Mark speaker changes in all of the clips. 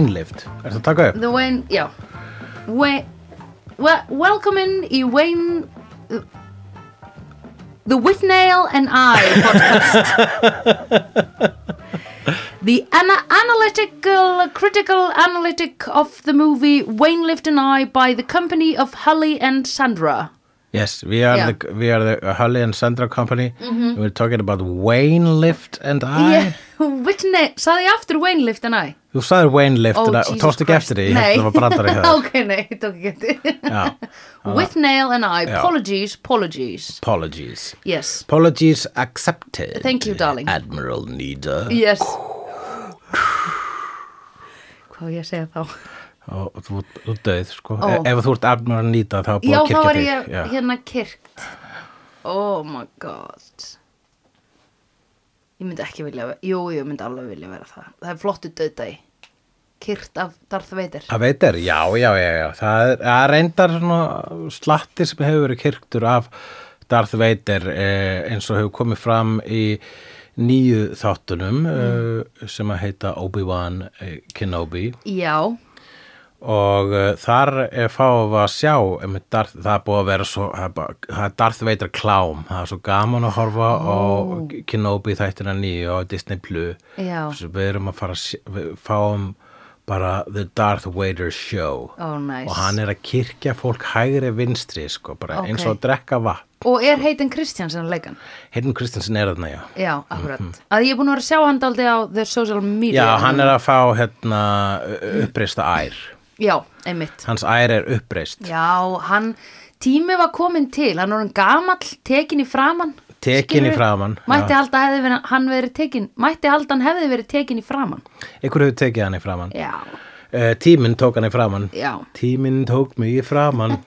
Speaker 1: Er það að taka upp?
Speaker 2: The Wayne, já Wayne, we, Welcoming í Wayne The Whitnail and I podcast The ana analytical, critical analytic of the movie Wayne Lived and I by the company of Holly and Sandra
Speaker 1: Yes, we are,
Speaker 2: Yeah. Mm-hmm.
Speaker 1: the, we are the Holly and Sandra company We're talking about Wayne Lift and I
Speaker 2: yeah, Whitnail, sagði ég aftur Wayne Lived and I
Speaker 1: Þú sagðir Wayne Lift
Speaker 2: Oh,
Speaker 1: and I og
Speaker 2: Jesus
Speaker 1: tókst ekki
Speaker 2: Christ.
Speaker 1: eftir því ég
Speaker 2: Nei.
Speaker 1: held Það var brandari hjá þér.
Speaker 2: ok, nei, ég tók ekki eftir
Speaker 1: Já,
Speaker 2: Whitnail and I,
Speaker 1: Já.
Speaker 2: apologies, apologies
Speaker 1: Apologies
Speaker 2: Yes
Speaker 1: Apologies accepted
Speaker 2: Thank you, darling.
Speaker 1: Admiral Nida
Speaker 2: Yes Hvað á ég að segja þá?
Speaker 1: og þú þú ert döið sko
Speaker 2: Ó.
Speaker 1: oh. ef þú ert Admiral Nida þá er búið
Speaker 2: Já,
Speaker 1: að
Speaker 2: þá
Speaker 1: kirkja
Speaker 2: var
Speaker 1: þig
Speaker 2: ég hérna kirkt Oh my god Ég myndi ekki vilja ve- Jú, ég myndi alveg vilja vera það Það er flottu döðdæ Kirt af Darth Vader
Speaker 1: að veit er, já, já, já, já það er að reyndar svona slatti sem hefur verið kirktur af Darth Vader eh, eins og hefur komið fram í nýju þáttunum
Speaker 2: Mm.
Speaker 1: eh, sem að heita Obi-Wan eh, Kenobi
Speaker 2: Já,
Speaker 1: og uh, þar er fáum við að sjá um, Darth, það er búið að vera svo það er bara- það er Darth Vader klám það er svo gaman að horfa á Kenobi þættina nýju á Disney Plus
Speaker 2: Já.
Speaker 1: Svo við erum að fara að sj- við fáum bara The Darth Vader Show
Speaker 2: ó næs
Speaker 1: og hann er að kirkja fólk hægri vinstri sko, bara
Speaker 2: Ok.
Speaker 1: eins og að drekka vatn
Speaker 2: Og er heitin Kristjansson leikan?
Speaker 1: Heitin Kristinsen er þarna, já
Speaker 2: Já, akkurat Að ég er búin að vera að sjá hann daldi á The Social Media
Speaker 1: Mhm. Já, hann er að fá hérna uppreista ær
Speaker 2: Já, einmitt
Speaker 1: hans ær er uppreist
Speaker 2: Já, hann, tími var komin til, hann var hann gamall, tekin í framann.
Speaker 1: Tekinn í
Speaker 2: skilurðu?
Speaker 1: framan,
Speaker 2: Mætti
Speaker 1: já.
Speaker 2: halda hefði verið, hann verið tekin, mætti halda hann hefði verið tekin í framann.
Speaker 1: ykkur hefur tekið hann í framan
Speaker 2: Já,
Speaker 1: uh, tíminn tók hann í framann
Speaker 2: Já.
Speaker 1: tíminn tók mig í framann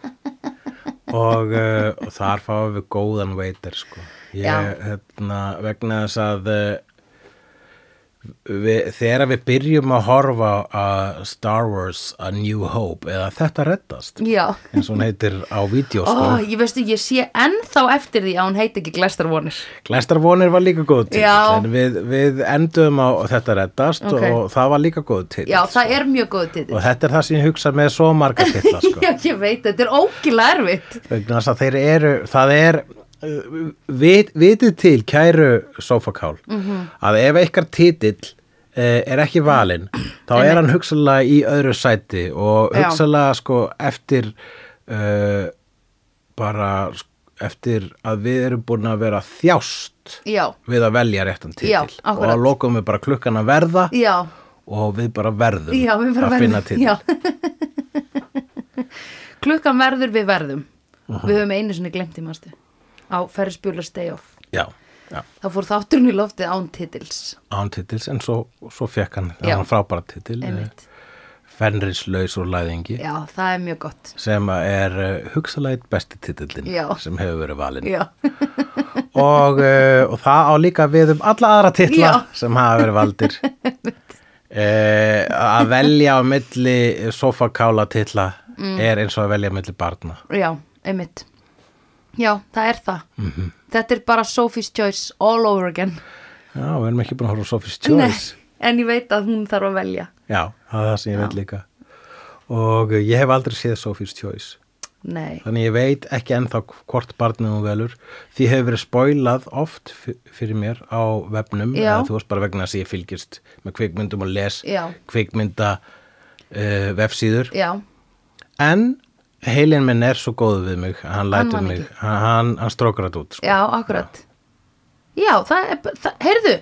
Speaker 1: og, uh, og þar fáum við góðan veitir sko. ég,
Speaker 2: Já.
Speaker 1: hérna, vegna þess að uh, við, þegar við byrjum að horfa að Star Wars A New Hope eða þetta reddast
Speaker 2: já.
Speaker 1: eins og hún heitir á vídeo
Speaker 2: Ó,
Speaker 1: sko.
Speaker 2: ég veistu, ég sé ennþá eftir því að hún heit ekki Glestarvonir.
Speaker 1: Glæstarvonir var líka góð til
Speaker 2: Já.
Speaker 1: en við, við endum á þetta reddast
Speaker 2: Ok.
Speaker 1: og það var líka góð til
Speaker 2: Já, það er mjög góð
Speaker 1: og
Speaker 2: titill.
Speaker 1: þetta er það sem ég hugsa með svo marga titla sko.
Speaker 2: Já, ég veit, þetta er ógila erfitt.
Speaker 1: vegna þess að þeir eru það er uh, vit, vitið til kæru sofakál
Speaker 2: Mhm.
Speaker 1: að ef eitthvað titill uh, er ekki valinn þá er hann hugsalega í öðru sæti og
Speaker 2: Já.
Speaker 1: hugsalega sko eftir uh, bara sk- eftir að við erum búin að vera þjást
Speaker 2: Já,
Speaker 1: við að velja réttan titill
Speaker 2: Já,
Speaker 1: og
Speaker 2: akkurat.
Speaker 1: að lokum við bara klukkan að verða
Speaker 2: já,
Speaker 1: og við bara verðum
Speaker 2: já, við verðum
Speaker 1: að finna titill
Speaker 2: Já. Klukkan verður við verðum.
Speaker 1: Uh-huh.
Speaker 2: Við höfum einu sinni glemt í manstu. Á Ferrisbjörlars Day Off.
Speaker 1: já, já.
Speaker 2: þá fór þátturinn í loftið án titils
Speaker 1: án titils en svo, svo fekk hann, það
Speaker 2: Já.
Speaker 1: var frábæra titil eh,
Speaker 2: einmitt,
Speaker 1: Fenrislaus og læðingi
Speaker 2: já það er mjög gott
Speaker 1: sem að er uh, hugsalega einn besti titillin
Speaker 2: Já.
Speaker 1: sem hefur verið valinn
Speaker 2: já,
Speaker 1: og, uh, og það á líka við um alla aðra titla
Speaker 2: Já.
Speaker 1: sem hafa verið valdir uh, að velja á milli sofakála titla
Speaker 2: Mm.
Speaker 1: er eins og að velja á milli barna
Speaker 2: já, einmitt já, það er það
Speaker 1: Mhm.
Speaker 2: þetta er bara Sophie's Choice all over again
Speaker 1: Já, við erum ekki búin að horfa á Sophie's Choice
Speaker 2: en ég veit að hún þarf að velja
Speaker 1: Já, það er það sem ég veit líka og uh, ég hef aldrei séð Sophie's Choice
Speaker 2: nei,
Speaker 1: Þannig ég veit ekki ennþá hvort barnið hún velur. Því hefur verið spoilað oft f- fyrir mér á vefnum.
Speaker 2: Já.
Speaker 1: Eða Þú veist bara vegna þess að ég fylgist með kvikmyndum og les
Speaker 2: Já.
Speaker 1: kvikmynda uh, vefsíður.
Speaker 2: já,
Speaker 1: En heilin minn er svo góð við mig að hann
Speaker 2: Hann
Speaker 1: lætur
Speaker 2: man
Speaker 1: mig,
Speaker 2: ekki.
Speaker 1: hann, hann, hann strókar þetta út. Sko.
Speaker 2: já, akkurat já, það er, það, heyrðu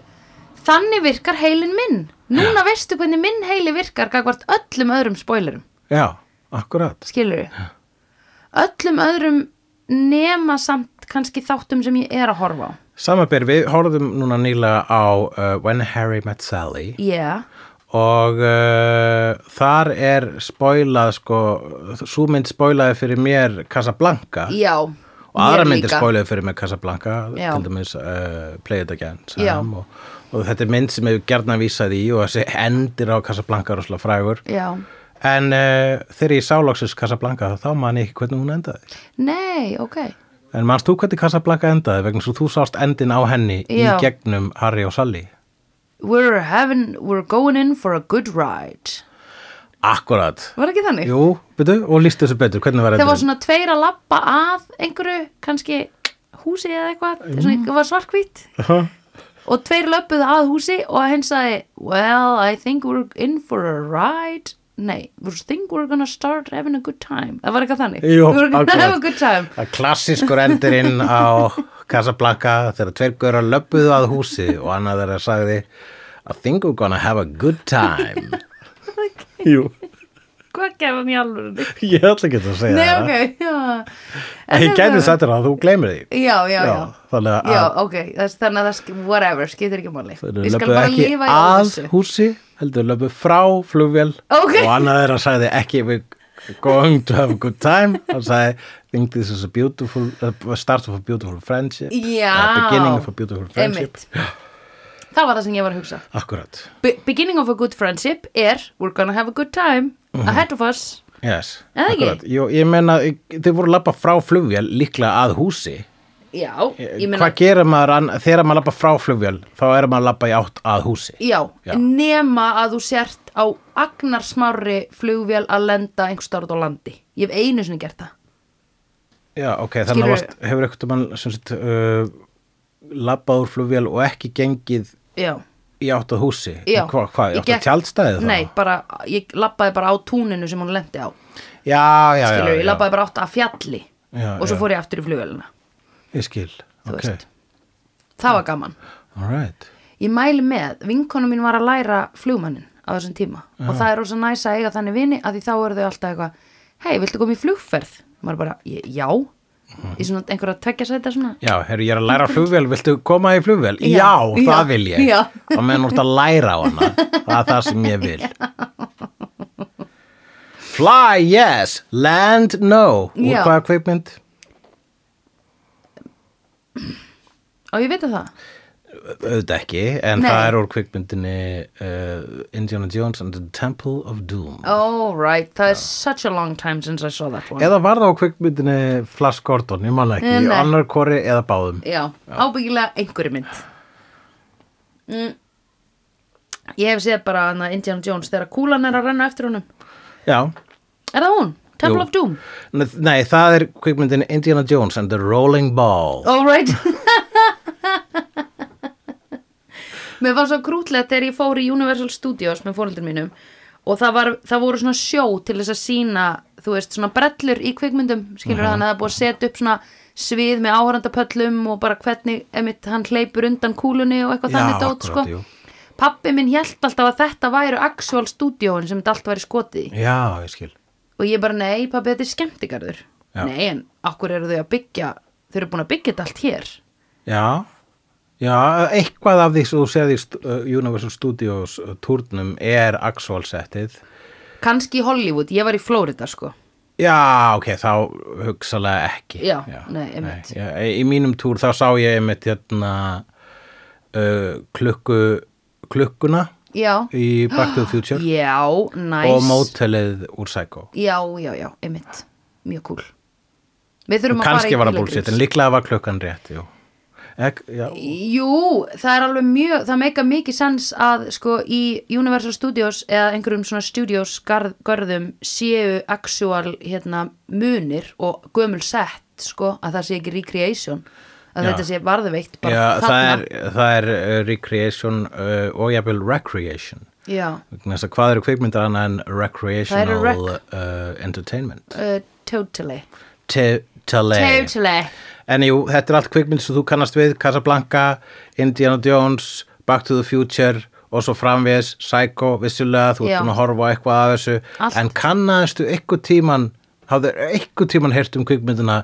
Speaker 2: þannig virkar heilin minn núna veistu hvernig minn heili virkar gagvart öllum öðrum spoilerum
Speaker 1: Já, akkurat.
Speaker 2: skilur öllum öðrum nema samt kannski þáttum sem ég er að horfa á
Speaker 1: Samaber, við horfðum núna nýlega á uh, When Harry Met Sally.
Speaker 2: já,
Speaker 1: og uh, þar er spoilað sko, svo mynd spoilaði fyrir mér Casablanca
Speaker 2: já
Speaker 1: og aðra
Speaker 2: mér
Speaker 1: mynd er
Speaker 2: líka.
Speaker 1: spoilaði fyrir mér Casablanca
Speaker 2: Já.
Speaker 1: til dæmis uh, Play It Again
Speaker 2: Já.
Speaker 1: Sam, og, og þetta er mynd sem hefur gerðna vísað í og þessi endir á Casablanca rosalega frægur
Speaker 2: já,
Speaker 1: en uh, þegar ég sá loksins Casablanca þá man ég ekki hvernig hún endaði
Speaker 2: nei, ok
Speaker 1: en manst þú hvernig Casablanca endaði vegna svo þú sást endin á henni
Speaker 2: Já.
Speaker 1: í gegnum Harry og Sally
Speaker 2: we're having, we're going in for a good ride
Speaker 1: Akkurat.
Speaker 2: Var ekki þannig?
Speaker 1: Jú, betur, og lístu þessu betur, hvernig var
Speaker 2: Það var
Speaker 1: þetta?
Speaker 2: svona tveir að labba að einhverju, kannski húsi eða eitthvað, svona, það var svarkvít
Speaker 1: Svona...
Speaker 2: og tveir löbbuð að húsi og hinn sagði, well, I think we're in for a ride. Nei, we think we're gonna start having a good time. Það var eitthvað þannig.
Speaker 1: Jú,
Speaker 2: we're gonna
Speaker 1: akkurat.
Speaker 2: have a good time.
Speaker 1: Það er klassískur endurinn á Casablanca þegar tveir gaurar löbbuðu að húsi og annað þeirra sagði I think we're gonna have a good time Jú,
Speaker 2: Hvað gerði hann í alvörunni?
Speaker 1: ég ætla ekki að segja
Speaker 2: Nei,
Speaker 1: það
Speaker 2: ok, já. En
Speaker 1: Ég
Speaker 2: þetta-
Speaker 1: gæti sagt þér að þú gleymir því
Speaker 2: Já, já, já.
Speaker 1: Þannig að
Speaker 2: Já, ok, þess, þannig að það, sk- whatever, skiptir ekki máli.
Speaker 1: þeir
Speaker 2: Ég skal
Speaker 1: löbbuðu
Speaker 2: bara
Speaker 1: ekki
Speaker 2: lifa í
Speaker 1: að
Speaker 2: óvissu.
Speaker 1: húsi heldur löbbuðu frá flugvél
Speaker 2: Ok.
Speaker 1: og annað þeirra sagði ekki we're going to have a good time hann sagði I think this is a beautiful uh, start of a beautiful friendship
Speaker 2: Já.
Speaker 1: a beginning of a beautiful friendship
Speaker 2: Einmitt. Það var það sem ég var að hugsa.
Speaker 1: Akkurat,
Speaker 2: Be beginning of a good friendship er we're gonna have a good time
Speaker 1: Mhm.
Speaker 2: ahead of us.
Speaker 1: yes
Speaker 2: Eða ekki?
Speaker 1: Akkurat. Jó, ég meina, þið voru lappa frá flugvél líklega að húsi
Speaker 2: Já, ég meina,
Speaker 1: Eh, Hvað gerir maður an, þegar maður lappa frá flugvél þá er maður að lappa í átt að húsi
Speaker 2: já,
Speaker 1: Já.
Speaker 2: nema að þú sért á agnarsmári flugvél að lenda einhver starf á landi. Ég hef einu sinni gert það.
Speaker 1: Já, ok, þannig að
Speaker 2: Skilurðu?
Speaker 1: varst, hefur eitthvað mann sem sagt uh, lappað úr flugvél og ekki gengið
Speaker 2: Já,
Speaker 1: í átt að húsi
Speaker 2: já.
Speaker 1: En Hvað, hvað, í
Speaker 2: Ég
Speaker 1: átt að
Speaker 2: gekk-
Speaker 1: tjaldstæði þá?
Speaker 2: Nei, bara, ég labbaði bara á túninu sem hún lendi á.
Speaker 1: Já, já, já,
Speaker 2: skilur,
Speaker 1: já,
Speaker 2: ég labbaði bara átt að fjalli
Speaker 1: Já,
Speaker 2: og svo
Speaker 1: já.
Speaker 2: fór ég aftur í flugvélina
Speaker 1: Ég skil,
Speaker 2: þú
Speaker 1: ok,
Speaker 2: veist. það var gaman
Speaker 1: all right
Speaker 2: ég mæli með, vinkonu mín var að læra flugmannin á þessum tíma og það er rosa næs að eiga þannig vini að því þá eru þau alltaf eitthvað hei, viltu koma í flugferð? og maður bara, "Ég- já í svona einhverja tveggja sæta svona
Speaker 1: Já, herru, ég er að læra á flugvél, viltu koma í flugvél? Já,
Speaker 2: Já. Já.
Speaker 1: það vil ég.
Speaker 2: Já.
Speaker 1: Og menn úr að læra á hana, það er það sem ég vil. Fly, yes, land, no. Úr
Speaker 2: Já.
Speaker 1: hvaða kveikmynd?
Speaker 2: og ég veit að það
Speaker 1: Auðvitað ekki, en
Speaker 2: Nei.
Speaker 1: það er úr kveikmyndinni uh, Indiana Jones and the Temple of Doom.
Speaker 2: oh right, það er such a long time since I saw that one
Speaker 1: Eða var það á kveikmyndinni Flash Gordon, ég man það ekki,
Speaker 2: Nei.
Speaker 1: annar kori eða báðum.
Speaker 2: Já, ábyggilega einhverju mynd mm. Ég hef séð bara hana Indiana Jones þegar kúlan er að renna eftir honum
Speaker 1: Já,
Speaker 2: Er það hún? Temple
Speaker 1: Jú.
Speaker 2: of Doom
Speaker 1: Nei, Nei, það er kvikmyndin Indiana Jones and the Rolling Ball
Speaker 2: All right Mér var svo krútlegt þegar ég fór í Universal Studios með fóröldur mínum og það, var, það voru svona sjó til þess að sína þú veist, svona brellur í kvikmyndum skilur þannig að það er búið að setja upp svona svið með áhærandapöllum og bara hvernig emitt, hann hleypur undan kúlunni og eitthvað
Speaker 1: Já,
Speaker 2: þannig dót
Speaker 1: akkurat,
Speaker 2: sko.
Speaker 1: jú.
Speaker 2: Pappi minn hjælt alltaf að þetta væru actual stúdíóin sem þetta allt væri skotið í
Speaker 1: Já, ég skil
Speaker 2: og ég bara nei pappi þetta er skemmtigarður
Speaker 1: Já.
Speaker 2: nei en akkur eru þau að byggja þau eru búin að byggja þetta allt hér
Speaker 1: Já, já eitthvað af því sem þú séð í st- uh, Universal Studios uh, turnum er actual setið
Speaker 2: kannski í Hollywood, ég var í Flórida sko
Speaker 1: Já, ok, þá hugsalega ekki
Speaker 2: Já, nei, einmitt.
Speaker 1: já, Í mínum túr þá sá ég einmitt hérna uh, klukku, klukkuna
Speaker 2: já,
Speaker 1: í Back to the Future
Speaker 2: já, næs
Speaker 1: og mótelið úr Psycho
Speaker 2: já, já, já, einmitt, mjög cool við þurfum að fara
Speaker 1: Kanski
Speaker 2: í
Speaker 1: var það
Speaker 2: Kúlugrís.
Speaker 1: búlsitt, en líklega var klukkan rétt, jú Ek, já,
Speaker 2: Jú, það er alveg mjög, það meika mikið sens að sko í Universal Studios eða einhverjum svona studios garð, garðum séu actual hérna munir og gömul sett sko að það sé ekki recreation að
Speaker 1: Já.
Speaker 2: þetta sé varðveikt bara
Speaker 1: Já, það
Speaker 2: þarna.
Speaker 1: er, það er uh, recreation uh, og jafnvel recreation
Speaker 2: Já,
Speaker 1: vegna þess að hvað eru kvikmyndar annað en recreational
Speaker 2: rec-
Speaker 1: uh, entertainment
Speaker 2: uh, totally
Speaker 1: Totally
Speaker 2: Totally
Speaker 1: En jú, þetta er allt kvikmynd sem þú kannast við Casablanca, Indiana Jones Back to the Future og svo framvegis Psycho, vissulega, þú
Speaker 2: Já.
Speaker 1: ert búin að horfa á eitthvað af þessu
Speaker 2: Allt.
Speaker 1: en kannastu eitthvað tíman hafður eitthvað tíman heyrt um kvikmyndina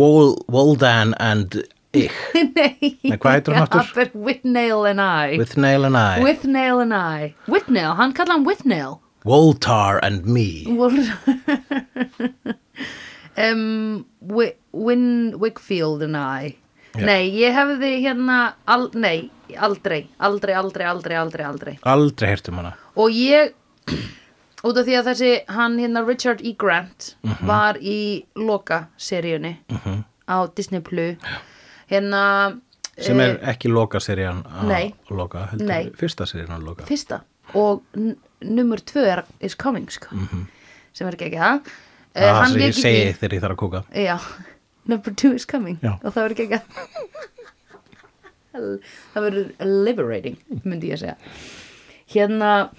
Speaker 1: Wol- Woldan and Ich
Speaker 2: Nei,
Speaker 1: Nei, hvað heitir hún aftur?
Speaker 2: Albert Whitnail and I
Speaker 1: with Nail and I
Speaker 2: Whitnail and I Whitnail, hann kallaði hann Whitnail
Speaker 1: Woltar and Me
Speaker 2: um, Wi- Win Wickfield and I Nei, ég hefði hérna al, Nei, aldrei Aldrei, aldrei, aldrei, aldrei, aldrei
Speaker 1: Aldrei heyrt um hana
Speaker 2: Og ég Út af því að þessi, hann hérna Richard E. Grant
Speaker 1: Mhm.
Speaker 2: Var í loka seríunni -hmm. Á Disney Plus Hérna
Speaker 1: sem
Speaker 2: eh,
Speaker 1: er ekki loka serían að
Speaker 2: nei.
Speaker 1: loka, heldur
Speaker 2: Eh, Nei.
Speaker 1: fyrsta serían að loka
Speaker 2: fyrsta og n- nummer tvö er Is Coming sko, sem er ekki ekki það Eh,
Speaker 1: það sem Mhm. Ah, ég
Speaker 2: lék í því-
Speaker 1: segi þegar ég þarf að kúka
Speaker 2: Já, number two is coming
Speaker 1: Já.
Speaker 2: og það verður geggjað það verður liberating myndi ég að segja hérna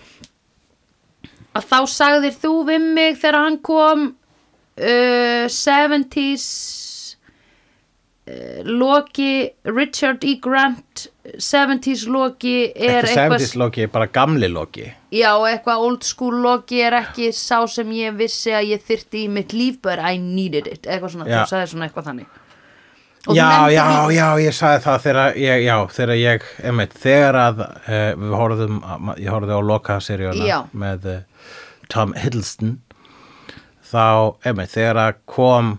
Speaker 2: að þá sagðir þú við mig þegar hann kom uh, 70s uh, Loki Richard E. Grant 70s Loki er
Speaker 1: ekki
Speaker 2: eitthvað
Speaker 1: 70s Loki, bara gamli Loki
Speaker 2: Já, og eitthvað old school logi er ekki sá sem ég vissi að ég þyrti í mitt líf, but I needed it, eitthvað svona,
Speaker 1: Já.
Speaker 2: þú sagði svona eitthvað þannig. Og þú
Speaker 1: Já,
Speaker 2: nefndir
Speaker 1: já,
Speaker 2: líka-
Speaker 1: já, ég sagði það þegar ég, já, þegar ég, einmitt, þegar að uh, við horfðum, að- ég horfði á loka
Speaker 2: Já.
Speaker 1: seríuna með uh, Tom Hiddleston þá, einmitt, þegar að kom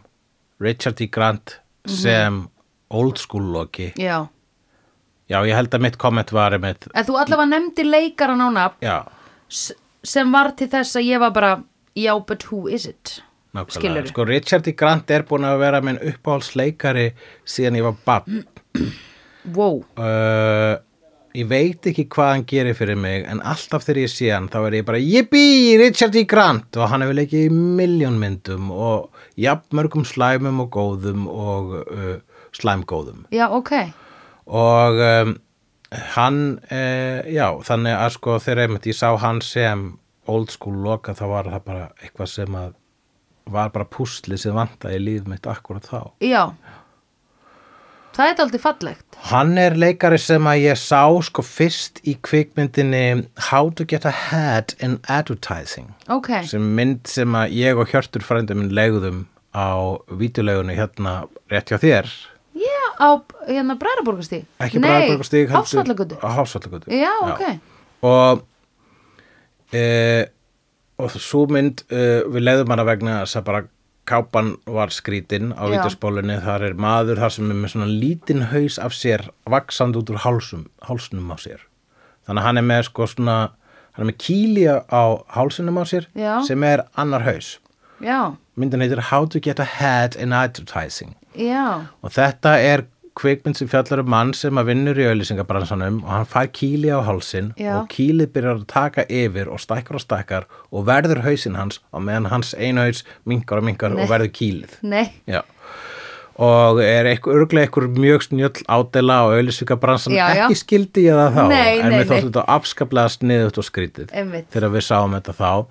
Speaker 1: Richard E. Grant
Speaker 2: Mhm.
Speaker 1: sem old school Loki
Speaker 2: Já,
Speaker 1: já, ég held að mitt komment var einmitt,
Speaker 2: en þú allavega nefndir leikaran á nafn
Speaker 1: já,
Speaker 2: s- sem var til þess að ég var bara, já, but who is it?
Speaker 1: nákvæmlega
Speaker 2: Skilurðu?
Speaker 1: sko, Richard E. Grant er búin að vera minn uppáhaldsleikari síðan ég var barn
Speaker 2: Wow,
Speaker 1: uh, ég veit ekki hvað hann gerir fyrir mig en alltaf þegar ég sé hann þá er ég bara jippi, Richard E. Grant og hann hefur leikið í miljónmyndum og jafn mörgum slæmum og góðum og uh, slæmgóðum
Speaker 2: já, ok,
Speaker 1: og um, hann uh, já, þannig að sko þegar einmitt ég sá hann sem old school loka þá var það bara eitthvað sem að var bara púsli sem vantaði í líf mitt akkurat þá
Speaker 2: já. Það er aldrei fallegt.
Speaker 1: Hann er leikari sem að ég sá sko fyrst í kvikmyndinni How to get ahead in advertising
Speaker 2: Ok,
Speaker 1: sem mynd sem að ég og Hjörtur frændum minn legðum á vítulegunni hérna rétt hjá þér
Speaker 2: já, á hérna Bræðarborgastíg.
Speaker 1: ekki Bræðarborgarstíg
Speaker 2: Hafsvallagötu.
Speaker 1: Hásvallagötu
Speaker 2: Já, ok.
Speaker 1: og e, og svo mynd e, við leiðum hana vegna þess að bara kápan var skrítin á
Speaker 2: Já.
Speaker 1: vítaspólunni þar er maður þar sem er með svona lítinn haus af sér vaksand út úr hálsum, hálsnum á sér þannig að hann er með sko svona hann er með kýlja á hálsinum á sér
Speaker 2: Já.
Speaker 1: sem er annar haus
Speaker 2: Já,
Speaker 1: myndin heitir How to get ahead in advertising
Speaker 2: já,
Speaker 1: og þetta er kvikmynd sem fjallar um mann sem að vinnur í auðlýsingabransanum og hann fær kýli á hálsin
Speaker 2: Já.
Speaker 1: og kýlið byrjar að taka yfir og stækkar og stækkar og verður hausinn hans og meðan hans einu haus minkar og minkar og verður kýlið
Speaker 2: nei,
Speaker 1: Já. og er eitthvað örglega eitthvað mjög snjöll ádela á auðlýsingabransanum
Speaker 2: Já, já.
Speaker 1: ekki skildi ég það þá
Speaker 2: Nei,
Speaker 1: en
Speaker 2: nei,
Speaker 1: við
Speaker 2: nei.
Speaker 1: þóttum þetta afskaplega sniðut og skrítið
Speaker 2: Einmitt.
Speaker 1: þegar við sáum þetta þá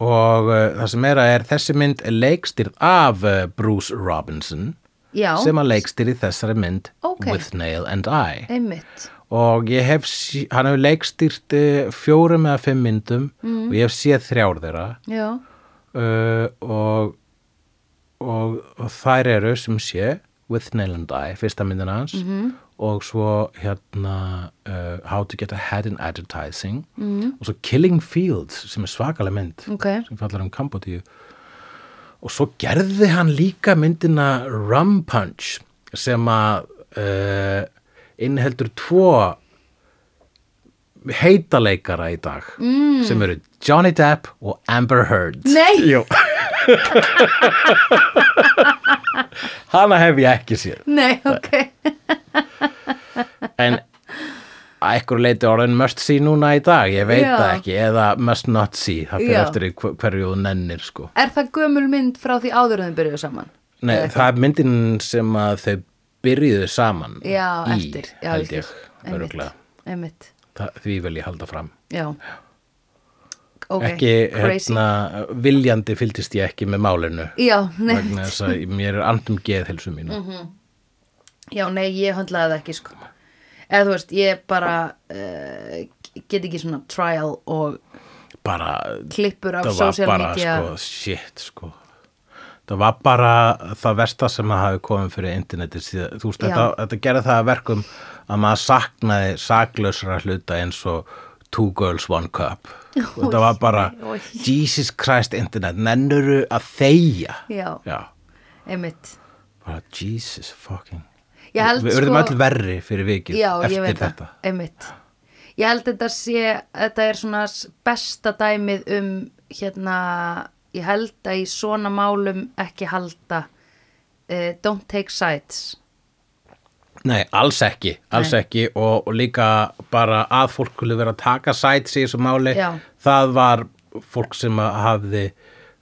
Speaker 1: og uh, það sem er að er þessi mynd er leikstýrð af uh, Bruce Robinson
Speaker 2: já.
Speaker 1: sem að leikstýri þessari mynd
Speaker 2: Ok.
Speaker 1: With Nail and I
Speaker 2: Einmitt.
Speaker 1: og ég hef, sí- hann hefur leikstýrt eh, fjórum eða fimm myndum
Speaker 2: Mm.
Speaker 1: og ég hef séð þrjár þeirra
Speaker 2: Já,
Speaker 1: uh, og, og, og þær eru sem sé With Nail and I, fyrsta myndin hans
Speaker 2: Mhm.
Speaker 1: -hmm. og svo hérna uh, How to get ahead in advertising -hmm. og svo Killing Fields sem er svakalega mynd
Speaker 2: Mm. ok.
Speaker 1: sem fallar um Kambodíu og svo gerði hann líka myndina Rum Punch sem að uh, innheldur tvo heitaleikara í dag mm. sem eru Johnny Depp og Amber Heard
Speaker 2: Nei!
Speaker 1: Jú. hana hef ég ekki séð
Speaker 2: Nei, ok.
Speaker 1: en að einhverju leiti orðin must see núna í dag ég veit
Speaker 2: Já.
Speaker 1: það ekki, eða must not see það fyrir
Speaker 2: Já.
Speaker 1: eftir því hver- hverju þú nennir sko
Speaker 2: Er það gömul mynd frá því áður en þau byrjuðu saman?
Speaker 1: Nei, það er myndin sem að þau byrjuðu saman
Speaker 2: Já,
Speaker 1: í,
Speaker 2: eftir. Já,
Speaker 1: held
Speaker 2: ég
Speaker 1: ég,
Speaker 2: skil.
Speaker 1: öruglega.
Speaker 2: Einmitt,
Speaker 1: Það- Því vil ég halda fram.
Speaker 2: já. Ok,
Speaker 1: ekki,
Speaker 2: crazy.
Speaker 1: hérna, viljandi fylgist ég ekki með málinu.
Speaker 2: Já, nei,
Speaker 1: Vegna þess að mér er andum geðhelsu mínu.
Speaker 2: Mhm. já, nei, ég höndlaði það ekki, sko. Eða þú veist, ég bara uh, get ekki svona trial og
Speaker 1: Bara,
Speaker 2: klippur af
Speaker 1: það var
Speaker 2: social
Speaker 1: bara,
Speaker 2: media.
Speaker 1: sko, shit, sko. Það var bara það versta sem að hafi komið fyrir internetið síðan. Þú veist,
Speaker 2: Já.
Speaker 1: þetta, þetta gerði það að verkum að maður saknaði saklausra hluta eins og Two Girls One Cup. Og þetta var bara,
Speaker 2: Oj.
Speaker 1: Jesus Christ internet, nennuru að þeia.
Speaker 2: Já,
Speaker 1: Já,
Speaker 2: einmitt.
Speaker 1: bara Jesus fucking.
Speaker 2: Ég held,
Speaker 1: Við urðum
Speaker 2: sko-
Speaker 1: öll verri fyrir vikið
Speaker 2: Já, ég
Speaker 1: eftir
Speaker 2: veit
Speaker 1: þetta.
Speaker 2: það, einmitt Ég held þetta sé, þetta er svona s- besta dæmið um hérna, ég held að í eh, svona málum ekki halda uh, don't take sides
Speaker 1: Nei, alls ekki, alls ekki og, og líka bara að fólk skulle vera að taka sæts í þessu máli
Speaker 2: Já.
Speaker 1: það var fólk sem að hafði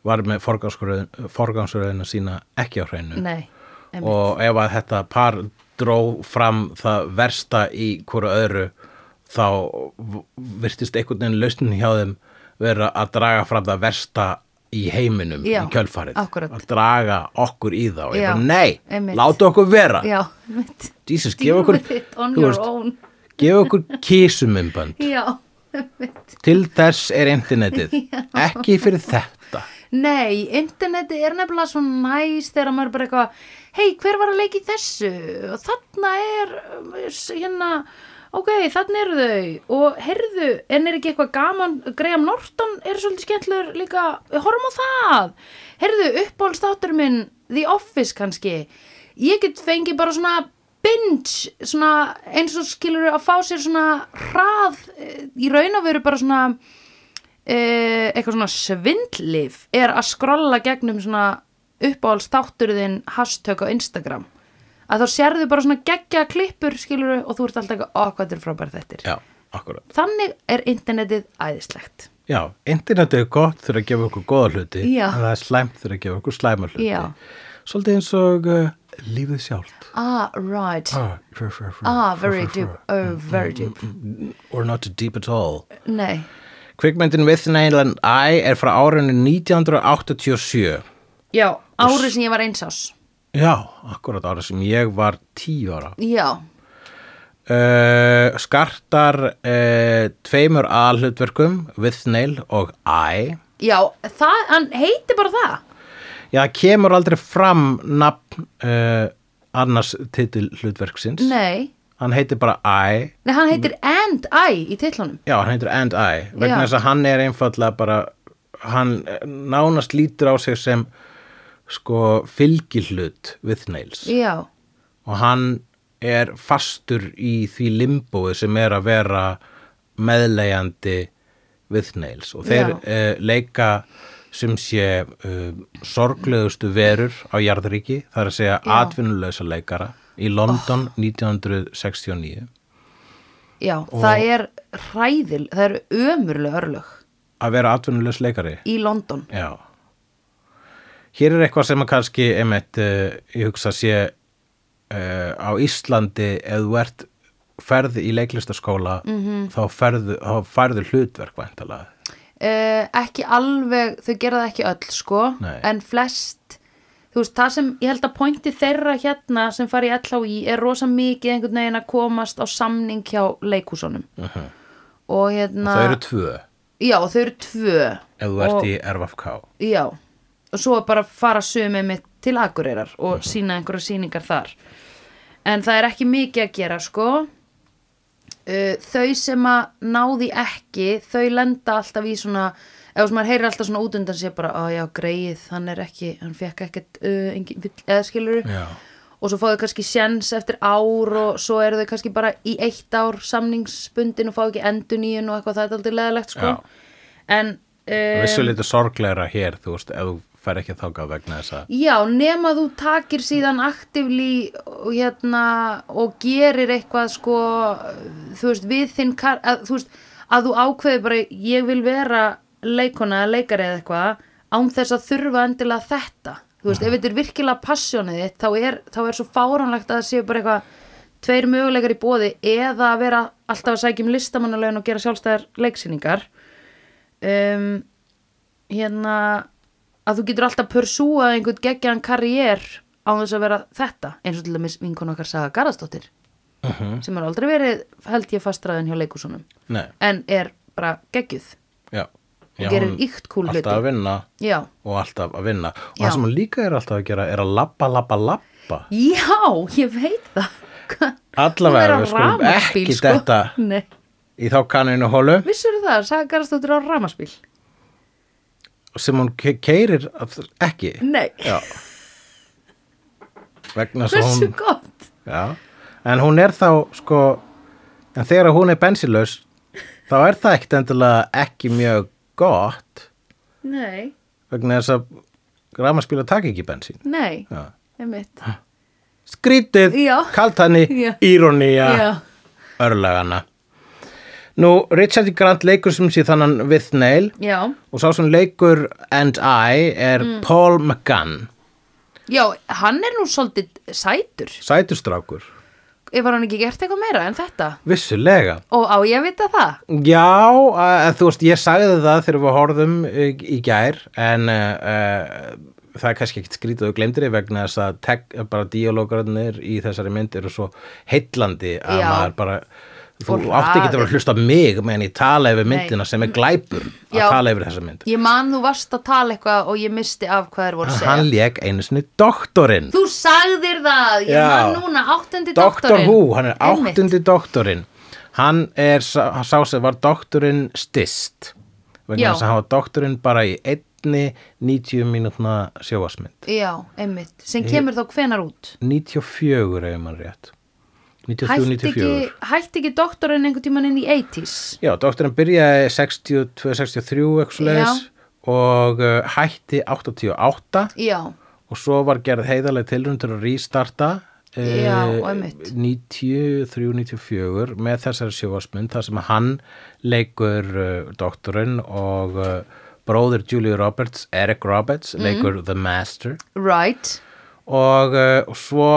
Speaker 1: var með forgangsröðin- forgangsröðina sína ekki á hreinu
Speaker 2: Nei, einmitt.
Speaker 1: og ef að þetta par dró fram það versta í hverju öðru þá v- virtist einhvern veginn lausnin hjá þeim vera að draga fram það versta í heiminum
Speaker 2: Já,
Speaker 1: í kjölfarið
Speaker 2: akkúrat.
Speaker 1: að draga okkur í þá
Speaker 2: Já,
Speaker 1: Já, nei,
Speaker 2: einmitt.
Speaker 1: láta okkur vera
Speaker 2: Já, einmitt.
Speaker 1: Jesus,
Speaker 2: Deal
Speaker 1: gefa okkur
Speaker 2: with it on
Speaker 1: þú
Speaker 2: your own.
Speaker 1: gefa okkur kísumumbönd
Speaker 2: Já, einmitt.
Speaker 1: til þess er internetið ekki fyrir þetta
Speaker 2: Nei, interneti er nefnilega svo næs þegar maður er bara eitthvað, hei, hver var að leika í þessu? Og þarna er, um, s- hérna, ok, þarna eru þau. Og heyrðu, en er ekki eitthvað gaman, Graham Norton er svolítið skemmtlur líka, horfum á það. Heyrðu, uppbólstáttur minn, The Office kannski. Ég get fengið bara svona binge, svona eins og skilur að fá sér svona hrað, eh, í raun og veru bara svona eh, eitthvað svona svindlif er að skrolla gegnum svona uppáhaldstátturðin hashtag á Instagram að þá sérðu bara svona geggja klippur skilur og þú ert alltaf eitthvað okkvættur frábær þettir
Speaker 1: Já, akkurat
Speaker 2: þannig er internetið æðislegt
Speaker 1: Já, internetið er gott þegar að gefa okkur góða hluti
Speaker 2: Já.
Speaker 1: en það er slæmt þegar að gefa okkur slæma hluti
Speaker 2: Já.
Speaker 1: Svolítið eins og uh, lífið sjálft
Speaker 2: ah right ah,
Speaker 1: ah, fr, fr, fr,
Speaker 2: very deep,
Speaker 1: ah,
Speaker 2: oh very deep
Speaker 1: Or not too deep at all
Speaker 2: nei,
Speaker 1: Kvikmyndin With an Island Eye er frá árinu 1987
Speaker 2: já, árið sem ég var einsás
Speaker 1: Já, akkurat ára sem ég var tíu ára
Speaker 2: já,
Speaker 1: uh, Skartar uh, tveimur aðhlutverkum With Nail og Eye
Speaker 2: já, það, hann heiti bara það
Speaker 1: Já, það kemur aldrei fram nafn uh, annars titil hlutverksins.
Speaker 2: nei,
Speaker 1: Hann heitir bara I.
Speaker 2: nei, hann heitir and I í titlunum
Speaker 1: Já, hann heitir And I. Vegna
Speaker 2: Já.
Speaker 1: þess að hann er einfallega bara, hann eh, nánast lítur á sig sem sko fylgihlut with nails.
Speaker 2: já,
Speaker 1: Og hann er fastur í því limbói sem er að vera meðlegjandi with nails. Og þeir
Speaker 2: Já.
Speaker 1: uh, leika sem sé uh, sorglegustu verur á jarðríki, það er að segja
Speaker 2: Já. Ah.
Speaker 1: atvinnulösa leikara í London 1969
Speaker 2: já, það er hræðil, það eru ömurlega örlög
Speaker 1: að vera atvinnulösa leikari
Speaker 2: í London
Speaker 1: já hér er eitthvað sem að kannski einmitt, uh, ég hugsa sé uh, á Íslandi ef þú ert ferð í leiklistaskóla
Speaker 2: Mhm.
Speaker 1: -hmm. þá, ferðu, þá færðu hlutverk væntalega
Speaker 2: uh, ekki alveg, þau gera það ekki öll sko,
Speaker 1: Nei.
Speaker 2: en flest þú veist, það sem, ég held að pointi þeirra hérna sem fari í LHI er rosa mikið einhvern veginn að komast á samning hjá leikúsunum og hérna
Speaker 1: það eru tvö
Speaker 2: já, þau eru tvö
Speaker 1: ef þú ert
Speaker 2: og,
Speaker 1: í RFK
Speaker 2: já, og svo bara fara sumið mitt til Akureyrar og sína einhverja sýningar þar en það er ekki mikið að gera sko uh, þau sem að náði ekki þau lenda alltaf í svona ef sem maður heyrir alltaf svona út undan sér bara að já greið, hann er ekki, hann fekk ekkert uh, engin, vill- eða skilur
Speaker 1: Já.
Speaker 2: og svo fá þau kannski sjens eftir ár og svo eru þau kannski bara í eitt ár samningsbundin og fá ekki endur nýjun og eitthvað það er aldrei leðalegt sko
Speaker 1: Já.
Speaker 2: en uh,
Speaker 1: vissuleiti sorglegra hér þú veist, ef þú fer ekki þákað vegna þess að
Speaker 2: Já, nema þú takir síðan aktivlí og, hérna, og gerir eitthvað sko, þú veist, við þinn kar, að, þú veist, að þú ákveður bara ég vil vera leikona eða leikari eða eitthvað án þess að þurfa endilega þetta þú veist, ef þetta er virkilega passjónið þitt þá er, þá er svo fáránlegt að það séu bara eitthvað tveir möguleikar í bóði eða að vera alltaf að sækja um listamannalaun og gera sjálfstæðar leiksýningar um, hérna að þú getur alltaf pursúað einhvern geggjaðan karriér á þess að vera þetta eins og til dæmis vinkon okkar Saga Garðastóttir
Speaker 1: Mhm.
Speaker 2: sem er aldrei verið held ég fastraðin hjá leikúsunum
Speaker 1: nei,
Speaker 2: en er bara geggjuð
Speaker 1: já, já
Speaker 2: gerir
Speaker 1: hún
Speaker 2: ýkt kúl hluti.
Speaker 1: alltaf að vinna
Speaker 2: já,
Speaker 1: og alltaf að vinna og
Speaker 2: Já.
Speaker 1: það sem hún líka er alltaf að gera er að labba, labba, labba
Speaker 2: já, ég veit það Hvað- Hún
Speaker 1: Allavega,
Speaker 2: er á
Speaker 1: við skulum
Speaker 2: rafmagnsbíl,
Speaker 1: ekki
Speaker 2: sko.
Speaker 1: detta.
Speaker 2: Nei.
Speaker 1: í þá kanninu hólu
Speaker 2: vissur það, Saga Garðastóttir á ramaspíl
Speaker 1: sem hún keirir ekki
Speaker 2: nei,
Speaker 1: já. vegna svo
Speaker 2: hversu
Speaker 1: hún
Speaker 2: gott
Speaker 1: já. en hún er þá sko en þegar hún er bensinlaus þá er það ekkit endilega ekki mjög gott
Speaker 2: nei,
Speaker 1: vegna þess að rafmagnspílar taka ekki bensín
Speaker 2: nei,
Speaker 1: já.
Speaker 2: einmitt
Speaker 1: skrítið,
Speaker 2: Já.
Speaker 1: kaltani,
Speaker 2: Já.
Speaker 1: íronía,
Speaker 2: Já.
Speaker 1: örlagana. Nú, Richard E. Grant leikur sem sé þannan við Neil
Speaker 2: Já,
Speaker 1: og sá sem leikur And I er
Speaker 2: Mm.
Speaker 1: Paul McGann,
Speaker 2: já, hann er nú svolítið sætur
Speaker 1: sætustrákur,
Speaker 2: Ef var hann ekki gert eitthvað meira en þetta
Speaker 1: vissulega.
Speaker 2: Og á ég að vita það
Speaker 1: Já, að, þú veist, ég sagði það þegar við horfðum í, í gær en uh, uh, það er kannski ekkit skrítið og glemdir því vegna þess að tek, bara díalógarnir í þessari mynd eru svo heitlandi að
Speaker 2: Já.
Speaker 1: maður bara þú
Speaker 2: Og
Speaker 1: átti ekki að vera
Speaker 2: hraðinn.
Speaker 1: að hlusta á mig meðan ég tala yfir myndina sem er glæpur að
Speaker 2: Já.
Speaker 1: tala yfir þessa mynd.
Speaker 2: Ég man þú varst að tala eitthvað og ég misti af hvað þér voru að segja
Speaker 1: Hann lék einu sinni doktorinn.
Speaker 2: Þú sagðir það, ég
Speaker 1: Já.
Speaker 2: man núna áttundi
Speaker 1: Doktor
Speaker 2: doktorinn
Speaker 1: Who, hann er
Speaker 2: Einmitt.
Speaker 1: áttundi doktorinn hann er sá, sá sem var doktorinn stist
Speaker 2: Já.
Speaker 1: vegna þess að hann var doktorinn bara í einni 90 mínútna sjóasmynd
Speaker 2: Já, einmitt, sem kemur þá hvenar út
Speaker 1: 94 ef mann rétt 94,
Speaker 2: Hætti ekki,
Speaker 1: 94
Speaker 2: hætti ekki doktorinn einhvern tímann inn í 80s
Speaker 1: Já, doktorinn byrjaði 62, 63 eitthvað leis og uh, hætti 88
Speaker 2: Já,
Speaker 1: og svo var gerð heiðarlega tilrönd til að restarta eh,
Speaker 2: Já, og einmitt.
Speaker 1: 93-94 með þessari sjóasmynd þar sem hann leikur uh, doktorinn og uh, bróðir Julie Roberts, Eric Roberts
Speaker 2: Mhm.
Speaker 1: leikur The Master
Speaker 2: right,
Speaker 1: og uh, svo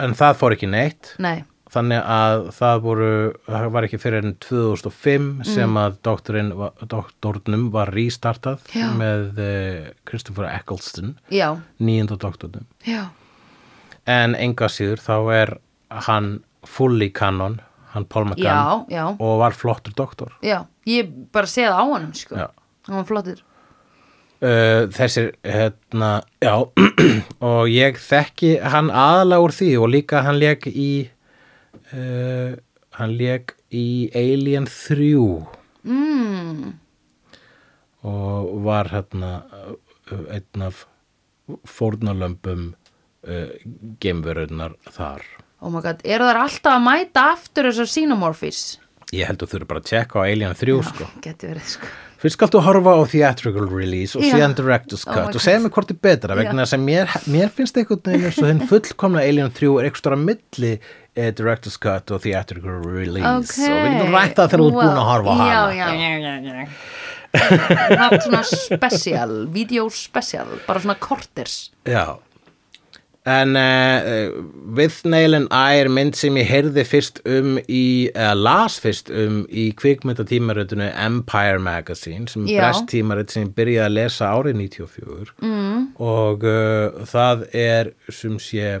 Speaker 1: en það fór ekki neitt
Speaker 2: nei
Speaker 1: þannig að það voru það var ekki fyrir enn 2005
Speaker 2: Mhm.
Speaker 1: sem að doktorinn, var- doktornum var restartað
Speaker 2: Já.
Speaker 1: með uh, Christopher Eccleston
Speaker 2: Já,
Speaker 1: nýjönda doktornum
Speaker 2: já,
Speaker 1: en enga síður þá er hann fully canon hann Paul McGann
Speaker 2: já, já,
Speaker 1: og var flottur doktor
Speaker 2: já Ég bara sé það á honum, sko
Speaker 1: Já.
Speaker 2: Hann var flottur
Speaker 1: uh, þessir hérna, já og ég þekki hann aðalega úr því og líka hann lék í uh, hann lék í Alien 3
Speaker 2: mm,
Speaker 1: og var hérna uh, einn af fórnalömbum uh, geimverunnar þar
Speaker 2: Oh my god, eru þær alltaf að mæta aftur þessar xenomorphis?
Speaker 1: ég held að þú eru bara að tjekka á Alien 3 sko
Speaker 2: Geti verið, sko
Speaker 1: Fyrst skaltu horfa á theatrical release og
Speaker 2: Já.
Speaker 1: síðan director's
Speaker 2: Oh my
Speaker 1: cut og
Speaker 2: God.
Speaker 1: segja mér hvort er betra
Speaker 2: Já.
Speaker 1: vegna þess að mér, mér finnst einhvern veginn eins og hinn fullkomna Alien 3 er eitthvað stóra milli eh, director's cut og theatrical release og við getum rætt það þegar þú ert búin að horfa á hana
Speaker 2: já, já, já, já, já. haft svona special video special, bara svona korters
Speaker 1: Já En uh, With Nail and I er mynd sem ég heyrði fyrst um í, eða las fyrst um í kvikmyndatímaritinu Empire Magazine sem
Speaker 2: Já.
Speaker 1: er brest tímarit sem ég byrjaði að lesa árið 94 mm. og uh, það er sem sé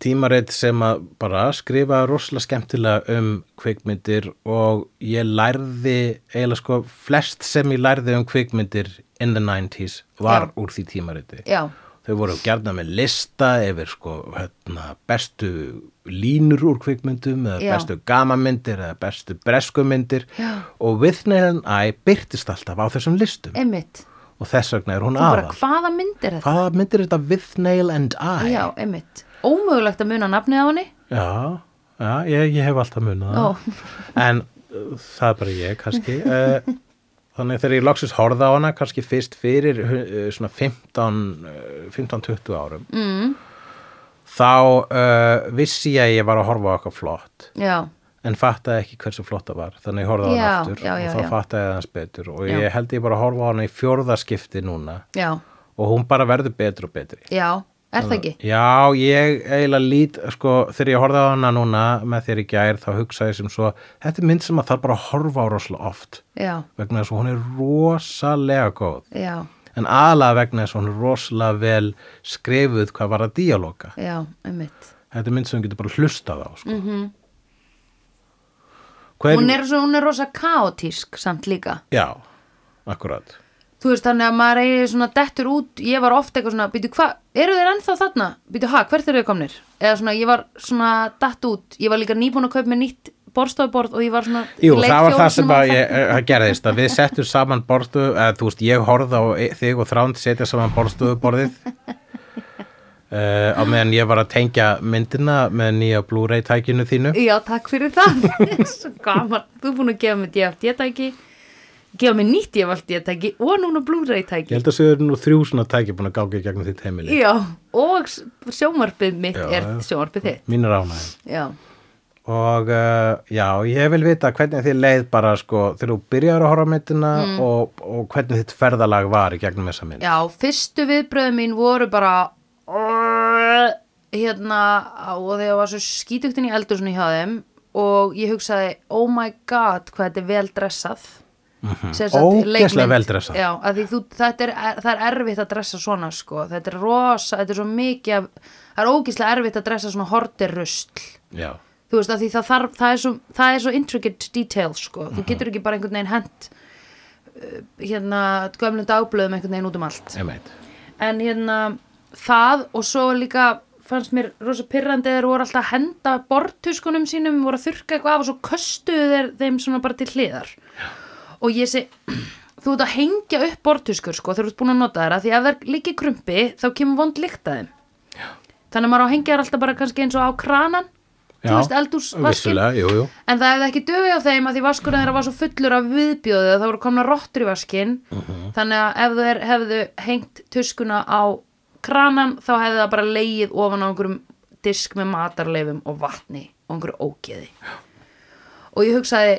Speaker 1: tímarit sem að bara skrifa rosalega skemmtilega um kvikmyndir og ég lærði eiginlega sko flest sem ég lærði um kvikmyndir in the 90s var
Speaker 2: Já.
Speaker 1: úr því tímariti
Speaker 2: já,
Speaker 1: þau voru gerna með lista yfir sko, hérna, bestu línur úr kvikmyndum eða
Speaker 2: Já.
Speaker 1: bestu gamamyndir eða bestu breskumyndir
Speaker 2: Já.
Speaker 1: og Withnail I byrtist alltaf á þessum listum
Speaker 2: einmitt
Speaker 1: og þess vegna er hún
Speaker 2: og bara
Speaker 1: aðal.
Speaker 2: hvaða mynd er þetta?
Speaker 1: Hvaða myndir þetta Withnail and I?
Speaker 2: já, einmitt, ómögulegt að muna nafnið á henni
Speaker 1: Já, já ég, ég hef alltaf munið
Speaker 2: Ó.
Speaker 1: það. En uh, það er bara ég, kannski. Eh, Þannig að þegar ég loksist horfði á hana, kannski fyrst fyrir uh, svona 15-20 árum, mm. þá uh, vissi ég að ég var að horfa á eitthvað flott,
Speaker 2: já,
Speaker 1: en fattaði ekki hversu flott það var. Þannig ég horfði á hana
Speaker 2: Já,
Speaker 1: aftur
Speaker 2: já, já,
Speaker 1: og þá
Speaker 2: já.
Speaker 1: fattaði ég aðeins betur og
Speaker 2: Já.
Speaker 1: ég held ég bara að horfa á hana í fjórðaskipti núna
Speaker 2: já,
Speaker 1: og hún bara verður betur og betri.
Speaker 2: já er það ekki?
Speaker 1: Já, ég eiginlega lít, sko, þegar ég horfði á hana núna með þér í gær, þá hugsaði ég sem svo, þetta er mynd sem að þarf bara að horfa á rosalega oft,
Speaker 2: já,
Speaker 1: vegna þess að hún er rosalega góð,
Speaker 2: já,
Speaker 1: en aðalega vegna þess að hún er rosalega vel skrifuð hvað var að díalóka.
Speaker 2: já, einmitt
Speaker 1: Þetta er mynd sem hún getur bara hlustað á, sko. Mm -hmm.
Speaker 2: Mhm. hún er, svo, hún er rosa kaotísk samt líka
Speaker 1: Já, akkurat.
Speaker 2: þú veist þannig að maður eigi svona dettur út ég var ofta eitthvað svona, býtu hvað, eru þeir ennþá þarna? býtu hvað, hvert eru þeir komnir? eða svona, ég var svona dett út ég var líka nýbúin að kaupa mér nýtt borstofuborð og ég var svona
Speaker 1: Jú,
Speaker 2: leit
Speaker 1: það var
Speaker 2: fjórum
Speaker 1: það sem
Speaker 2: sinnum á
Speaker 1: að ég, eh, að gerðist að við settum saman borstu að þú veist, ég horfði á e- þig og þránd setja saman borstuðuborðið uh, á meðan ég var að tengja myndina með nýja Blu-ray tækinu þínu
Speaker 2: Já, takk fyrir það Svo gaman, þú er búin að gefa mér DFD-tæki gefa mér nýtt ég valdi ég tæki og núna Blu-ray
Speaker 1: Ég
Speaker 2: tæki
Speaker 1: held að séu nú þrjú svona tæki búin að gága í gegnum þitt heimili.
Speaker 2: Já, og s- sjónvarpið mitt
Speaker 1: Já,
Speaker 2: er
Speaker 1: já.
Speaker 2: sjónvarpið þitt
Speaker 1: Mín er ánægðin.
Speaker 2: Já,
Speaker 1: Og uh, já, ég vil vita hvernig þið leið bara sko þegar þú byrjar að horfa á myndina
Speaker 2: Mm.
Speaker 1: og, og hvernig þitt ferðalag var í gegnum þessa mynd.
Speaker 2: já fyrstu viðbröðu mín voru bara hérna og þegar var svo skítugtin í eldursunni hjá þeim og ég hugsaði oh my god hvað þetta er vel dressað mm
Speaker 1: Mhm. Ógeðslega vel dressað.
Speaker 2: já, af því þú, þetta er, það er erfitt að dressa svona sko, þetta er rosa þetta er svo mikið, af- það er ógeðslega erfitt að dressa svona hortirrusl
Speaker 1: Já.
Speaker 2: þú veist að því það þarf, það er svo, það er svo intricate detail sko,
Speaker 1: Mhm.
Speaker 2: þú getur ekki bara einhvern veginn hent uh, hérna gömlum dagblöðum einhvern veginn út um allt
Speaker 1: Einmitt.
Speaker 2: en hérna það og svo líka fannst mér rosa pirrandi þeir voru alltaf að henda bortuskunum sínum, voru að þurrka eitthvað af og svo köstuðu þeir þeim svona bara til hliðar og ég segi þú ert að hengja upp bortuskur sko þegar þú ert búin að nota þeirra því ef þær liggi krumpi þá kemur vond lykt að þeim þannig að maður á að hengja þær alltaf bara kannski eins og á kranan
Speaker 1: Já,
Speaker 2: þú veist eldúsvaskin
Speaker 1: Vissulega, jú, jú.
Speaker 2: En það hefði ekki döfið á þeim að því vaskurinn þeirra var svo fullur af viðbjóðu að það voru komna rottur í vaskin þannig að ef þeir hefðu hengt tuskuna á kranan þá hefði það bara leið ofan á einhverjum disk með matarleifum og vatni og einhverju ógeði og ég hugsaði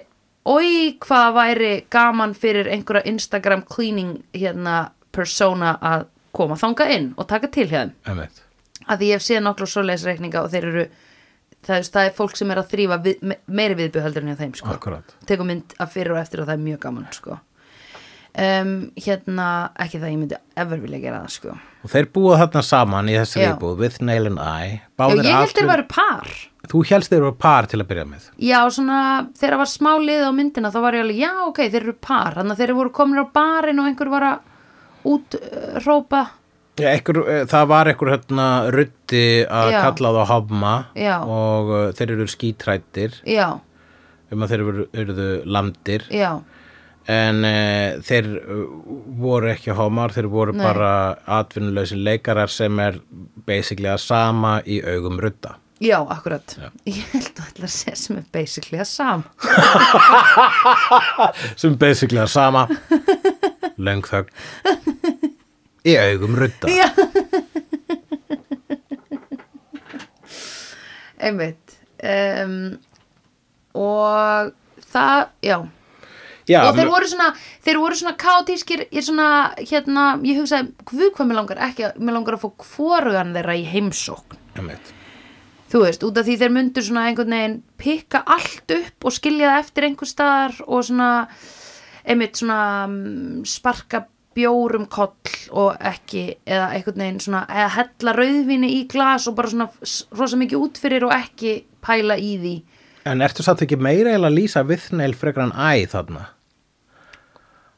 Speaker 2: oi hvað væri gaman fyrir einhverja Instagram cleaning hérna persona að koma þanga inn og taka til hérna
Speaker 1: Einmitt.
Speaker 2: að því ég hef séð nokkla svoleiðis reikninga og þeir eru það, er- það er fólk sem er að þrýfa við, me- meiri viðbjöðhaldur en þeim sko.
Speaker 1: Akkurat.
Speaker 2: tekum mynd af fyrir og eftir og það er mjög gaman sko. um, hérna ekki það ég myndi ever vilja gera það sko.
Speaker 1: Og þeir búa þarna saman í þessari
Speaker 2: Já.
Speaker 1: íbúð with nail and eye.
Speaker 2: Já,
Speaker 1: Báðir
Speaker 2: ég held
Speaker 1: allir-
Speaker 2: þeir væru par
Speaker 1: Þú helst þeir eru par til að byrja með.
Speaker 2: já svona þegar var smá lið á myndina þá var ég alveg já ok þeir eru par þannig að þeir voru komin á barinn og einhver var að útrópa uh,
Speaker 1: Já, ekkur, það var ekkur hérna rutti að
Speaker 2: Já.
Speaker 1: kalla þá hafma
Speaker 2: Já.
Speaker 1: og uh, þeir eru skítrættir
Speaker 2: já,
Speaker 1: um að þeir eru, eruðu landir
Speaker 2: já,
Speaker 1: en uh, þeir uh, voru ekki homar, þeir voru
Speaker 2: Nei.
Speaker 1: bara atvinnuleysi leikarar sem er basically að sama í augum rutta.
Speaker 2: já akkurat ég held að allar sé sem er basically að sam
Speaker 1: Sem basically að sama löng þögn í augum rutta.
Speaker 2: Já. Einmitt. Um, og það, já.
Speaker 1: Já,
Speaker 2: og þeir
Speaker 1: men-
Speaker 2: voru svona, þeir voru svona kátískir, ég svona, hérna, ég hugsaði, guð hvað mér langar ekki, að- mér langar að fá kvorugan þeirra í heimsókn.
Speaker 1: einmitt.
Speaker 2: Þú veist, út af því þeir myndu svona einhvern veginn pikka allt upp og skilja það eftir einhver staðar og svona, einmitt svona mm, sparka bjórum koll og ekki, eða einhvern veginn svona, eða hella rauðvinni í glas og bara svona s- rosa mikið út fyrir og ekki pæla í því.
Speaker 1: En ertu satt ekki meira eiginlega að lýsa viðneil frekar en æ þarna?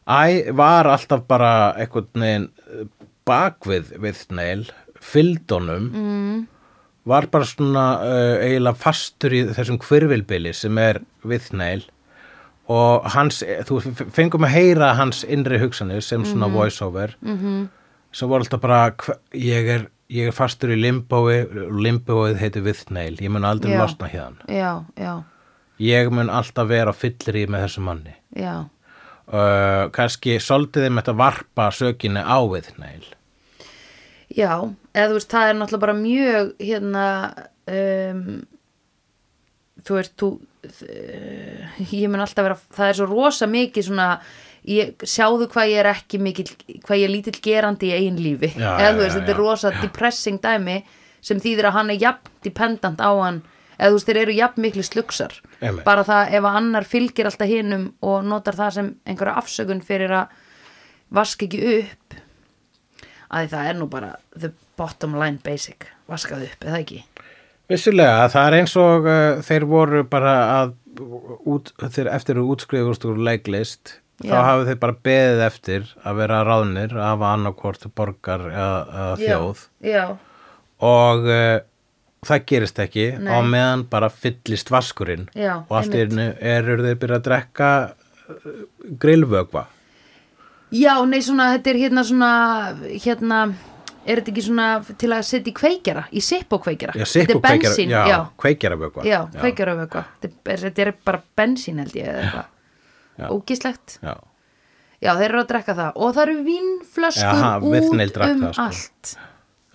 Speaker 1: Æ var alltaf bara einhvern veginn eh, bakvið viðneil, fylgdónum, mm. var bara svona uh, eiginlega fastur í þessum hvirfilbili sem er viðneil og hans, þú fengum að heyra hans innri hugsanir sem svona voiceover -hmm. sem voru alltaf bara hva- ég er, ég er fastur í limbói limbóið heitir viðneil, ég mun aldrei
Speaker 2: Já.
Speaker 1: losna hérna
Speaker 2: Já, já,
Speaker 1: ég mun alltaf vera á fyllir í með þessum manni
Speaker 2: já.
Speaker 1: uh, kannski soldið þeim þetta varpa sökinni á við neil
Speaker 2: Já, eða þú veist, það er náttúrulega bara mjög, hérna, um, þú veist, þú, uh, ég mun alltaf vera, það er svo rosa mikið svona, ég, sjáðu hvað ég er ekki mikil, hvað ég er lítill gerandi í eigin lífi.
Speaker 1: Já,
Speaker 2: eða
Speaker 1: já,
Speaker 2: þú veist,
Speaker 1: já,
Speaker 2: þetta er
Speaker 1: já.
Speaker 2: rosa depressing dæmi sem þýðir að hann er jafn dependent á hann, eða þú veist, þeir eru jafn miklu slugsar.
Speaker 1: Einmitt.
Speaker 2: Bara það ef að annar fylgir alltaf hinum og notar það sem einhverja afsökun fyrir að vaska ekki upp að því það er nú bara the bottom line basic vaskað upp, eða ekki?
Speaker 1: vissulega, það er eins og uh, þeir voru bara að út, þeir eftir að útskrifust úr leiklist þá
Speaker 2: Já.
Speaker 1: hafa þeir bara beðið eftir að vera ráðnir af annarkvort borgar eða, eða þjóð
Speaker 2: Já,
Speaker 1: og uh, það gerist ekki
Speaker 2: Nei.
Speaker 1: á meðan bara fyllist vaskurinn
Speaker 2: Já,
Speaker 1: og allt í
Speaker 2: einmitt.
Speaker 1: einu eru þeir byrja að drekka uh, grillvögva
Speaker 2: já nei, svona, þetta er hérna svona, hérna, er þetta ekki svona til að setja í kveikjara, í sipp og kveikjara?
Speaker 1: Já, sipp
Speaker 2: Þetta
Speaker 1: og
Speaker 2: er bensín,
Speaker 1: kveikjara, já,
Speaker 2: já,
Speaker 1: kveikjara vökva.
Speaker 2: já, kveikjara og eitthvað, Þetta er- þetta er bara bensín held ég, eða eitthvað,
Speaker 1: Já.
Speaker 2: ógíslegt.
Speaker 1: Já,
Speaker 2: já, þeir eru að drekka það og það eru vínflöskur
Speaker 1: Jaha, Whitney
Speaker 2: út
Speaker 1: drakk
Speaker 2: um
Speaker 1: það, sko.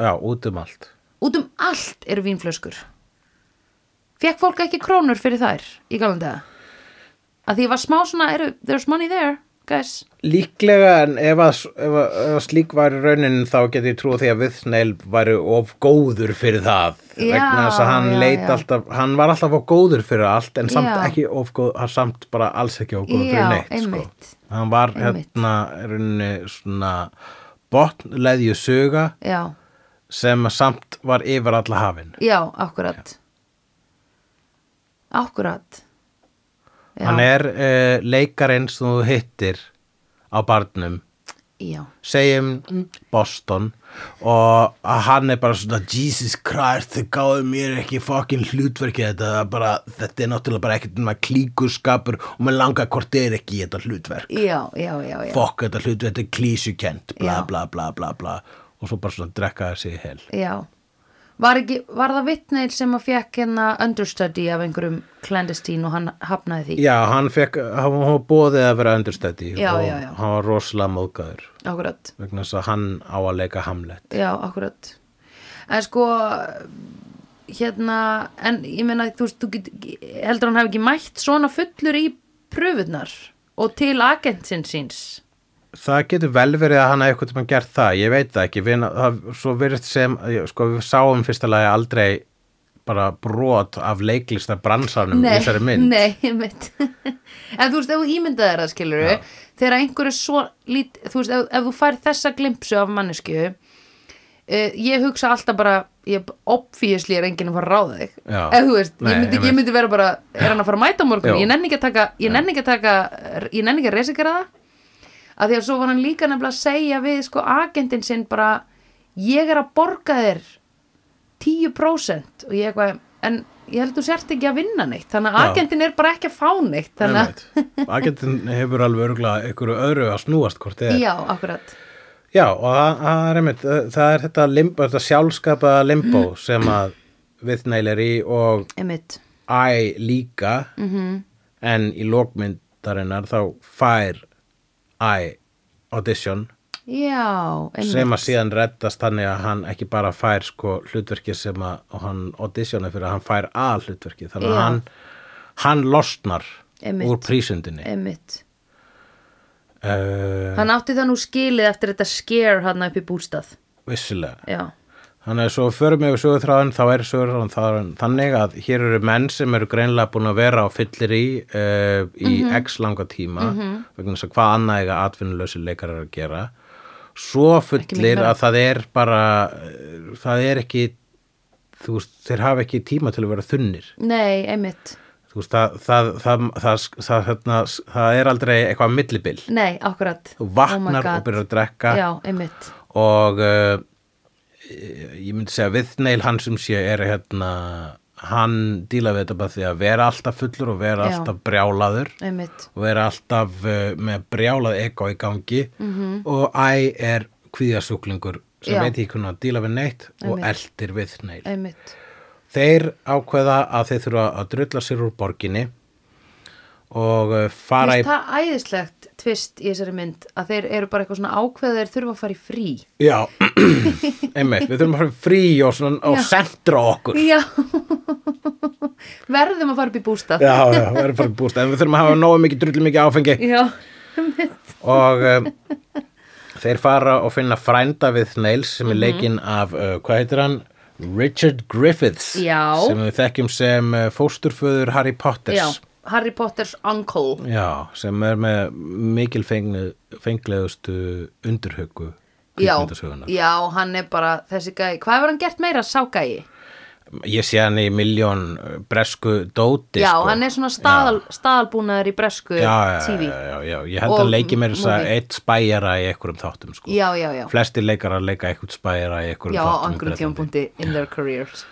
Speaker 2: allt
Speaker 1: já, út um allt
Speaker 2: út um allt eru vínflöskur fekk fólk ekki krónur fyrir þær í galum daga að því ég var smá svona, eru, there's money there guys,
Speaker 1: Líklega en ef að, ef að, ef að slík var raunin þá geti ég trúið því að Viðsneil væri of góður fyrir það
Speaker 2: Já,
Speaker 1: vegna þess að hann
Speaker 2: já,
Speaker 1: leit
Speaker 2: já.
Speaker 1: alltaf hann var alltaf of góður fyrir allt en samt
Speaker 2: Já.
Speaker 1: ekki of góð, hann samt bara alls ekki of góður
Speaker 2: Já,
Speaker 1: fyrir neitt
Speaker 2: einmitt.
Speaker 1: sko. hann var
Speaker 2: Einmitt.
Speaker 1: hérna rauninni svona botnleðju söga
Speaker 2: já
Speaker 1: sem að samt var yfir alla hafin
Speaker 2: já, akkurat akkurat já,
Speaker 1: hann er uh, leikarinn sem þú hittir á barnum
Speaker 2: já,
Speaker 1: segjum
Speaker 2: Mm.
Speaker 1: Boston og að hann er bara svona Jesus Christ þau gáðu mér ekki fokkin hlutverki þetta er bara, þetta er náttúrulega bara ekkert nema klíkuskapur og maður langar hvort þið er ekki í þetta hlutverk
Speaker 2: já, já, já, já.
Speaker 1: fokk þetta hlutverk, þetta er klísukent bla
Speaker 2: Já.
Speaker 1: bla bla bla bla og svo bara svona drekka þessi í hel
Speaker 2: Já. Var, ekki, var það vitneil sem að fekk hérna understudy af einhverjum clandestine og hann hafnaði því?
Speaker 1: Já, hann fekk, hann var bóðið að vera understætti
Speaker 2: Já,
Speaker 1: og
Speaker 2: já, já.
Speaker 1: hann var rosalega móðgæður
Speaker 2: Akkurat.
Speaker 1: vegna þess að hann á að leika Hamlet
Speaker 2: Já, akkurat. En sko, hérna, en ég meina, þú veist, þú get, heldur hann hafi ekki mætt svona fullur í pröfunar og til agentsin síns?
Speaker 1: Það getur vel verið að hann hafi eitthvað tímann gert það, ég veit það ekki, við, það, svo virðist sem, sko við sáum fyrsta lagi aldrei bara brot af leiklistar bransanum í þessari mynd.
Speaker 2: Nei, ég mynd. en þú veist, ef þú ímyndaði það, skilur við, þegar einhverju svo lít, þú veist, ef, ef þú fær þessa glimpsu af mannesku, uh, ég hugsa alltaf bara, ég obviously er enginn að fara að ráða þig.
Speaker 1: Já.
Speaker 2: Ef þú veist,
Speaker 1: Nei,
Speaker 2: ég, myndi,
Speaker 1: ég
Speaker 2: ég
Speaker 1: veit.
Speaker 2: myndi vera bara, er hann að fara að mæta á morgun?
Speaker 1: Já.
Speaker 2: Ég nenni ekki að taka, ég nenni ekki að taka, ég nenni ekki að resikera það. Af því að svo var hann líka nefnilega að segja við, sko, agentinn sinn bara, ég er að borga þér 10% og ég eitthvað en ég held þú sért ekki að vinna neitt þannig að
Speaker 1: Já.
Speaker 2: agentin er bara ekki að fá neitt þannig
Speaker 1: Agentin hefur alveg örgulega einhverju öðru að snúast hvort
Speaker 2: að
Speaker 1: þið er.
Speaker 2: já, akkurat
Speaker 1: Já, og það, það, er einmitt, það er þetta, limbo, þetta sjálfskapa limbo sem að Viðnæl er í og
Speaker 2: einmitt,
Speaker 1: Æ líka
Speaker 2: Mhm.
Speaker 1: -hmm. en í lokmyndarinnar þá fær Æ audition
Speaker 2: já, einmitt
Speaker 1: sem að síðan reddast þannig að hann ekki bara fær sko hlutverki sem að og hann auditiona fyrir að hann fær að hlutverki þannig að
Speaker 2: Já.
Speaker 1: hann, hann losnar
Speaker 2: Einmitt. E-
Speaker 1: úr prísundinni
Speaker 2: einmitt,
Speaker 1: uh,
Speaker 2: hann átti það nú skilið eftir þetta scare hann upp í bústað
Speaker 1: vissilega
Speaker 2: já,
Speaker 1: þannig að svo förum við sögurþráðan þá er sögurþráðan þaðan, þannig að hér eru menn sem eru greinlega búin að vera á fyllir í uh, í
Speaker 2: Mhm.
Speaker 1: x langa tíma vegna þess að hvað annað eiga atvinnulösi leikar er að gera svo fullir
Speaker 2: meira.
Speaker 1: að það er bara eh, það er ekki þú veist, þeir hafa ekki tíma til að vera þunnir
Speaker 2: nei, einmitt
Speaker 1: þú veist, það, það, það, það, það, það, hérna, það er aldrei eitthvað millibil
Speaker 2: nei, akkurat
Speaker 1: þú
Speaker 2: Oh my
Speaker 1: vaknar
Speaker 2: God.
Speaker 1: og byrjar að drekka
Speaker 2: já, einmitt,
Speaker 1: og uh, ég myndi segja Viðneil hann sem sé er hérna hann díla við þetta bara því að vera alltaf fullur og vera
Speaker 2: Já.
Speaker 1: alltaf brjálaður
Speaker 2: einmitt
Speaker 1: og vera alltaf uh, með brjálað ego í gangi -hmm. og æ er kvíðasúklingur sem
Speaker 2: Mhm. Já.
Speaker 1: veit ekki hvernig að díla við neitt og
Speaker 2: Einmitt.
Speaker 1: eldir Viðneil
Speaker 2: einmitt,
Speaker 1: þeir ákveða að þeir þurfa að drulla sér úr borginni og uh, fara
Speaker 2: Mér
Speaker 1: í
Speaker 2: finnst það æðislegt tvist í þessari mynd að þeir eru bara eitthvað svona ákveða þeir þurfa að fara í frí
Speaker 1: Já, einmitt, við þurfum að fara í frí og, svona, og sentra okkur
Speaker 2: já verðum að fara upp í bústað
Speaker 1: Já, já, við erum bara búst en við þurfum að hafa nógu mikið, drullu mikið áfengi
Speaker 2: Já,
Speaker 1: og um, þeir fara og finna frænda við Snails sem
Speaker 2: Mhm.
Speaker 1: er leikinn af, uh, hvað heitir hann? Richard Griffiths
Speaker 2: Já.
Speaker 1: sem við þekkjum sem uh, fósturföður Harry Potters
Speaker 2: já, Harry Potter's uncle
Speaker 1: Já, sem er með mikil fengnu, fenglegustu undurhuggu
Speaker 2: já,
Speaker 1: kvikmyndasögunar.
Speaker 2: já, hann er bara þessi gæi, hvað hefur hann gert meira ságæi?
Speaker 1: Ég sé hann í miljón uh, bresku dóti
Speaker 2: Já,
Speaker 1: sko.
Speaker 2: hann er svona staðal, staðalbúnaður í bresku
Speaker 1: já, já,
Speaker 2: TV
Speaker 1: já, já, já, ég held
Speaker 2: Og
Speaker 1: að leiki mér þess að
Speaker 2: movie.
Speaker 1: eitt spæjara í einhverjum þáttum sko.
Speaker 2: Já, já, já,
Speaker 1: flestir leikarar leika eitthvað spæjara í einhverjum
Speaker 2: já, á
Speaker 1: þáttum í
Speaker 2: angurum
Speaker 1: Bretlandi.
Speaker 2: tjónpunkti in their careers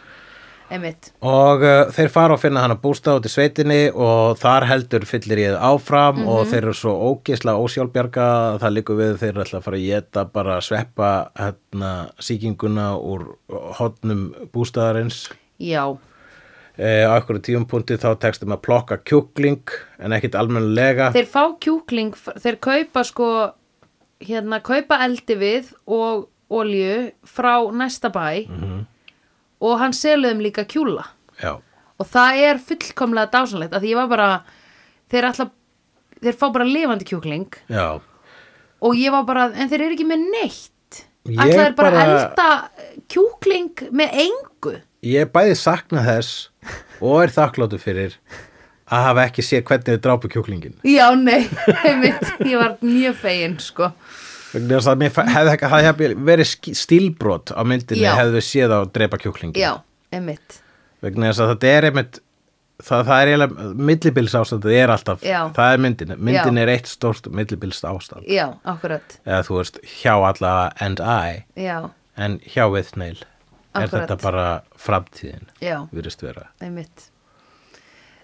Speaker 2: Emmitt,
Speaker 1: og uh, þeir fara og finna hann að bústa út í sveitinni og þar heldur fyllir ég áfram
Speaker 2: Mhm.
Speaker 1: og þeir eru svo ógisla ósjálfbjarga að það líku við að þeir eru alltaf að fara að geta bara að sveppa hérna, sýkinguna úr hotnum bústaðarins
Speaker 2: já,
Speaker 1: Eh, á einhverju tíumpunkti þá tekstum að plokka kjúkling en ekkit almennilega
Speaker 2: þeir fá kjúkling, f- þeir kaupa sko, hérna, kaupa eldi við og olju frá næsta bæ
Speaker 1: Mhm.
Speaker 2: og hann selur þeim líka kjúla
Speaker 1: Já,
Speaker 2: og það er fullkomlega dásanlegt að því ég var bara, þeir alltaf þeir fá bara lifandi kjúkling
Speaker 1: já
Speaker 2: og ég var bara, en þeir eru ekki með neitt
Speaker 1: Ég
Speaker 2: alltaf er bara að
Speaker 1: bara-
Speaker 2: elda kjúkling með engu
Speaker 1: Ég bæði sakna þess og er þakkláttu fyrir að hafa ekki séð hvernig þið drápu kjúklingin
Speaker 2: já, nei, einmitt, ég var mjög fegin sko,
Speaker 1: vegna þess að mér fa- hefði, ekki- það hefði verið sk- stílbrot á myndinni
Speaker 2: Já.
Speaker 1: hefðu við séð á að drepa kjúklingin
Speaker 2: já, einmitt
Speaker 1: vegna þess að þetta er einmitt það, það er eiginlega, millibils ástandið er alltaf,
Speaker 2: Já.
Speaker 1: það er myndin myndin
Speaker 2: Já.
Speaker 1: er eitt stórt millibils ástand
Speaker 2: já, akkurat,
Speaker 1: eða þú veist, hjá alla and I
Speaker 2: já,
Speaker 1: en hjá við neil er
Speaker 2: Akkurat.
Speaker 1: þetta bara framtíðin
Speaker 2: já
Speaker 1: virðist vera
Speaker 2: einmitt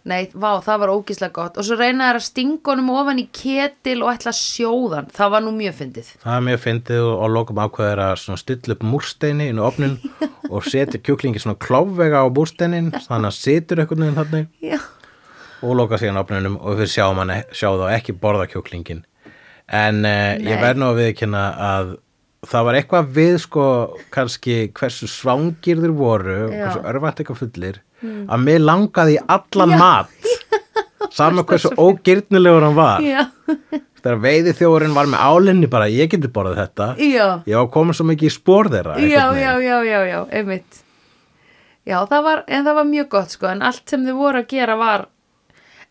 Speaker 2: Nei, vá, það var ógíslega gott og svo reyna þær að stinga honum ofan í ketil og ætla að sjóðan, það var nú mjög fyndið
Speaker 1: það er mjög fyndið og, og lokum ákveður að svona stilla upp múrsteini inn á opnin og setja kjúklingi svona klófvega á múrsteinin þannig að situr einhvern veginn þannig
Speaker 2: Já,
Speaker 1: og loka síðan opninum og við sjáum, hann, sjáum þá ekki borða kjúklingin en uh, ég
Speaker 2: Nei.
Speaker 1: verð nú að viðkynna að það var eitthvað við sko kannski hversu svangir þeir voru
Speaker 2: Já.
Speaker 1: og
Speaker 2: Hmm.
Speaker 1: hversu örvænt eitthvað fullir að mig langaði í allan mat saman hversu ógirnilegur hann var
Speaker 2: já,
Speaker 1: þegar veiði þjóðurinn var með álinni bara ég geti borðað þetta
Speaker 2: já,
Speaker 1: ég var komin svo mikið í spór þeirra einhvern
Speaker 2: já,
Speaker 1: veginn.
Speaker 2: já, já, já, já, einmitt Já, það var, en það var mjög gott sko, en allt sem þau voru að gera var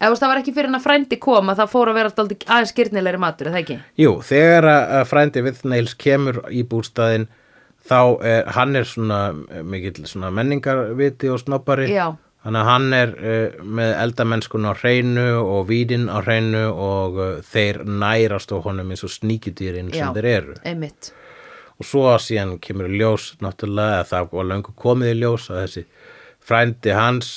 Speaker 2: eða þú veist, það var ekki fyrir en að frændi kom að það fór að vera alltaf aðeins skýrnilegri matur, er það ekki?
Speaker 1: Jú, þegar að að frændi Viðneils kemur í bústaðinn þá er, hann er svona eh, mikill svona menningarviti og snoppari
Speaker 2: Já.
Speaker 1: þannig að hann er uh, með eldamennskun á hreinu og vídin á hreinu og uh, þeir nærast á honum eins og sníkjudýrin sem
Speaker 2: Já.
Speaker 1: þeir eru
Speaker 2: Einmitt,
Speaker 1: og svo síðan kemur í ljós náttúrulega að það var löngu komið í ljós að þessi frændi hans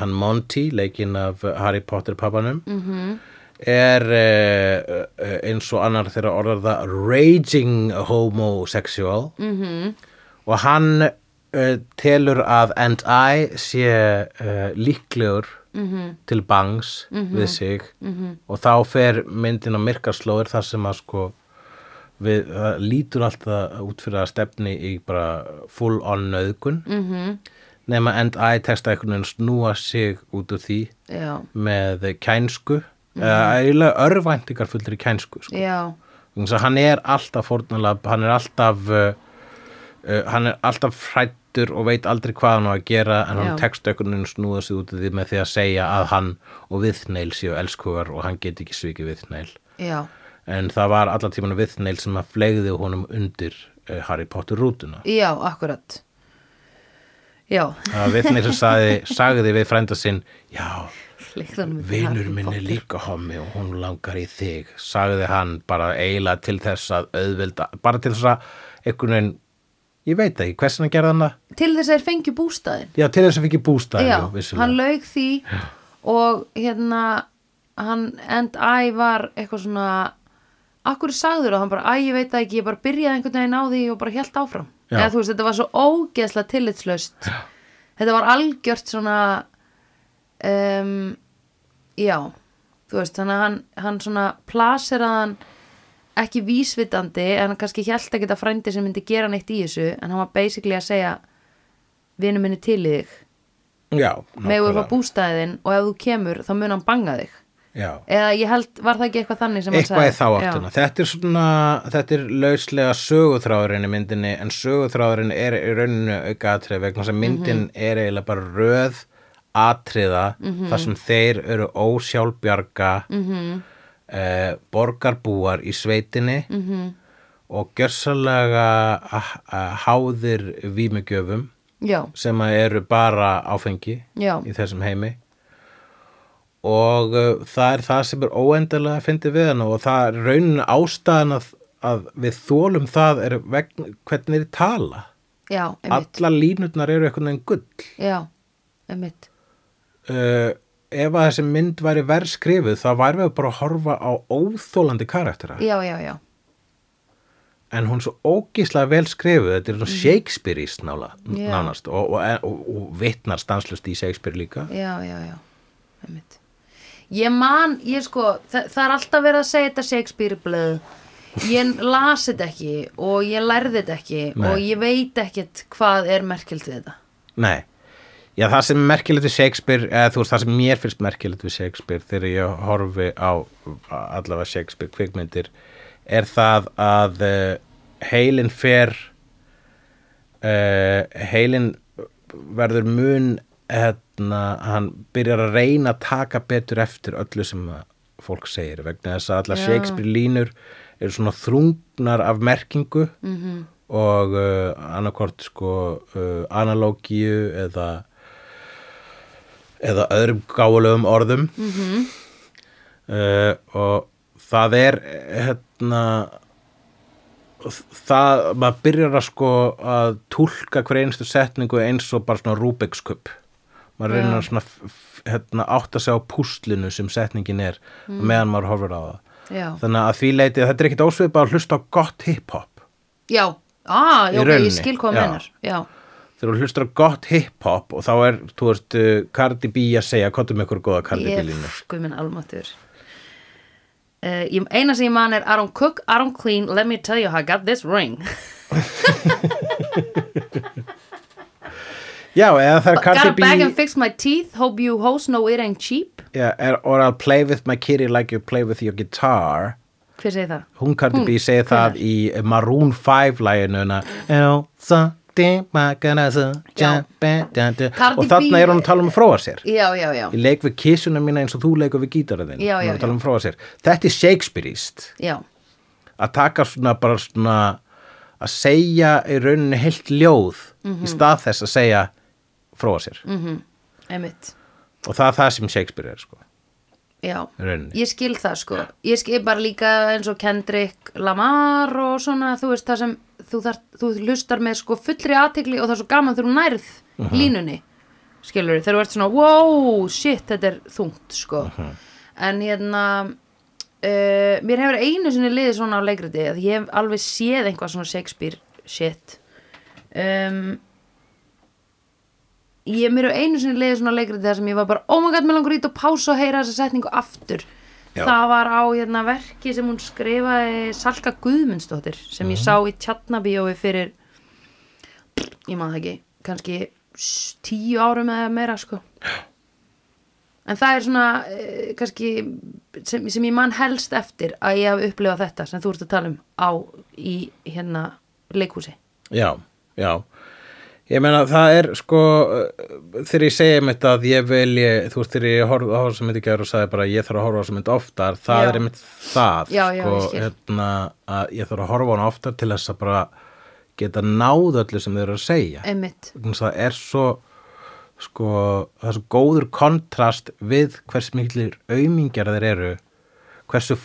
Speaker 1: hann Monty, leikinn af Harry Potter
Speaker 2: Mhm.
Speaker 1: pappanum -hmm. er uh, eins og annar þeirra orðar það raging homosexual -hmm. og hann uh, telur að and I sé uh, líklegur -hmm. til bangs við sig -hmm. og þá fer myndin á myrkarslóður þar sem að sko við, það lítur alltaf út fyrir að stefni í bara full on nöðgun mm
Speaker 2: Mhm.
Speaker 1: -hmm. nema end I texta einhvern veginn snúa sig út úr því
Speaker 2: já,
Speaker 1: með kænsku eða eiginlega örvæntingar fullri kænsku sko.
Speaker 2: já
Speaker 1: Þannig að hann er alltaf fórnalab, hann er alltaf uh, uh, hann er alltaf frættur og veit aldrei hvað hann á að gera en hann
Speaker 2: Já.
Speaker 1: texta einhvern veginn snúða sig út úr því með því að segja að hann og viðneil séu elskugar og hann geti ekki svikið viðneil
Speaker 2: Já,
Speaker 1: en það var allan tíman viðneil sem að flegði honum undir eh, Harry Potter rútuna
Speaker 2: já, akkurat Já,
Speaker 1: að viðneil sem sagði, sagði við frænda sinn já,
Speaker 2: Leikðanum
Speaker 1: vinur minn er líka hommi og hún langar í þig sagði hann bara eiginlega til þess að auðvelda, bara til þess að einhvern veginn, ég veit ekki hversin hann gerði hann það,
Speaker 2: Til þess að þeir fengju bústæðin
Speaker 1: já til þess að fikk ég bústæði
Speaker 2: Já, hann laug því og hérna hann and I var eitthvað svona Akkur sagður og hann bara, æ, ég veit það ekki, ég bara byrjaði einhvern veginn á því og bara hélt áfram.
Speaker 1: Já.
Speaker 2: Eða þú veist, þetta var svo ógeðslega tillitslaust. Þetta var algjört svona, um, já, þú veist, þannig að hann, hann svona plaseraðan ekki vísvitandi en hann kannski hélt ekki að frændi sem myndi gera neitt í þessu en hann var basically að segja, vinur minni til í þig,
Speaker 1: já,
Speaker 2: megur
Speaker 1: nákvæmlega.
Speaker 2: frá bústæðin og ef þú kemur þá mun hann banga þig.
Speaker 1: já.
Speaker 2: Eða ég held, var það ekki eitthvað þannig sem hann
Speaker 1: eitthvað
Speaker 2: sagði?
Speaker 1: í þá áttuna þetta er svona, þetta er lauslega söguþráðurinn í myndinni en söguþráðurinn er í rauninu auka atrið vegna þess að myndin
Speaker 2: Mhm.
Speaker 1: er eiginlega bara röð atriða þar sem þeir eru ósjálfbjarga mm
Speaker 2: Mhm.
Speaker 1: -hmm. borgarbúar í sveitinni
Speaker 2: Mhm.
Speaker 1: -hmm. og gjörsalega ah, ah, háðir vímugjöfum
Speaker 2: Já,
Speaker 1: sem að eru bara áfengi
Speaker 2: Já.
Speaker 1: í þessum heimi og uh, það er það sem er óendalega að fyndi við hana og það er raunin ástæðan að, að við þólum það er vegna, hvernig þeir tala
Speaker 2: já, einmitt.
Speaker 1: allar línutnar eru einhvern veginn gull
Speaker 2: Já, einmitt
Speaker 1: uh, ef að þessi mynd væri verð skrifuð þá væri við bara að horfa á óþólandi karaktera
Speaker 2: Já, já, já,
Speaker 1: en hún er svo ógíslega vel skrifuð þetta er svona Shakespeareist nála,
Speaker 2: Mhm. Já.
Speaker 1: nánast og, og, og, og vitnar stanslust í Shakespeare líka
Speaker 2: já, já, já Einmitt. ég man, ég sko það, það er alltaf verið að segja þetta Shakespeare blöð ég las þetta ekki og ég lærði þetta ekki
Speaker 1: Nei.
Speaker 2: og ég veit ekkert hvað er merkilt við þetta
Speaker 1: Nei, já það sem er merkilegt við Shakespeare, eða þú veist það sem mér finnst merkilegt við Shakespeare þegar ég horfi á allavega Shakespeare kvikmyndir er það að eh, heilin fer uh, heilin verður mun hérna, hann byrjar að reyna að taka betur eftir öllu sem að fólk segir vegna þess að allar
Speaker 2: Já.
Speaker 1: Shakespeare línur eru svona þrungnar af merkingu -hmm. og uh, annarkort sko uh, analógíu eða eða öðrum gáfulegum orðum mm -hmm.
Speaker 2: Mhm.
Speaker 1: og það er hérna það, maður byrjar að sko að túlka hver einstu setningu eins og bara svona Rubik's kub maður
Speaker 2: Já.
Speaker 1: reynir að svona f- f- hérna, átta sig á púslinu sem setningin er mm. meðan maður horfir á það
Speaker 2: já,
Speaker 1: þannig að því leiti, þetta er ekkit ósvipað að hlusta á gott hip-hop
Speaker 2: já, ah,
Speaker 1: Í
Speaker 2: já ok,
Speaker 1: rauninni,
Speaker 2: ég skil hvað
Speaker 1: já.
Speaker 2: mennar já,
Speaker 1: þegar þú hlustar á gott hip-hop og þá er, þú veist, uh, Cardi B að segja, kottum ykkur góða Cardi B
Speaker 2: ég,
Speaker 1: línu
Speaker 2: sko minn almatur Uh, ég, eina sem ég man er I don't cook, I don't clean, let me tell you how I got this ring
Speaker 1: já, eða það er
Speaker 2: Got
Speaker 1: Cardi
Speaker 2: a
Speaker 1: B
Speaker 2: bag and fix my teeth, hope you hoes know it ain't cheap
Speaker 1: yeah, er, or I'll play with my kitty like you play with your guitar
Speaker 2: Hver segir það?
Speaker 1: hún Cardi B segi
Speaker 2: hvenær?
Speaker 1: það í eh, Maroon 5 læginu hana You know, something my gonna do,
Speaker 2: Já.
Speaker 1: jump and dun, dun.
Speaker 2: Cardi
Speaker 1: og þarna
Speaker 2: B- eh,
Speaker 1: er hún að tala um að fróa sér
Speaker 2: Já, já, já,
Speaker 1: ég leik við kissuna mína eins og þú leikur við gítarðin
Speaker 2: Já, já,
Speaker 1: að tala um að fróa sér þetta er Shakespeareist
Speaker 2: já.
Speaker 1: að taka svona bara svona að segja í rauninni heilt ljóð
Speaker 2: Mhm.
Speaker 1: í stað þess að segja fróa sér
Speaker 2: Einmitt,
Speaker 1: og það er það sem Shakespeare er sko
Speaker 2: já
Speaker 1: í rauninni
Speaker 2: Ég skil það sko Ég skil bara líka eins og Kendrick Lamar og svona þú veist það sem þú, þar, þú hlustar með sko fullri aðtegli og það er svo gaman þegar þú nærð línunni skilur þegar þú ert svona wow shit þetta er þungt sko en hérna uh, mér hefur einu sinni liðið svona á leikriti að ég hef alveg séð einhvað svona Shakespeare shit um, ég mér hefur einu sinni leiðið svona leikriti þar sem ég var bara, oh my god, mér langur ít og pása og heyra þessa setningu aftur
Speaker 1: Já.
Speaker 2: það var á hérna, verki sem hún skrifaði Salka Guðmundsdóttir sem ég sá í Tjarnabíói fyrir ég maður það ekki kannski s- tíu árum eða meira sko en það er svona eh, kannski sem, sem ég man helst eftir að ég hafi upplifað þetta sem þú ert að tala um á í hérna leikhúsi
Speaker 1: já, já ég meina það er sko uh, þegar ég segi um þetta að ég velji þú veist þegar ég horfði á þessum myndi gæður og sagði bara ég þarf að horfa á þessum myndi oftar það
Speaker 2: Já.
Speaker 1: er einmitt það
Speaker 2: Já, já,
Speaker 1: sko,
Speaker 2: ég skil.
Speaker 1: hérna, að ég þarf að horfa á hana oftar til þess að bara geta náð öllu sem þau eru að segja
Speaker 2: einmitt,
Speaker 1: vegna þess að það er svo sko, það er svo góður kontrast við hvers miklir aumingjar þeir eru hversu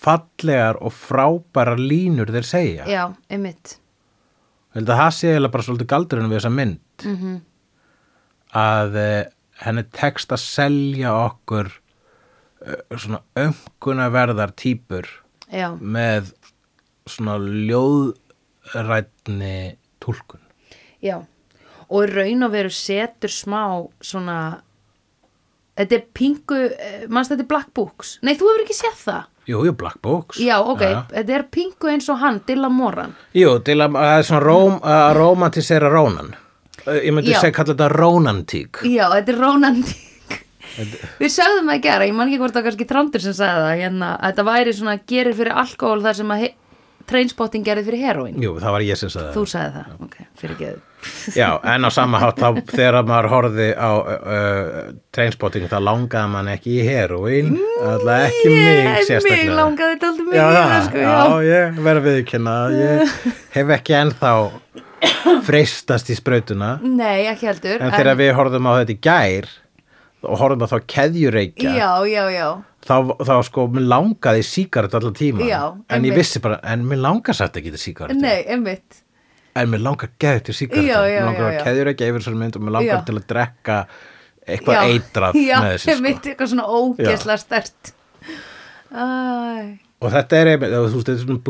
Speaker 1: fallegar og frábærar línur þeir segja
Speaker 2: já, einmitt
Speaker 1: Ég held að það sé eiginlega bara svolítið galdurinn við þessa mynd mm
Speaker 2: Mhm.
Speaker 1: -hmm. að eh, henni tekst að selja okkur eh, svona ömkunarverðar típur
Speaker 2: já,
Speaker 1: með svona ljóðrætni túlkun
Speaker 2: já og í raun og veru setur smá svona þetta er pingu, eh, manst þetta er Black Books nei, þú hefur ekki séð það
Speaker 1: Jú, jú, Black Books
Speaker 2: já, ok,
Speaker 1: Jæja.
Speaker 2: þetta er pingu eins og hann Dylan Moran
Speaker 1: Jú, til að að það er svona róm, að romantisera rónan. Eh, Ég myndi
Speaker 2: Já.
Speaker 1: segja kalla þetta rónantík.
Speaker 2: Já, þetta er rónandi Við sögðum það að gera, ég man ekki hvort það var kannski Trandur sem sagði það hérna, að þetta væri svona gerir fyrir alkohól þar sem að trainspotting gerir fyrir heroin
Speaker 1: Jú, það var ég sem sagði
Speaker 2: Þú
Speaker 1: það.
Speaker 2: sagði það, ok, fyrir ekki
Speaker 1: Já, en á sama hátt þá þegar maður horfði á uh, uh, trainspotting þá langaði mann ekki í heroin, alltaf ekki mig sérstaklega.
Speaker 2: Mig langaði þetta aldrei mig
Speaker 1: já,
Speaker 2: í það,
Speaker 1: það,
Speaker 2: sko,
Speaker 1: já. ég verð að viðkynna. að Ég hef ekki ennþá freistast í sprautuna.
Speaker 2: Nei, ekki heldur
Speaker 1: En þegar við horfðum á þetta í gær og horfðum að þá keðjureikja
Speaker 2: Já, já, já,
Speaker 1: þá, þá sko, mér langaði síkart allan tíma,
Speaker 2: Já,
Speaker 1: en ég
Speaker 2: einmitt.
Speaker 1: vissi bara en mér langar satt ekki til síkart
Speaker 2: nei, einmitt
Speaker 1: en mér langar geðið til síkart
Speaker 2: Já, já,
Speaker 1: mér langar
Speaker 2: já, já.
Speaker 1: að keðjur ekki yfir þessari mynd og mér langar
Speaker 2: Já.
Speaker 1: til að drekka eitthvað
Speaker 2: Já,
Speaker 1: eitrað
Speaker 2: Já,
Speaker 1: með þessu sko.
Speaker 2: einmitt, eitthvað svona ógesla stert Æ,
Speaker 1: og þetta er einmitt, þú veist, þetta er svona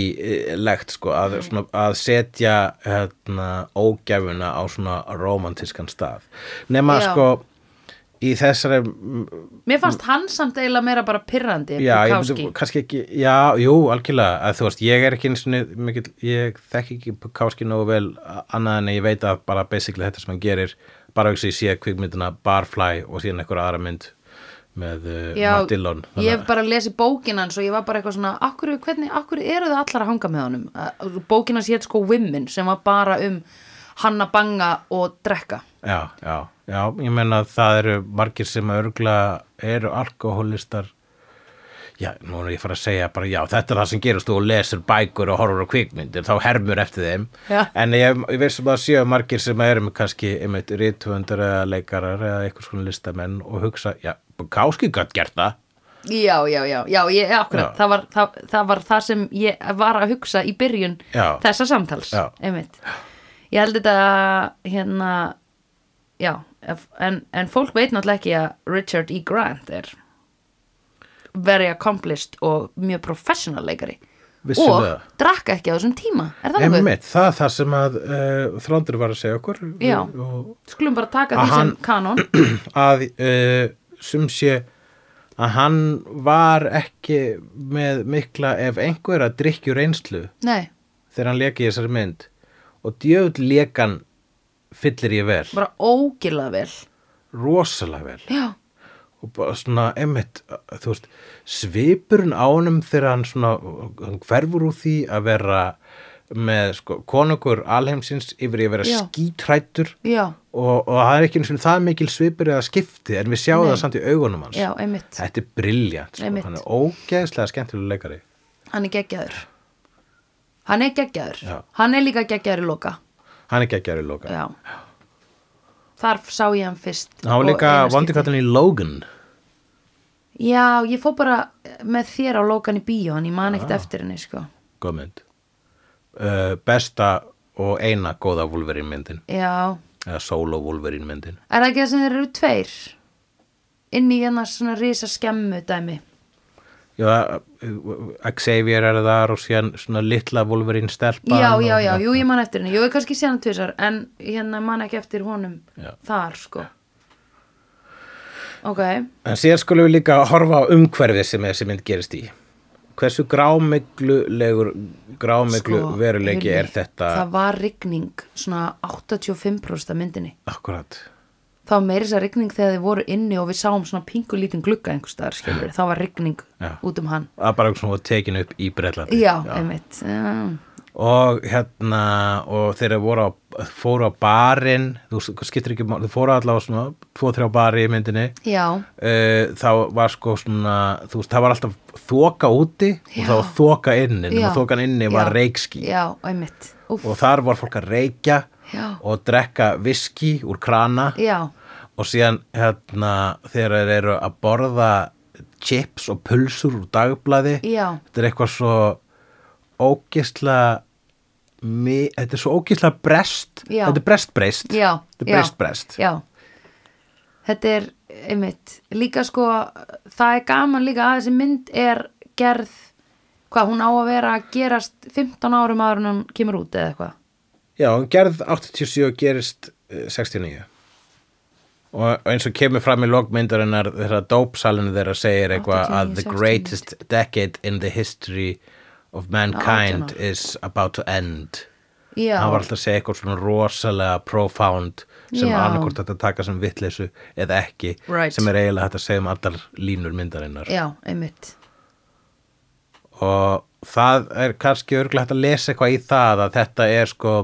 Speaker 1: Bukowski-legt sko, að,
Speaker 2: Mm.
Speaker 1: svona, að setja hérna, ógæfuna á svona romantískan stað nema
Speaker 2: Já.
Speaker 1: sko í þessari m-
Speaker 2: Mér fannst hann samt eiginlega meira bara pirrandi
Speaker 1: já, ég
Speaker 2: Bukowski.
Speaker 1: myndi, kannski ekki, já, jú, algjörlega að þú veist, ég er ekki eins og mikil ég þekk ekki Bukowski nógu vel a- annað en að ég veit að bara basically þetta sem hann gerir, bara ekki sé kvikmyndina Barfly og síðan einhverja aðra mynd með uh,
Speaker 2: Já,
Speaker 1: Matt Dillon
Speaker 2: ég hef bara lesið bókin hans og ég var bara eitthvað svona akkur, hvernig, akkur eru þau allar að hanga með honum Uh, bókin hans hétt sko Women sem var bara um hann að banga og drekka
Speaker 1: Já, já, já, ég meina að það eru margir sem örgla eru alkohólistar Já, nú er ég fara að segja bara já, þetta er það sem gerist þú lesur bækur og horfur á kvikmyndir þá hermur eftir þeim
Speaker 2: Já.
Speaker 1: en ég, ég veist um að séu margir sem eru með kannski einmitt rithöfundar eða leikarar eða eitthvað svona listamenn og hugsa, já, Bukowski gætt gert það
Speaker 2: já, já, já, já, ég, akkurat
Speaker 1: Já.
Speaker 2: Það, var, það, það var það sem ég var að hugsa í byrjun
Speaker 1: Já.
Speaker 2: þessa samtals
Speaker 1: Já.
Speaker 2: einmitt ég held þetta hérna já, ef- en, en fólk veit náttúrulega ekki að Richard E. Grant er very accomplished og mjög professional leikari og
Speaker 1: Vissulega.
Speaker 2: drakka ekki á þessum tíma er það nokkuð?
Speaker 1: Einmitt, það er það sem að uh, þrándur var að segja okkur
Speaker 2: Já.
Speaker 1: og
Speaker 2: skulum bara taka
Speaker 1: Að
Speaker 2: því sem
Speaker 1: hann-
Speaker 2: kanon
Speaker 1: að uh, sem sé að hann var ekki með mikla ef einhver að drikkju reynslu
Speaker 2: nei,
Speaker 1: þegar hann leki í þessari mynd og djöfn lekan fyllir ég vel,
Speaker 2: bara ógila vel
Speaker 1: rosalega vel
Speaker 2: já,
Speaker 1: og bara svona emmitt þú veist, svipurinn ánum þegar hann svona, hann hverfur úr því að vera með sko, konungur alheimsins yfir í að vera
Speaker 2: Já.
Speaker 1: skítrættur
Speaker 2: já,
Speaker 1: og, og það er ekki eins og það mikil svipur eða skipti en við sjáum
Speaker 2: Nei.
Speaker 1: það samt í augunum hans
Speaker 2: já, einmitt
Speaker 1: Þetta er briljant, sko.
Speaker 2: Einmitt.
Speaker 1: hann er ógeðslega skemmtilega leikari.
Speaker 2: hann er geggjaður hann er geggjaður
Speaker 1: Já.
Speaker 2: hann er líka geggjaður í loka
Speaker 1: Hann er geggjari Logan.
Speaker 2: já. þar sá ég hann fyrst
Speaker 1: Hann
Speaker 2: og
Speaker 1: var líka
Speaker 2: eina
Speaker 1: vondi
Speaker 2: skipti.
Speaker 1: kallin í Logan.
Speaker 2: já, ég fó bara með þér á lokan í bíó en ég man ekkert eftir henni sko.
Speaker 1: Góðmynd. Uh, besta og eina góða Wolverine myndin.
Speaker 2: já,
Speaker 1: Eða solo Wolverine myndin.
Speaker 2: er það ekki það sem þeir eru tveir inn í hennar svona risa skemmu dæmi
Speaker 1: Já, uh, Xavier er þar og síðan svona litla Wolverine stelpa.
Speaker 2: já,
Speaker 1: og,
Speaker 2: já, já, jú, ég man eftir henni jú, ég kannski sé hann tvisar, en hérna man ekki eftir honum
Speaker 1: Já.
Speaker 2: þar, sko ok,
Speaker 1: En síðan skulum við líka horfa á umhverfið sem þessi mynd gerist í. Hversu grámiglulegur, grámiglu
Speaker 2: sko
Speaker 1: veruleiki
Speaker 2: Hilmi,
Speaker 1: er þetta?
Speaker 2: það var rigning, svona 85% af myndinni,
Speaker 1: Akkurat.
Speaker 2: það var meiri þess að rigning þegar þið voru inni og við sáum svona pingu lítinn glugga einhverstaðar, skilur, þá var rigning
Speaker 1: Já.
Speaker 2: út um hann,
Speaker 1: Það er bara svona tekin upp í Bretlandi.
Speaker 2: já, einmitt Um, já,
Speaker 1: og hérna og þeir voru á, fóru á barinn þú skiptir ekki, máli, þú fóru allavega svona tvo, þrjá bari í myndinni
Speaker 2: já,
Speaker 1: uh, þá var sko svona þú veist, það var alltaf þoka úti og það var þoka inni,
Speaker 2: já.
Speaker 1: nema þokan inni var
Speaker 2: Já.
Speaker 1: reikski
Speaker 2: já, einmitt, úf,
Speaker 1: og þar var fólk að reikja
Speaker 2: Já.
Speaker 1: og drekka viski úr krana
Speaker 2: já
Speaker 1: og síðan hérna þegar þeir eru að borða chips og pulsur úr dagblaði
Speaker 2: Já.
Speaker 1: þetta er eitthvað svo ógisla mi, þetta er svo ógisla brest
Speaker 2: Já.
Speaker 1: þetta er brestbreyst
Speaker 2: já,
Speaker 1: þetta er
Speaker 2: já,
Speaker 1: brestbreyst
Speaker 2: já. þetta er einmitt, líka sko það er gaman líka að þessi mynd er gerð, hvað hún á að vera að gerast 15 árum áður en hún kemur út eða eitthvað
Speaker 1: já, hún gerð 87 og gerist eh, 69 og og eins og kemur fram í logmyndarinnar þegar dópsalinu þeirra segir eitthvað
Speaker 2: 89,
Speaker 1: að the
Speaker 2: 69.
Speaker 1: greatest decade in the history of mankind
Speaker 2: ár.
Speaker 1: is about to end
Speaker 2: já,
Speaker 1: hann var alltaf að segja eitthvað svona rosalega profound sem
Speaker 2: Já.
Speaker 1: annarkort þetta taka sem vitleysu eða ekki
Speaker 2: Right.
Speaker 1: sem er eiginlega hægt að segja um allar línur myndarinnar
Speaker 2: já, einmitt
Speaker 1: og það er kannski örgulega hægt að lesa eitthvað í það að þetta er sko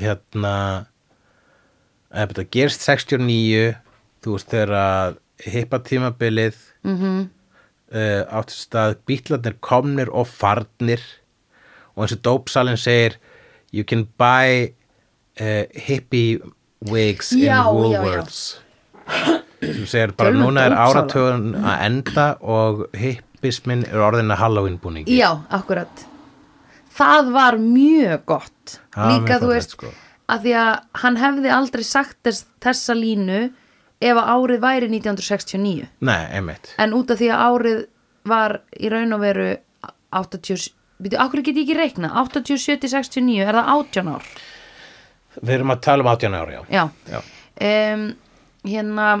Speaker 1: hérna eh, að þetta gerst 69 þú veist þegar að hippa tímabilið mm -hmm.
Speaker 2: Mhm.
Speaker 1: uh, áttu stað bítlarnir komnir og farnir og eins og dópsalinn segir you can buy uh, hippie wigs
Speaker 2: Já, já, já.
Speaker 1: in Woolworths sem segir bara
Speaker 2: Tölum um
Speaker 1: núna er
Speaker 2: dópsala.
Speaker 1: áratugun að enda og hippismin er orðin að Halloween búningi
Speaker 2: já, akkurat það var mjög gott
Speaker 1: Það var
Speaker 2: líka þú
Speaker 1: mjög fallegt,
Speaker 2: veist
Speaker 1: sko.
Speaker 2: að því að hann hefði aldrei sagt þess, þessa línu ef að árið væri 1969
Speaker 1: Nei, einmitt
Speaker 2: en út af því að árið var í raun og veru 80, býtu, akkur get ég ekki reikna 80, 70, 69, er það 18 ár
Speaker 1: Við erum að tala um 18 ára, já.
Speaker 2: já,
Speaker 1: Já.
Speaker 2: Um, hérna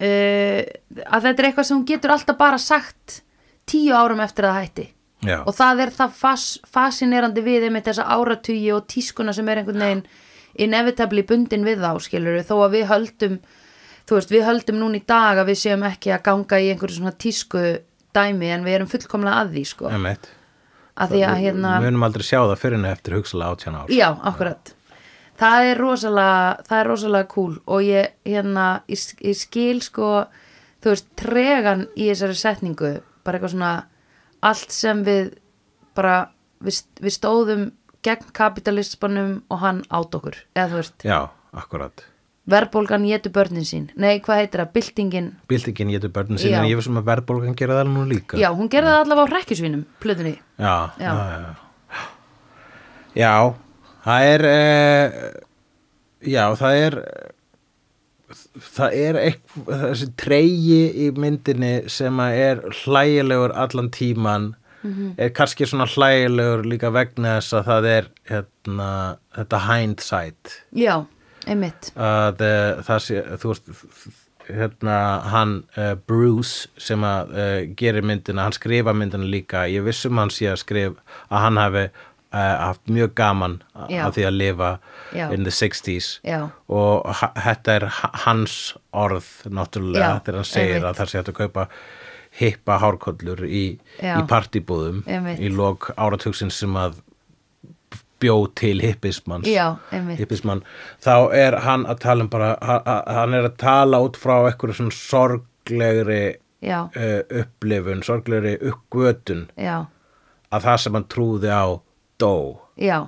Speaker 2: uh, að þetta er eitthvað sem hún getur alltaf bara sagt tíu árum eftir að það hætti
Speaker 1: Já.
Speaker 2: og það er það fas, fascinerandi við einmitt þessa áratugi og tískuna sem er einhvern veginn inevitably bundin við þá skilur þó að við höldum þú veist, við höldum núna í dag að við séum ekki að ganga í einhverju svona tísku dæmi en við erum fullkomlega að því sko
Speaker 1: Einmitt.
Speaker 2: að því að hérna
Speaker 1: Við munum aldrei sjá það fyrir en eftir hugsalega 18 ára.
Speaker 2: já, akkurat það er rosalega, það er rosalega cool og ég, hérna, ég, ég skil sko, þú veist, tregan í þessari setningu, bara eitthvað svona allt sem við bara, við, við stóðum gegn kapitalismanum og hann át okkur, eða þú veist,
Speaker 1: Já, akkurat.
Speaker 2: verðbólgan getur börnin sín, nei, hvað heitir það, byltingin
Speaker 1: Bildingin getur börnin sín
Speaker 2: Já.
Speaker 1: en ég veist um að verðbólgan gera það nú líka.
Speaker 2: já, hún gerði það allavega á rekkjusvínum plöðunni,
Speaker 1: Já,
Speaker 2: Já.
Speaker 1: já, já. Já, það er, uh, já, það er, það er eitthvað, þessi treyji í myndinni sem að er hlægilegur allan tíman, er kannski svona hlægilegur líka vegna þess að það er, hérna, þetta hindsight,
Speaker 2: já, einmitt
Speaker 1: að uh, það sé, þú veist, hérna, hann uh, Bruce sem að uh, gerir myndina, hann skrifa myndina líka, ég vissum hann sé að skrif að hann hafi uh, haft mjög gaman a-
Speaker 2: Já.
Speaker 1: að því að lifa
Speaker 2: Já.
Speaker 1: in the 60s
Speaker 2: Já.
Speaker 1: og ha- þetta er ha- hans orð náttúrulega
Speaker 2: Já,
Speaker 1: þegar hann segir
Speaker 2: einmitt.
Speaker 1: að það sé hægt að kaupa hippa hárkollur í,
Speaker 2: Já.
Speaker 1: í partibúðum
Speaker 2: Einmitt.
Speaker 1: í lok áratugsin sem að bjó til hippismans
Speaker 2: Já, einmitt.
Speaker 1: hippismann, þá er hann að tala um bara, ha- ha- hann er að tala út frá eitthvað svona sorglegri
Speaker 2: já,
Speaker 1: uh, upplifun, sorglegri uppgötun
Speaker 2: já,
Speaker 1: að það sem hann trúði á dó
Speaker 2: já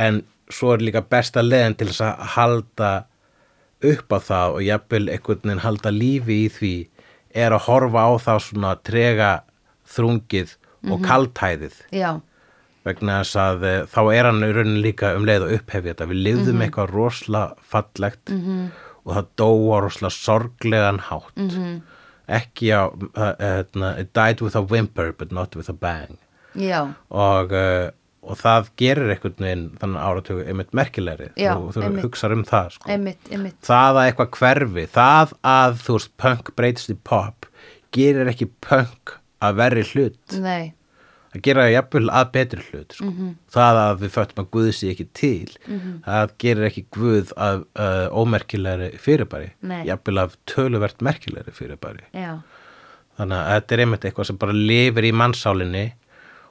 Speaker 1: en svo er líka besta leðin til þess að halda upp á það og jafnvel einhvern veginn halda lífi í því er að horfa á þá svona trega þrungið og
Speaker 2: Mhm.
Speaker 1: kaldhæðið
Speaker 2: já,
Speaker 1: vegna þess að eh, þá er hann í raunin líka um leið að upphefja þetta við lifðum
Speaker 2: Mhm.
Speaker 1: eitthvað rosalega fallegt -hmm. og það dóa rosalega sorglegan hátt
Speaker 2: Mhm.
Speaker 1: -hmm. ekki á eh, hérna, it died with a whimper but not with a bang
Speaker 2: já
Speaker 1: og, eh, og það gerir einhvern veginn þannig áratöku einmitt merkilegri
Speaker 2: Já,
Speaker 1: þú, þú
Speaker 2: einmitt.
Speaker 1: hugsar um það sko.
Speaker 2: einmitt, einmitt
Speaker 1: það að eitthvað hverfi það að þú veist punk breytist í pop gerir ekki punk að verri hlut
Speaker 2: Nei,
Speaker 1: að gera jafnvel að betri hlut sko. það að við föttum að Guð sé ekki til það gerir ekki Guð að uh, ómerkilegri fyrirbæri
Speaker 2: Nei.
Speaker 1: jafnvel af töluvert merkilegri fyrirbæri
Speaker 2: já,
Speaker 1: þannig að þetta er einmitt eitthvað sem bara lifir í mannsálinni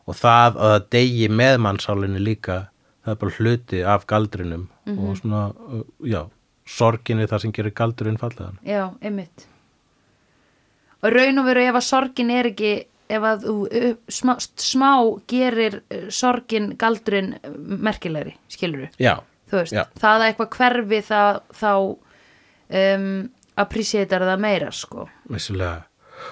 Speaker 1: og það að það degi með mannsálinni líka það er bara hluti af galdrinum og svona, uh, já sorginni það sem gerir galdurinn fallegan
Speaker 2: já, einmitt Og í raun og veru ef að sorgin er ekki ef að þú uh, smá, smá gerir uh, sorgin galdurinn uh, merkilegri, skilur
Speaker 1: já,
Speaker 2: þú veist,
Speaker 1: Já.
Speaker 2: það að eitthvað hverfi það, þá um, appreciatar það meira, sko
Speaker 1: Vissulega.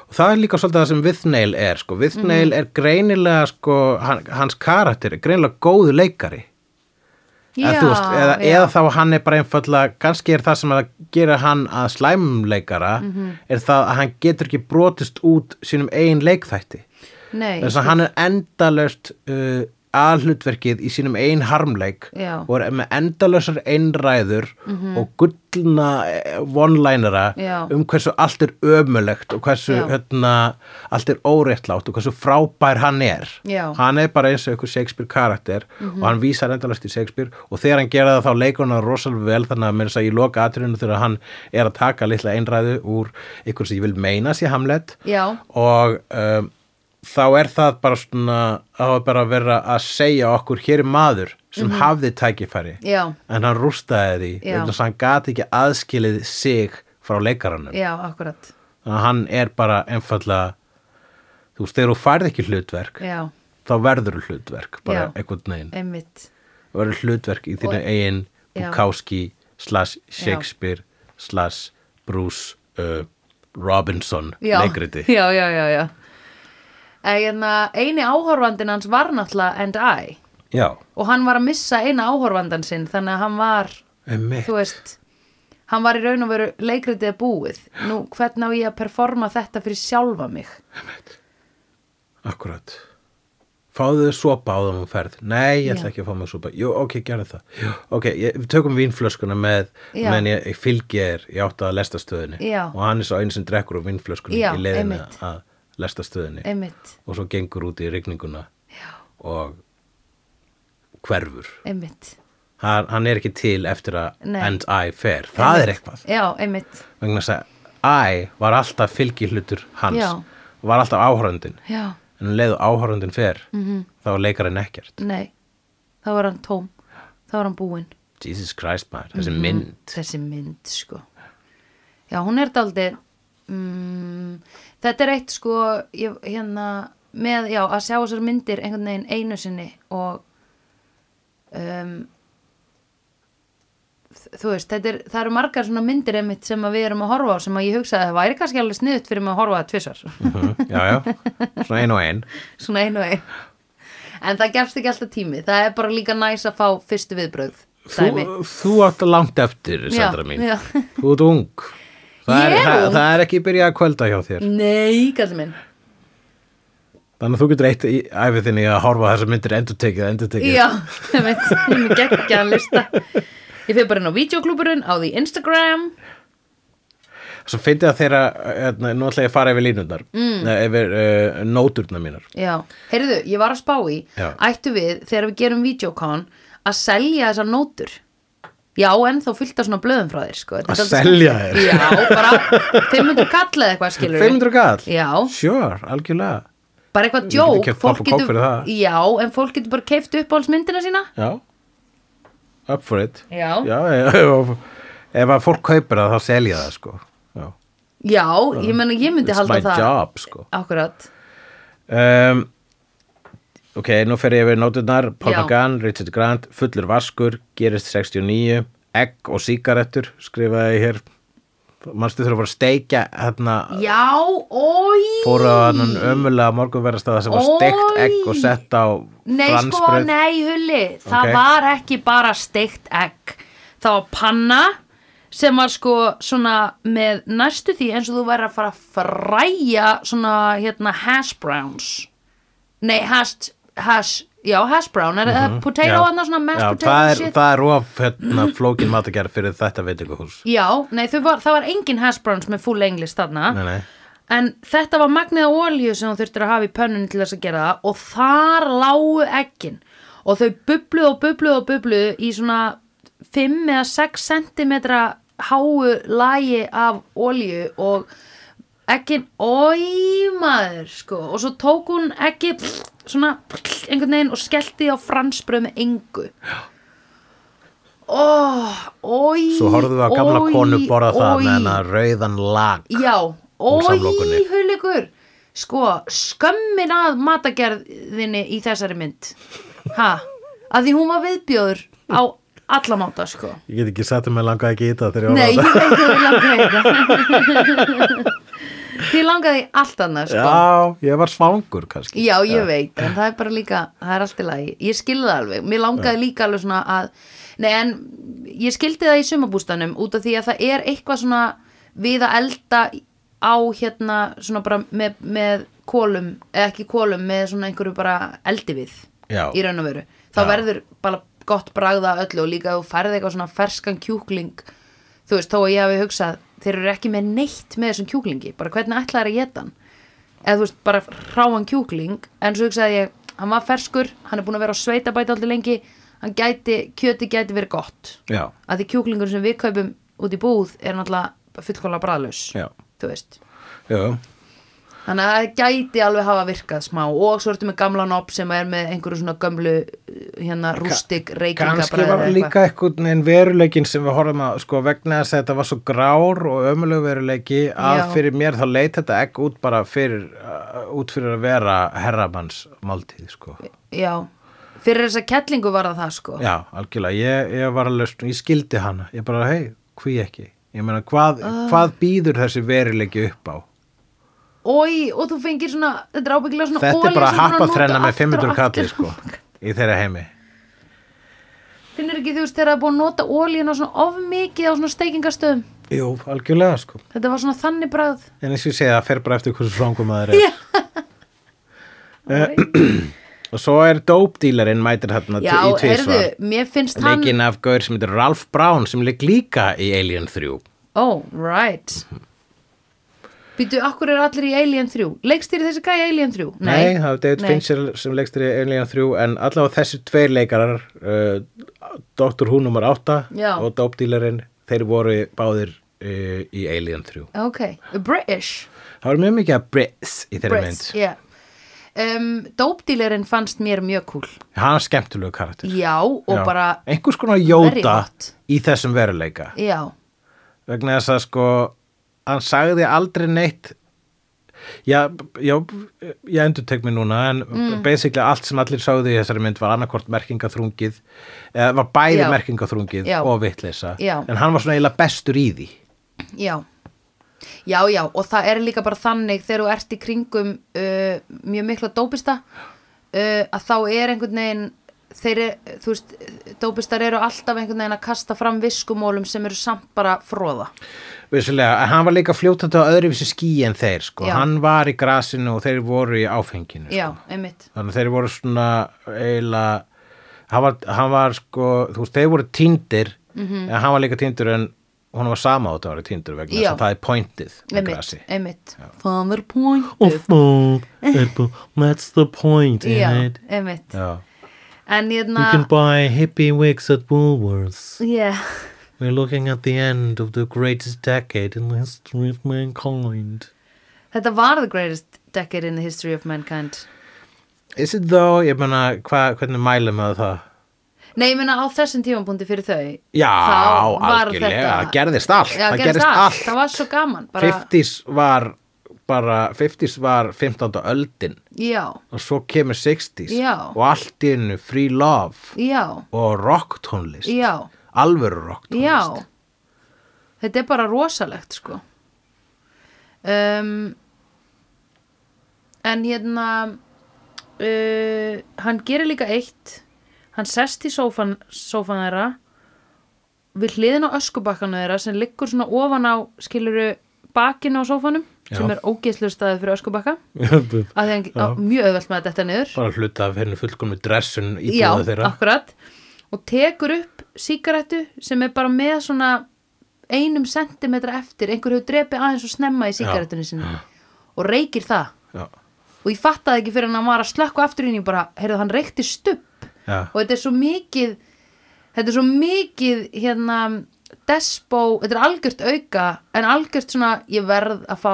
Speaker 1: Og það er líka svolítið það sem Vithnail er, sko. Vithnail er greinilega, sko, hann, hans karakter er greinilega góðu leikari. eða, þú veist, eða, eða þá hann er bara einfallega, kannski er það sem að gera hann að slæmum leikara, er það að hann getur ekki brotist út sínum eigin leikþætti.
Speaker 2: Nei,
Speaker 1: Þess að hann er endalaust uh, aðhlutverkið í sínum einn harmleik
Speaker 2: Já. Mhm.
Speaker 1: og er með endalausar einræður og gullna vonlænara
Speaker 2: Já.
Speaker 1: um hversu allt er ömulegt og hversu
Speaker 2: Já.
Speaker 1: hérna, allt er óréttlátt og hversu frábær hann er.
Speaker 2: Já. Mhm.
Speaker 1: Hann er bara eins og einhver Shakespeare karakter og hann vísar endalaust í Shakespeare og þegar hann gera það þá leikur hann það rosalega vel þannig að mér þess að ég loka atriðinu þegar hann er að taka litla einræðu úr einhver sem ég vil meina sé hamlet
Speaker 2: Já,
Speaker 1: og um, þá er það bara svona þá er bara að vera að segja okkur hér er maður sem hafði tækifæri
Speaker 2: Mhm. Já.
Speaker 1: en hann rústaði því
Speaker 2: Já.
Speaker 1: vegna þess að hann gati ekki aðskilið sig frá leikaranum
Speaker 2: já, akkurat
Speaker 1: þannig að hann er bara einfallega þú veist, þegar þú færð ekki hlutverk
Speaker 2: Já,
Speaker 1: þá verður hlutverk, bara
Speaker 2: Já.
Speaker 1: einhvern veginn
Speaker 2: einmitt
Speaker 1: verður hlutverk í þínu eigin
Speaker 2: Já.
Speaker 1: Bukowski slash Shakespeare slash Bruce uh, Robinson
Speaker 2: já,
Speaker 1: leikriti
Speaker 2: já, já, já, já. En hérna, eini áhorfandin hans var náttúrulega and I
Speaker 1: Já,
Speaker 2: og hann var að missa eina áhorfandan sinn þannig að hann var,
Speaker 1: emmi
Speaker 2: þú veist hann var í raun og veru leikritið búið nú hvernig á ég að performa þetta fyrir sjálfa mig
Speaker 1: Akkurat. Fáðu þið sopa áður um ferð? Nei, ég ætla ekki að fá mig sopa. Jú, ok, gerðu það. Jú, ok, ég, við tökum vínflöskuna með,
Speaker 2: Já.
Speaker 1: menn ég, ég fylgi þér í átt að lestastöðinni.
Speaker 2: Já.
Speaker 1: Og hann er svo einu sem drekkur úr vínflöskunni
Speaker 2: Já,
Speaker 1: í leiðinu
Speaker 2: einmitt.
Speaker 1: að lestastöðinni.
Speaker 2: einmitt,
Speaker 1: Og svo gengur út í rigninguna
Speaker 2: já,
Speaker 1: og hverfur.
Speaker 2: einmitt
Speaker 1: Hann, hann er ekki til eftir að
Speaker 2: Nei.
Speaker 1: and I fer. Það er
Speaker 2: Einmitt.
Speaker 1: eitthvað.
Speaker 2: já, einmitt,
Speaker 1: Vegna þess að I var alltaf fylgihlutur hans.
Speaker 2: Já.
Speaker 1: Var alltaf áhorundin.
Speaker 2: já,
Speaker 1: en um leið og áhorfundin fer
Speaker 2: Mhm.
Speaker 1: -hmm. þá leikar hann ekkert
Speaker 2: nei þá var hann tóm, þá var hann búinn
Speaker 1: Jesus Christ maður, þessi
Speaker 2: Mhm.
Speaker 1: mynd
Speaker 2: Mm, þessi mynd sko já hún er daldi mm, þetta er eitt sko ég, hérna með já að sjá þessar myndir einhvern veginn einu sinni og um, þ- þú veist þetta er, það eru margar svona myndir einmitt sem að við erum að horfa á sem að ég hugsaði að það væri kannski alveg sniðut fyrir mig að horfa það tvissar
Speaker 1: Mhm, já, já, svona ein og ein
Speaker 2: svona einu og ein en það gefst ekki alltaf tími það er bara líka næs að fá fyrstu viðbrögð dæmi.
Speaker 1: þú, þú átt langt eftir, Sandra mín
Speaker 2: já.
Speaker 1: þú ert ung það
Speaker 2: Ég
Speaker 1: er,
Speaker 2: er
Speaker 1: það,
Speaker 2: ung.
Speaker 1: það er ekki byrjað að kvölda hjá þér
Speaker 2: nei kallið minn
Speaker 1: þannig að þú getur eitt í æfið þinni að horfa á þessar myndir endurtekið, endurtekið
Speaker 2: Já, það veit, hún er geggjaðan lista Ég fyrir bara inn á videoklúburinn á því Instagram
Speaker 1: svo fyndið að þeirra, hérna, nú ætla ég að fara yfir línundar mm. yfir uh, nóturnar mínar
Speaker 2: Já, heyrðu, ég var að spá í
Speaker 1: Já.
Speaker 2: Ættu við, þegar við gerum videokon að selja þessar nótur Já, en þá fylgta svona blöðum frá þér sko. Þetta er
Speaker 1: Að
Speaker 2: dálítið
Speaker 1: selja
Speaker 2: skemmt.
Speaker 1: þér?
Speaker 2: Já, bara 500 kall eða eitthvað skilur
Speaker 1: 500 kall?
Speaker 2: Já.
Speaker 1: sure, algjörlega
Speaker 2: Bara eitthvað
Speaker 1: Ég get
Speaker 2: djók
Speaker 1: keypt
Speaker 2: fólk
Speaker 1: popp og kók fyrir það.
Speaker 2: Já, en fólk getur bara keift uppáhaldsmyndina sína
Speaker 1: Já, up for it
Speaker 2: Já.
Speaker 1: já, já, já. Ef að fólk kaupir það þá selja það sko já.
Speaker 2: Já, ég meina, ég myndi
Speaker 1: Ah, It's
Speaker 2: halda
Speaker 1: my
Speaker 2: það
Speaker 1: job sko
Speaker 2: Akkurat,
Speaker 1: um, Ok, nú fer ég yfir nótunar Paul
Speaker 2: Já.
Speaker 1: McGann, Richard Grant, Fullur Vaskur Gerist 69, Egg og Sígarettur skrifaði ég hér Manstu þurfa að fara að steikja hérna
Speaker 2: já, oi
Speaker 1: fóru á hann ömulega morgunverðastæða sem var steikt
Speaker 2: Oj.
Speaker 1: egg og sett á
Speaker 2: Nei sko,
Speaker 1: fransbrauð.
Speaker 2: nei Hulli, það
Speaker 1: Ok.
Speaker 2: var ekki bara steikt egg, það var panna sem var sko svona með næstu því eins og þú væri að fara að fræja svona hérna hash browns, nei hash, hash, já hash brown, er það potato
Speaker 1: Mhm, Já.
Speaker 2: annars svona mashed
Speaker 1: Já,
Speaker 2: potato
Speaker 1: það er,
Speaker 2: shit?
Speaker 1: það er of hérna, flókin matagerð fyrir þetta veitinguhús
Speaker 2: Já, nei þau var, það var engin hash browns með full english þarna.
Speaker 1: Nei, nei
Speaker 2: En þetta var magnið af olíu sem hún þurftir að hafa í pönnunni til þess að gera það og þar lágu ekkin og þau bubluðu og bubluðu og bubluðu í svona 5 eða 6 cm háu lagi af olíu og ekkin, oi maður sko, og svo tók hún ekki svona pff, einhvern veginn og skellti á fransbröð með engu Ó, oi
Speaker 1: Svo horfðum við að gamla
Speaker 2: oj,
Speaker 1: konu borða það
Speaker 2: oj.
Speaker 1: með hennar rauðan lag.
Speaker 2: Já,
Speaker 1: Úr samlokunni.
Speaker 2: ói hulikur Sko, skömmin að matagerðinni í þessari mynd Ha, að því hún var viðbjóður á alla máta, sko
Speaker 1: Ég get ekki sagt um að langa ekki í þetta þegar
Speaker 2: Nei,
Speaker 1: ég
Speaker 2: ég
Speaker 1: var að
Speaker 2: veit að þið langaði þetta Þið langaði allt annað, sko
Speaker 1: Já, ég var svangur kannski.
Speaker 2: Já, ég veit, en það er bara líka, það er allt í lagi, ég skilði það alveg, mér langaði líka alveg svona að, nei en ég skildi það í sumabústanum út af því að það er eitthvað svona við að elda á hérna svona bara með, með kólum, eða ekki kólum, með svona einhverju bara eldi við
Speaker 1: Já.
Speaker 2: í raun og veru, þá
Speaker 1: Já.
Speaker 2: verður bara gott bragða öllu og líka ef þú færði eitthvað svona ferskan kjúkling, þú veist, þó að ég hafi hugsað, þeir eru ekki með neitt með þessum kjúklingi, bara hvernig ætlaðir að geta hann? eða þú veist bara ráan kjúkling en svo hugsaði ég, hann var ferskur hann er búin að vera á sveitabæti alltaf lengi hann gæti, kjöti gæti verið gott
Speaker 1: Já,
Speaker 2: að því kjúklingur sem við kaupum út í búð er náttúrulega fullkóla bræðlaus
Speaker 1: Já.
Speaker 2: þú veist
Speaker 1: já.
Speaker 2: þannig að það gæti alveg hafa virkað smá og svo ertu með gamla nopp sem er með einhverju svona gömlu hérna rústig
Speaker 1: Ganski
Speaker 2: reykingabræð
Speaker 1: var líka einhvern veginn veruleikin sem við horfum að, sko, vegna þess að þetta var svo grár og ömuleg veruleiki að
Speaker 2: Já.
Speaker 1: fyrir mér þá leit þetta ekki út bara fyrir, uh, út fyrir að vera herramannsmáltíð, sko.
Speaker 2: já, fyrir þessa kettlingu var það það sko
Speaker 1: Já, algjörlega, ég, ég var alveg, ég skildi hana, ég bara, hei, hví ekki? Ég meina, hvað,
Speaker 2: Ah.
Speaker 1: hvað býður þessi veruleiki upp á?
Speaker 2: Oi, og þú fengir svona, þetta er ábyggilega svona
Speaker 1: Þetta er
Speaker 2: olía
Speaker 1: bara
Speaker 2: sem þú
Speaker 1: happa
Speaker 2: að nota
Speaker 1: sko, þrenna með
Speaker 2: aftur og
Speaker 1: 500 kalli
Speaker 2: aftur.
Speaker 1: sko í þeirra heimi
Speaker 2: finnur ekki þú veist þegar það er búið að nota ólíuna svona of mikið á svona steikingastöðum
Speaker 1: Jú, algjörlega sko.
Speaker 2: þetta var svona þannig bragð
Speaker 1: En eins og ég segi það fer bara eftir hversu framkvæmaður er.
Speaker 2: Já. Alright.
Speaker 1: Og svo er dope dealerinn mætir hérna
Speaker 2: já,
Speaker 1: í
Speaker 2: heyrðu,
Speaker 1: tvísvar.
Speaker 2: mér finnst hann
Speaker 1: Leikinn af gaur sem heitir Ralph Brown sem leik líka í Alien 3.
Speaker 2: oh, right býtu, akkur er allir í Alien 3 leikst þér þessi gæja í Alien 3?
Speaker 1: Nei, það er David
Speaker 2: Nei.
Speaker 1: Fincher sem leikstir í Alien 3 en allavega þessir tveir leikarar uh, Dr. Who nummer 8
Speaker 2: Já.
Speaker 1: og dope dealerinn þeir voru báðir uh, í Alien 3.
Speaker 2: ok, British
Speaker 1: Það var mjög mikið að Brits í þeirra mynd.
Speaker 2: Brits, yeah. um, Dópdýlerinn fannst mér mjög cool
Speaker 1: Hann er skemmtulegu karakter.
Speaker 2: Já, og
Speaker 1: Já.
Speaker 2: bara
Speaker 1: einhvers konar
Speaker 2: Very
Speaker 1: jóta
Speaker 2: hot.
Speaker 1: í þessum veruleika
Speaker 2: Já,
Speaker 1: vegna þess að sko hann sagði aldrei neitt já, já ég endur tek mér núna en
Speaker 2: Mm.
Speaker 1: basically allt sem allir sagði í þessari mynd var annarkvort merkingaþrungið eða var bæði
Speaker 2: Já.
Speaker 1: merkingaþrungið
Speaker 2: Já.
Speaker 1: og vitleisa
Speaker 2: Já.
Speaker 1: en hann var svona eiginlega bestur í því
Speaker 2: já Já, já, og það er líka bara þannig þegar þú ert í kringum uh, mjög mikla dópista uh, að þá er einhvern veginn þeir, eru- þú veist, dópistar eru alltaf einhvern veginn að kasta fram viskumólum sem eru samt bara fróða
Speaker 1: Vissulega, en hann var líka fljótandi á öðruvísi skí en þeir sko,
Speaker 2: Já.
Speaker 1: hann var í grasinu og þeir voru í áfenginu sko.
Speaker 2: Já, einmitt
Speaker 1: þannig að þeir voru svona eiginlega hann var, hann var sko, þú veist, þeir voru týndir
Speaker 2: Mhm.
Speaker 1: en hann var líka týndur en hún var sama á þetta að vera týndur vegna þess
Speaker 2: Já.
Speaker 1: að það er pointið með
Speaker 2: Einmitt,
Speaker 1: grasi
Speaker 2: einmitt Það er pointið
Speaker 3: Of that's the point in
Speaker 2: Já,
Speaker 3: it.
Speaker 2: einmitt
Speaker 1: Já.
Speaker 2: En
Speaker 3: You can
Speaker 2: hérna,
Speaker 3: buy hippie wigs at Woolworths.
Speaker 2: yeah
Speaker 3: We're looking at the end of the greatest decade in the history of mankind.
Speaker 2: Þetta var the greatest decade in the history of mankind.
Speaker 1: Is it though, ég meina, hva, hvernig mælum við það?
Speaker 2: Nei, ég meina á þessum tímapunkti fyrir þau.
Speaker 1: Já,
Speaker 2: þá var
Speaker 1: algjörlega,
Speaker 2: þetta-
Speaker 1: það gerðist allt
Speaker 2: Já,
Speaker 1: það gerðist allt,
Speaker 2: Það var svo gaman. Bara,
Speaker 1: 50s var bara, 50s var 15. öldin
Speaker 2: Já,
Speaker 1: og svo kemur 60s
Speaker 2: Já.
Speaker 1: og allt í innu free love
Speaker 2: já,
Speaker 1: og rocktónlist
Speaker 2: já,
Speaker 1: alvöru rocktónlist
Speaker 2: já. Þetta er bara rosalegt, sko. Um, en hérna, uh, hann gerir líka eitt. Hann sest í sófan, sófan þeirra við hliðin á öskubakkanu þeirra sem liggur svona ofan á, skiluru, bakinu á sófanum sem
Speaker 1: Já.
Speaker 2: er ógeðslu staðið fyrir öskubakka.
Speaker 1: já
Speaker 2: að því hann á, mjög auðvelt með að detta niður
Speaker 1: bara hluta af henni fullkomni dressun í
Speaker 2: já,
Speaker 1: búðu þeirra
Speaker 2: akkurat og tekur upp sígarettu sem er bara með svona einum sentimetra eftir, einhver hefur drepið aðeins og snemma í sígarettunni sinni og reykir það
Speaker 1: já,
Speaker 2: og ég fattaði ekki fyrir hann að hann var að slökka aftur inn í bara, heyrðu hann reykti stupp
Speaker 1: já,
Speaker 2: og þetta er svo mikið þetta er svo mikið hérna despo, þetta er algjört auka en algjört svona, ég verð að fá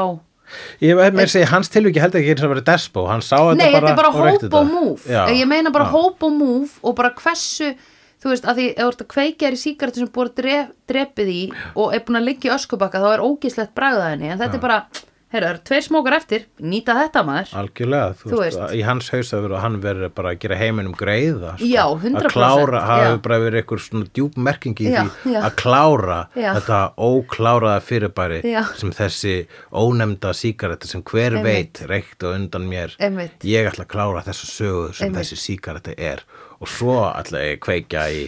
Speaker 1: ég veit mér segi hans tilviki held ekki eins og að vera despo hann sá þetta
Speaker 2: Nei,
Speaker 1: bara
Speaker 2: þetta er bara
Speaker 1: og reykti
Speaker 2: hope og
Speaker 1: þetta.
Speaker 2: move
Speaker 1: já,
Speaker 2: Ég meina bara
Speaker 1: já,
Speaker 2: hope og move og bara hversu þú veist, að því ef þú ert að kveikja þér í sígarettu sem búið að dref, drepið í og er búin að liggja í öskubakka þá er ógíslegt bragðað henni en þetta er bara, heyrðu, það eru tveir smókar eftir nýta þetta maður
Speaker 1: algjörlega, þú,
Speaker 2: Þú
Speaker 1: veist,
Speaker 2: veist.
Speaker 1: í hans hausafur og hann verður bara að gera heiminum greiða sko.
Speaker 2: Já, 100%,
Speaker 1: að klára,
Speaker 2: já.
Speaker 1: hafi bara verið eitthvað svona djúp merking í
Speaker 2: Já,
Speaker 1: því
Speaker 2: já.
Speaker 1: að klára
Speaker 2: Já.
Speaker 1: þetta ókláraða fyrirbæri
Speaker 2: Já.
Speaker 1: sem þessi ónefnda síkaretta sem hver
Speaker 2: Einmitt.
Speaker 1: veit reykti á undan mér
Speaker 2: Einmitt.
Speaker 1: ég ætla að klára þessa sögu sem
Speaker 2: Einmitt.
Speaker 1: þessi síkaretta er og svo ætla ég að kveikja í,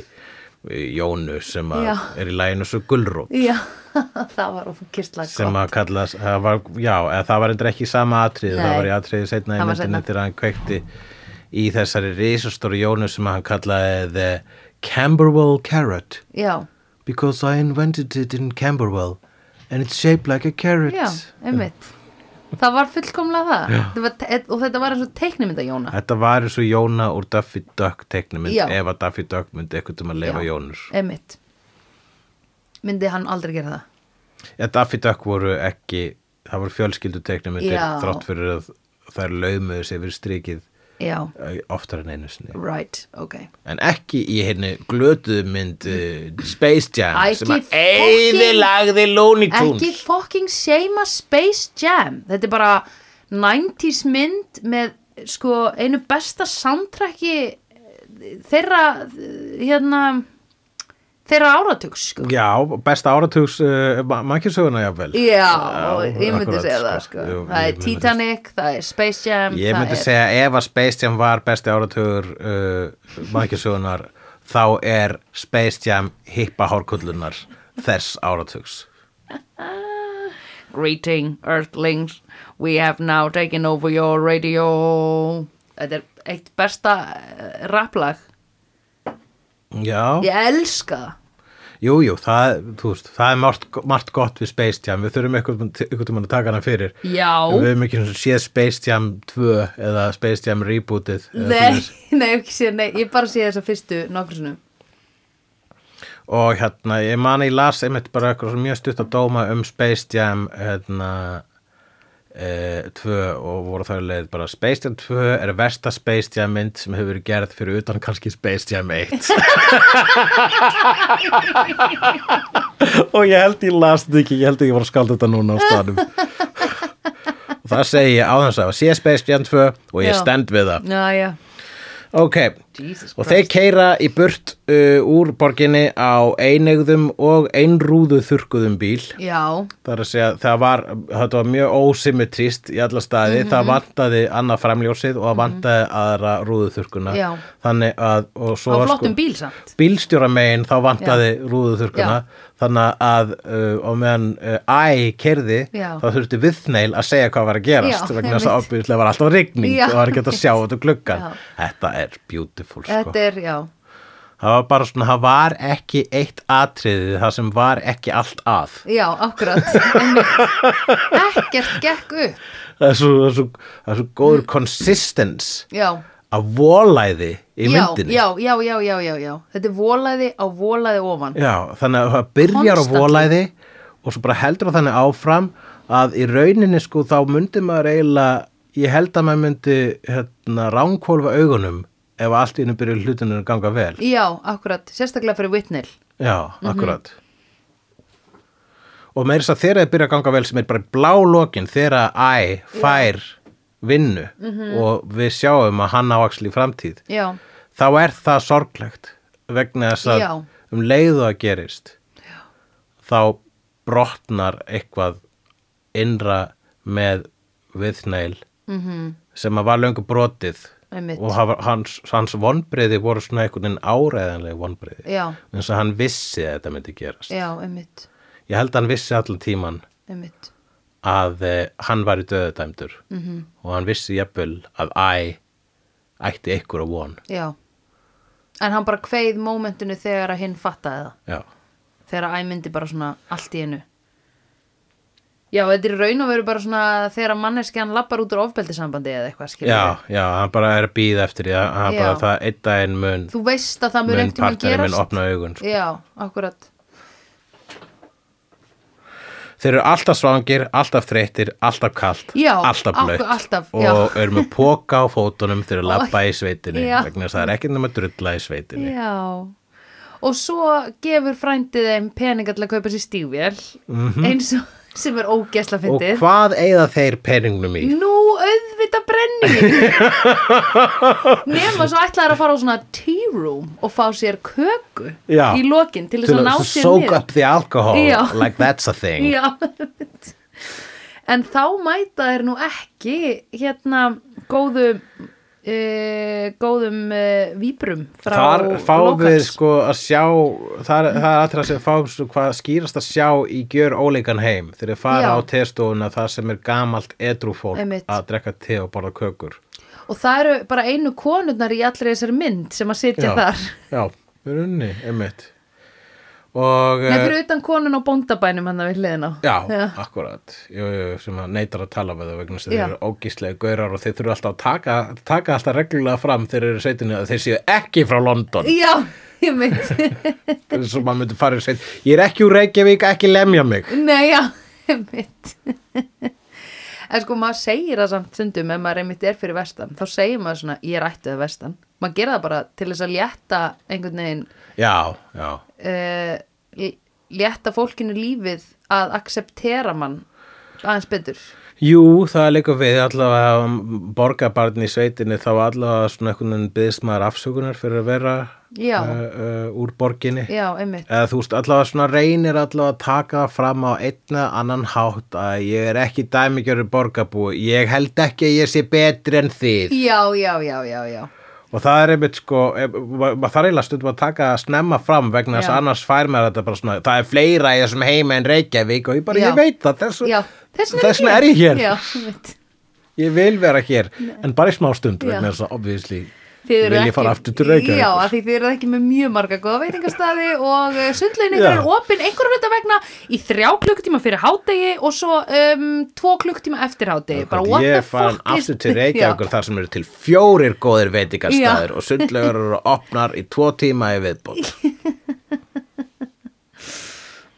Speaker 1: í Jónu sem að
Speaker 2: Já.
Speaker 1: er í læginu svo gulrót
Speaker 2: Já, það var ógíslega
Speaker 1: sem að kallast, það var, já, eða það var endur ekki í sama atrið,
Speaker 2: Nei.
Speaker 1: það var í atriði setna í
Speaker 2: Það var
Speaker 1: myndinni
Speaker 2: seinna.
Speaker 1: þegar hann kveikti í þessari risastóru Jónu sem hann kallaði The Camberwell Carrot
Speaker 2: Já,
Speaker 3: Because I invented it in Camberwell, and it's shaped like a carrot.
Speaker 2: já, einmitt Það var fullkomlega það Þetta var, og þetta var eins og teiknimynda Jóna
Speaker 1: Þetta var eins og Jóna úr Duffy Duck teiknumynd,
Speaker 2: Já.
Speaker 1: ef að Duffy Duck myndi eitthvað um að leifa
Speaker 2: Já.
Speaker 1: Jónur
Speaker 2: Einmitt Myndi hann aldrei gera það
Speaker 1: Já, Daffy Duck voru ekki það voru fjölskyldu teiknumyndir
Speaker 2: Já.
Speaker 1: þrátt fyrir að þær laumuðu sig fyrir strikið
Speaker 2: Já,
Speaker 1: eh, oftar en einu sinni
Speaker 2: right, ok
Speaker 1: en ekki í henni glötuðu mynd uh, Space Jam
Speaker 2: Ekki
Speaker 1: sem að
Speaker 2: fucking-
Speaker 1: eyðilagði Looney
Speaker 2: ekki
Speaker 1: Tunes
Speaker 2: fucking seima Space Jam þetta er bara 90s mynd með sko einu besta soundtracki eh, þeirra eh, hérna þeirra áratugs sko
Speaker 1: Já, besta áratugs uh, ma mannkjörsöguna jafnvel
Speaker 2: Já, ég myndi
Speaker 1: akkurat,
Speaker 2: segja það sko.
Speaker 1: Jú,
Speaker 2: það
Speaker 1: ég
Speaker 2: er
Speaker 1: myndi-
Speaker 2: Titanic, það er Space Jam
Speaker 1: Ég
Speaker 2: það
Speaker 1: myndi
Speaker 2: er...
Speaker 1: segja ef að Space Jam var besti áratugur uh, mannkjörsögunar eh, þá er Space Jam hippa hárkullunar þess áratugs
Speaker 2: Greeting Earthlings We have now taken over your radio Þetta er eitt besta eh, rapplag
Speaker 1: Já,
Speaker 2: Ég elska það
Speaker 1: jú, jú, það, þú veist, það er margt, margt gott við Space Jam, við þurfum einhvern einhvern tímann að taka hana fyrir Við
Speaker 2: Já,
Speaker 1: höfum ekki einu sinni séð Space Jam 2 eða Space Jam Rebootið eða
Speaker 2: nei,
Speaker 1: svoleiðis.
Speaker 2: nei, ekki séð, nei, ég bara sé þessa fyrstu nokkur sinnum
Speaker 1: og hérna, ég man að ég las einmitt bara eitthvað svona mjög stutt að dóma um Space Jam hérna e, 2 og voru þau leið bara Space Jam 2 er versta Space Jam mynd sem hefur verið gerð fyrir utan kannski Space Jam 1 og ég held ég las þetta ekki, ég held ég var að skalda þetta núna á staðnum og það segi ég á þess að sé Space Jam 2 og ég
Speaker 2: Já.
Speaker 1: stend við það
Speaker 2: Já, já,
Speaker 1: ok,
Speaker 2: Jesus
Speaker 1: Og þeir
Speaker 2: Christ
Speaker 1: keira í burt uh, úr borginni á einegðum og einrúðu þurrkuðum bíl.
Speaker 2: Já,
Speaker 1: Það er að segja, það var, þetta var mjög ósymmetrist í alla staði,
Speaker 2: Mhm.
Speaker 1: það vantaði annað framljósið og það vantaði aðra rúðu þurrkuna.
Speaker 2: Já.
Speaker 1: Þannig að, og svo
Speaker 2: á
Speaker 1: var sko-
Speaker 2: flottum bíl samt
Speaker 1: bílstjóramegin þá vantaði rúðu þurrkuna.
Speaker 2: Já.
Speaker 1: Þannig að, uh, og meðan uh, æ kerði,
Speaker 2: Já.
Speaker 1: þá þurfti viðneil að segja hvað var að gerast.
Speaker 2: Já,
Speaker 1: vegna þess að
Speaker 2: einmitt.
Speaker 1: ábyrðislega var alltaf rigning
Speaker 2: Já,
Speaker 1: og var ekki hægt að sjá út úr gluggan.
Speaker 2: Já.
Speaker 1: Þetta er beautiful, sko.
Speaker 2: Þetta er, já,
Speaker 1: Það var bara svona, það var ekki eitt atriði, það sem var ekki allt að.
Speaker 2: já, akkurat Einmitt. Ekkert gekk upp
Speaker 1: Það er svo, það er svo, það er svo
Speaker 2: Mm.
Speaker 1: góður consistence
Speaker 2: Já,
Speaker 1: að volæði í
Speaker 2: já,
Speaker 1: myndinni.
Speaker 2: já, já, já, já, já, já Þetta er volaði á volaði ofan
Speaker 1: já, þannig að það byrjar á
Speaker 2: Constantly.
Speaker 1: volæði og svo bara heldur það þannig áfram að í rauninni sko þá myndi maður eiginlega, ég held að maður myndi hérna, ránkólfa augunum ef allt í hennu byrjar hlutinu að ganga vel.
Speaker 2: Já, akkurat, sérstaklega fyrir vitnil
Speaker 1: Já, akkurat Og meira þess að þeirra þið byrja að ganga vel sem er bara í blá lokin þeirra æ, fær, vinnu og við sjáum að hann áaksl í framtíð
Speaker 2: Já,
Speaker 1: þá er það sorglegt vegna þess að
Speaker 2: Já.
Speaker 1: um leiðu að gerist Já. þá brotnar eitthvað innra með viðneil
Speaker 2: mhm,
Speaker 1: sem að var löngu brotið
Speaker 2: einmitt
Speaker 1: og hafa- hans, hans vonbreiði voru svona einhvern veginn áræðanlega vonbreiði
Speaker 2: Já,
Speaker 1: eins og hann vissi að þetta myndi gerast
Speaker 2: já, einmitt,
Speaker 1: ég held að hann vissi allan tíman
Speaker 2: einmitt
Speaker 1: að eh, hann var í döðudæmdur
Speaker 2: Mhm.
Speaker 1: -hmm. og hann vissi jafnvel að æ ætti ykkur að von
Speaker 2: Já En hann bara kveið mómentinu þegar að hinn fattaði það
Speaker 1: já,
Speaker 2: Þegar að æ myndi bara svona allt í einu Já, þetta er í raun og veru bara svona þegar að manneskjan lappar út úr ofbeldisambandi eða eitthvað skilur
Speaker 1: já, já, hann bara er að býða eftir því að hann
Speaker 2: Já.
Speaker 1: bara það einn daginn mun,
Speaker 2: Þú veist að það mun
Speaker 1: mun
Speaker 2: ekkert um að
Speaker 1: partnerinn mun
Speaker 2: gerast
Speaker 1: opna augun sko.
Speaker 2: Já, akkurat
Speaker 1: þeir eru alltaf svangir, alltaf þreyttir alltaf kalt,
Speaker 2: Já,
Speaker 1: alltaf blöitt
Speaker 2: akkur- alltaf, já.
Speaker 1: og eru með póka á fótunum þeir eru að labba í sveitinni
Speaker 2: Já.
Speaker 1: vegna þess að það er ekkert nema að drulla í sveitinni
Speaker 2: Já Og svo gefur frændið þeim peninga til að kaupa sér stífvél eins og sem er ógesla
Speaker 1: Mhm. og
Speaker 2: fyndið
Speaker 1: hvað eigða þeir peningnum í?
Speaker 2: Nú auðvitað brenni Nefna svo ætlaðar að fara á svona tea room og fá sér köku
Speaker 1: Já.
Speaker 2: í lokin til þess
Speaker 1: to,
Speaker 2: að ná
Speaker 1: to
Speaker 2: sér
Speaker 1: soak
Speaker 2: niður.
Speaker 1: up the alcohol
Speaker 2: Já.
Speaker 1: like that's a thing
Speaker 2: Já. En þá mæta þeir nú ekki hérna góðum uh, góðum uh, víbrum frá
Speaker 1: þar fáum við
Speaker 2: Lókans.
Speaker 1: sko að sjá þar, það er allra sem fáum sko hvað skýrast að sjá í gjör óleikan heim þegar þeir fara
Speaker 2: Já.
Speaker 1: á teðstofuna það sem er gamalt edru fólk
Speaker 2: Einmitt.
Speaker 1: að drekka te og borða kökur
Speaker 2: Og það eru bara einu konurnar í allri þessari mynd sem að sitja þar.
Speaker 1: já, við runni, einmitt og
Speaker 2: Nei,
Speaker 1: eh,
Speaker 2: fyrir utan konun á bóndabænum hann við hliðin á.
Speaker 1: Já, akkurat jú, jú, sem að neytar að tala við það vegna þess að
Speaker 2: Já.
Speaker 1: þeir eru ógíslega gaurar og þeir þurfa alltaf að taka, taka alltaf reglulega fram þegar þeir eru sveitinu að þeir séu ekki frá London
Speaker 2: Já, ég mynd.
Speaker 1: sem maður myndi fara í sveit ég er ekki úr Reykjavík, ekki lemja mig
Speaker 2: Nei, já, einmitt En sko maður segir það samt sundum ef maður einmitt er fyrir vestan þá segir maður svona, ég er ættuð að vestan maður gerir það bara til þess að létta einhvern veginn
Speaker 1: já, já,
Speaker 2: uh, létta fólkinu lífið að akseptera mann aðeins betur
Speaker 1: jú, það er líka við allavega að borga barn í sveitinni þá allavega svona einhvern veginn byðst maður afsökunar fyrir að vera
Speaker 2: Já.
Speaker 1: uh, uh, úr borginni
Speaker 2: Já, einmitt,
Speaker 1: eða þú veist, allavega svona reynir allavega að taka fram á einna annan hátt að ég er ekki dæmigjörður borgarbú ég held ekki að ég sé betri en þið
Speaker 2: já, já, já, já, já
Speaker 1: og það er einmitt sko eh, ma- maður þarf eiginlega stundum að taka að snemma fram vegna þess
Speaker 2: Já.
Speaker 1: að annars fær maður þetta bara svona það er fleira í þessum heima en Reykjavík og ég bara,
Speaker 2: Já.
Speaker 1: ég veit það þessu,
Speaker 2: Já, þess vegna
Speaker 1: þess vegna er ég hér
Speaker 2: Já, einmitt.
Speaker 1: ég vil vera hér, en bara í smá stund
Speaker 2: Já.
Speaker 1: vegna þess að obviously
Speaker 2: Þið eruð
Speaker 1: vil
Speaker 2: ekki-
Speaker 1: ég fara aftur til Reykjavík
Speaker 2: Já, af því þið eru ekki með mjög marga góða veitingastæði og uh, sundlegin
Speaker 1: Já.
Speaker 2: er opinn einhverjum þetta vegna í þrjá klukkutíma fyrir hádegi og svo um, tvo klukkutíma eftir hádegi bara what the
Speaker 1: ég fann
Speaker 2: fuck is-
Speaker 1: aftur til
Speaker 2: Já.
Speaker 1: Reykjavíkur þar sem eru til fjórir góðir veitingastæður og sundlegar eru opnar í tvo tíma í viðbót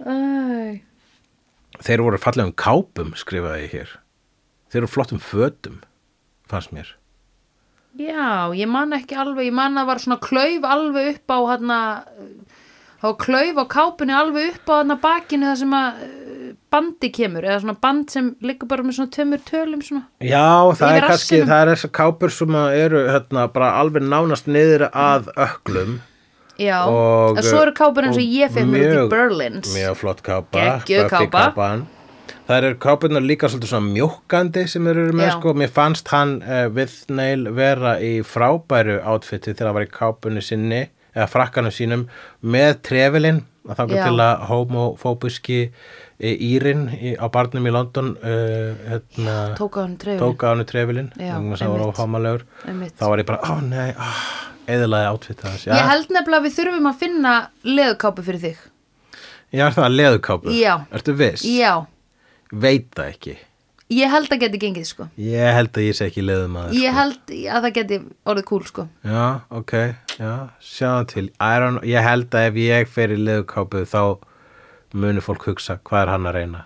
Speaker 2: Æ,
Speaker 1: þeir voru fallegum kápum skrifaði ég hér þeir eru flottum fötum fannst mér
Speaker 2: Já, ég man ekki alveg, ég man að var svona klauf alveg upp á hérna, þá var klauf á kápunni alveg upp á hérna bakinu það sem að eh, bandi kemur, eða svona band sem liggur bara með svona tveimur tölum svona.
Speaker 1: já það
Speaker 2: Yfir
Speaker 1: er kannski
Speaker 2: rassinum.
Speaker 1: það er þessar kápur sem að eru hérna, bara alveg nánast niður að öklum
Speaker 2: Já,
Speaker 1: Og-
Speaker 2: og, svo eru kápur eins og ég fekk mér út í
Speaker 1: mjög-
Speaker 2: Berlins.
Speaker 1: mjög flott kápa
Speaker 2: Geggjuð
Speaker 1: Buffy
Speaker 2: kápa.
Speaker 1: kápan. það eru kápunar líka svolítið svona mjókandi sem þeir eru með
Speaker 2: Já.
Speaker 1: sko mér fannst hann uh, við neil vera í frábæru átfitti þegar hann var í kápunni sinni eða frakkanum sínum með trefilinn að þangað
Speaker 2: Já.
Speaker 1: til að homofóbiski eh, Írinn í- á barnum í London uh, hérna,
Speaker 2: Tók á hann trefur.
Speaker 1: tók á hannu trefilinn
Speaker 2: Já,
Speaker 1: vegna þess að það var
Speaker 2: einmitt.
Speaker 1: óhámalegur
Speaker 2: Einmitt.
Speaker 1: þá var ég bara, ó nei, ah, eðilaði átfitt hans já,
Speaker 2: Ég held nefnilega að við þurfum að finna leðukápu fyrir þig.
Speaker 1: já er það leðukápu
Speaker 2: Já.
Speaker 1: ertu viss?
Speaker 2: Já,
Speaker 1: veit það ekki
Speaker 2: ég held að geti gengið sko.
Speaker 1: ég held að ég sé ekki leiðum að
Speaker 2: Ég held að það geti orðið kúl sko.
Speaker 1: sko. já, ok, já, sjáðan til I don't, know. ég held að ef ég fer í leiðukápu þá muni fólk hugsa hvað er hann að reyna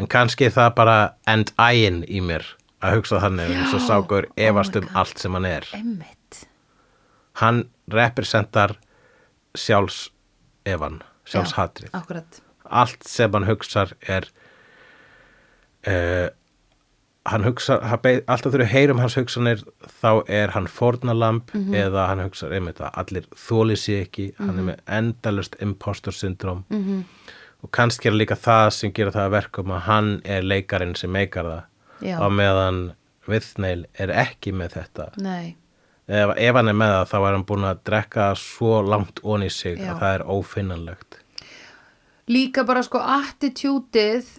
Speaker 1: en kannski er það bara end ægin í mér að hugsa þannig
Speaker 2: Já,
Speaker 1: eins og sákur
Speaker 2: oh
Speaker 1: efast
Speaker 2: my
Speaker 1: um
Speaker 2: God.
Speaker 1: allt sem hann er
Speaker 2: Einmitt.
Speaker 1: hann representar sjálfs efan sjálfs hatrið
Speaker 2: Akkurat.
Speaker 1: allt sem hann hugsar er uh, hann hugsar hann bei- alltaf þegar við heyrum um hans hugsanir þá er hann fórnalamb
Speaker 2: Mhm.
Speaker 1: eða hann hugsar einmitt að allir þóli sér ekki hann er með endalust impostor syndrom
Speaker 2: Mhm.
Speaker 1: -hmm. og kannski er líka það sem gera það að verkum að hann er leikarinn sem meikar það
Speaker 2: Já.
Speaker 1: á meðan Viðneil er ekki með þetta
Speaker 2: Nei.
Speaker 1: ef, ef hann er með það þá er hann búin að drekka svo langt onni sig
Speaker 2: Já.
Speaker 1: að það er ófinnanlegt
Speaker 2: líka bara sko attitútið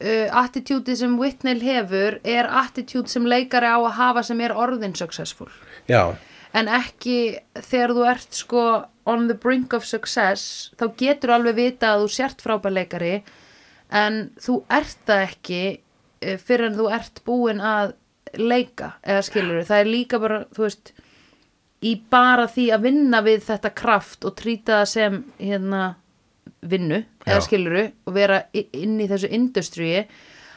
Speaker 2: uh, attitútið sem Whitney hefur er attitút sem leikari á að hafa sem er orðin successful
Speaker 1: já,
Speaker 2: en ekki þegar þú ert sko on the brink of success þá getur alveg vita að þú sért frábær leikari en þú ert það ekki uh, fyrir en þú ert búin að leika eða skilur það er líka bara, þú veist í bara því að vinna við þetta kraft og trýta það sem hérna vinnu eða
Speaker 1: Já.
Speaker 2: skiluru og vera i- inn í þessu industríi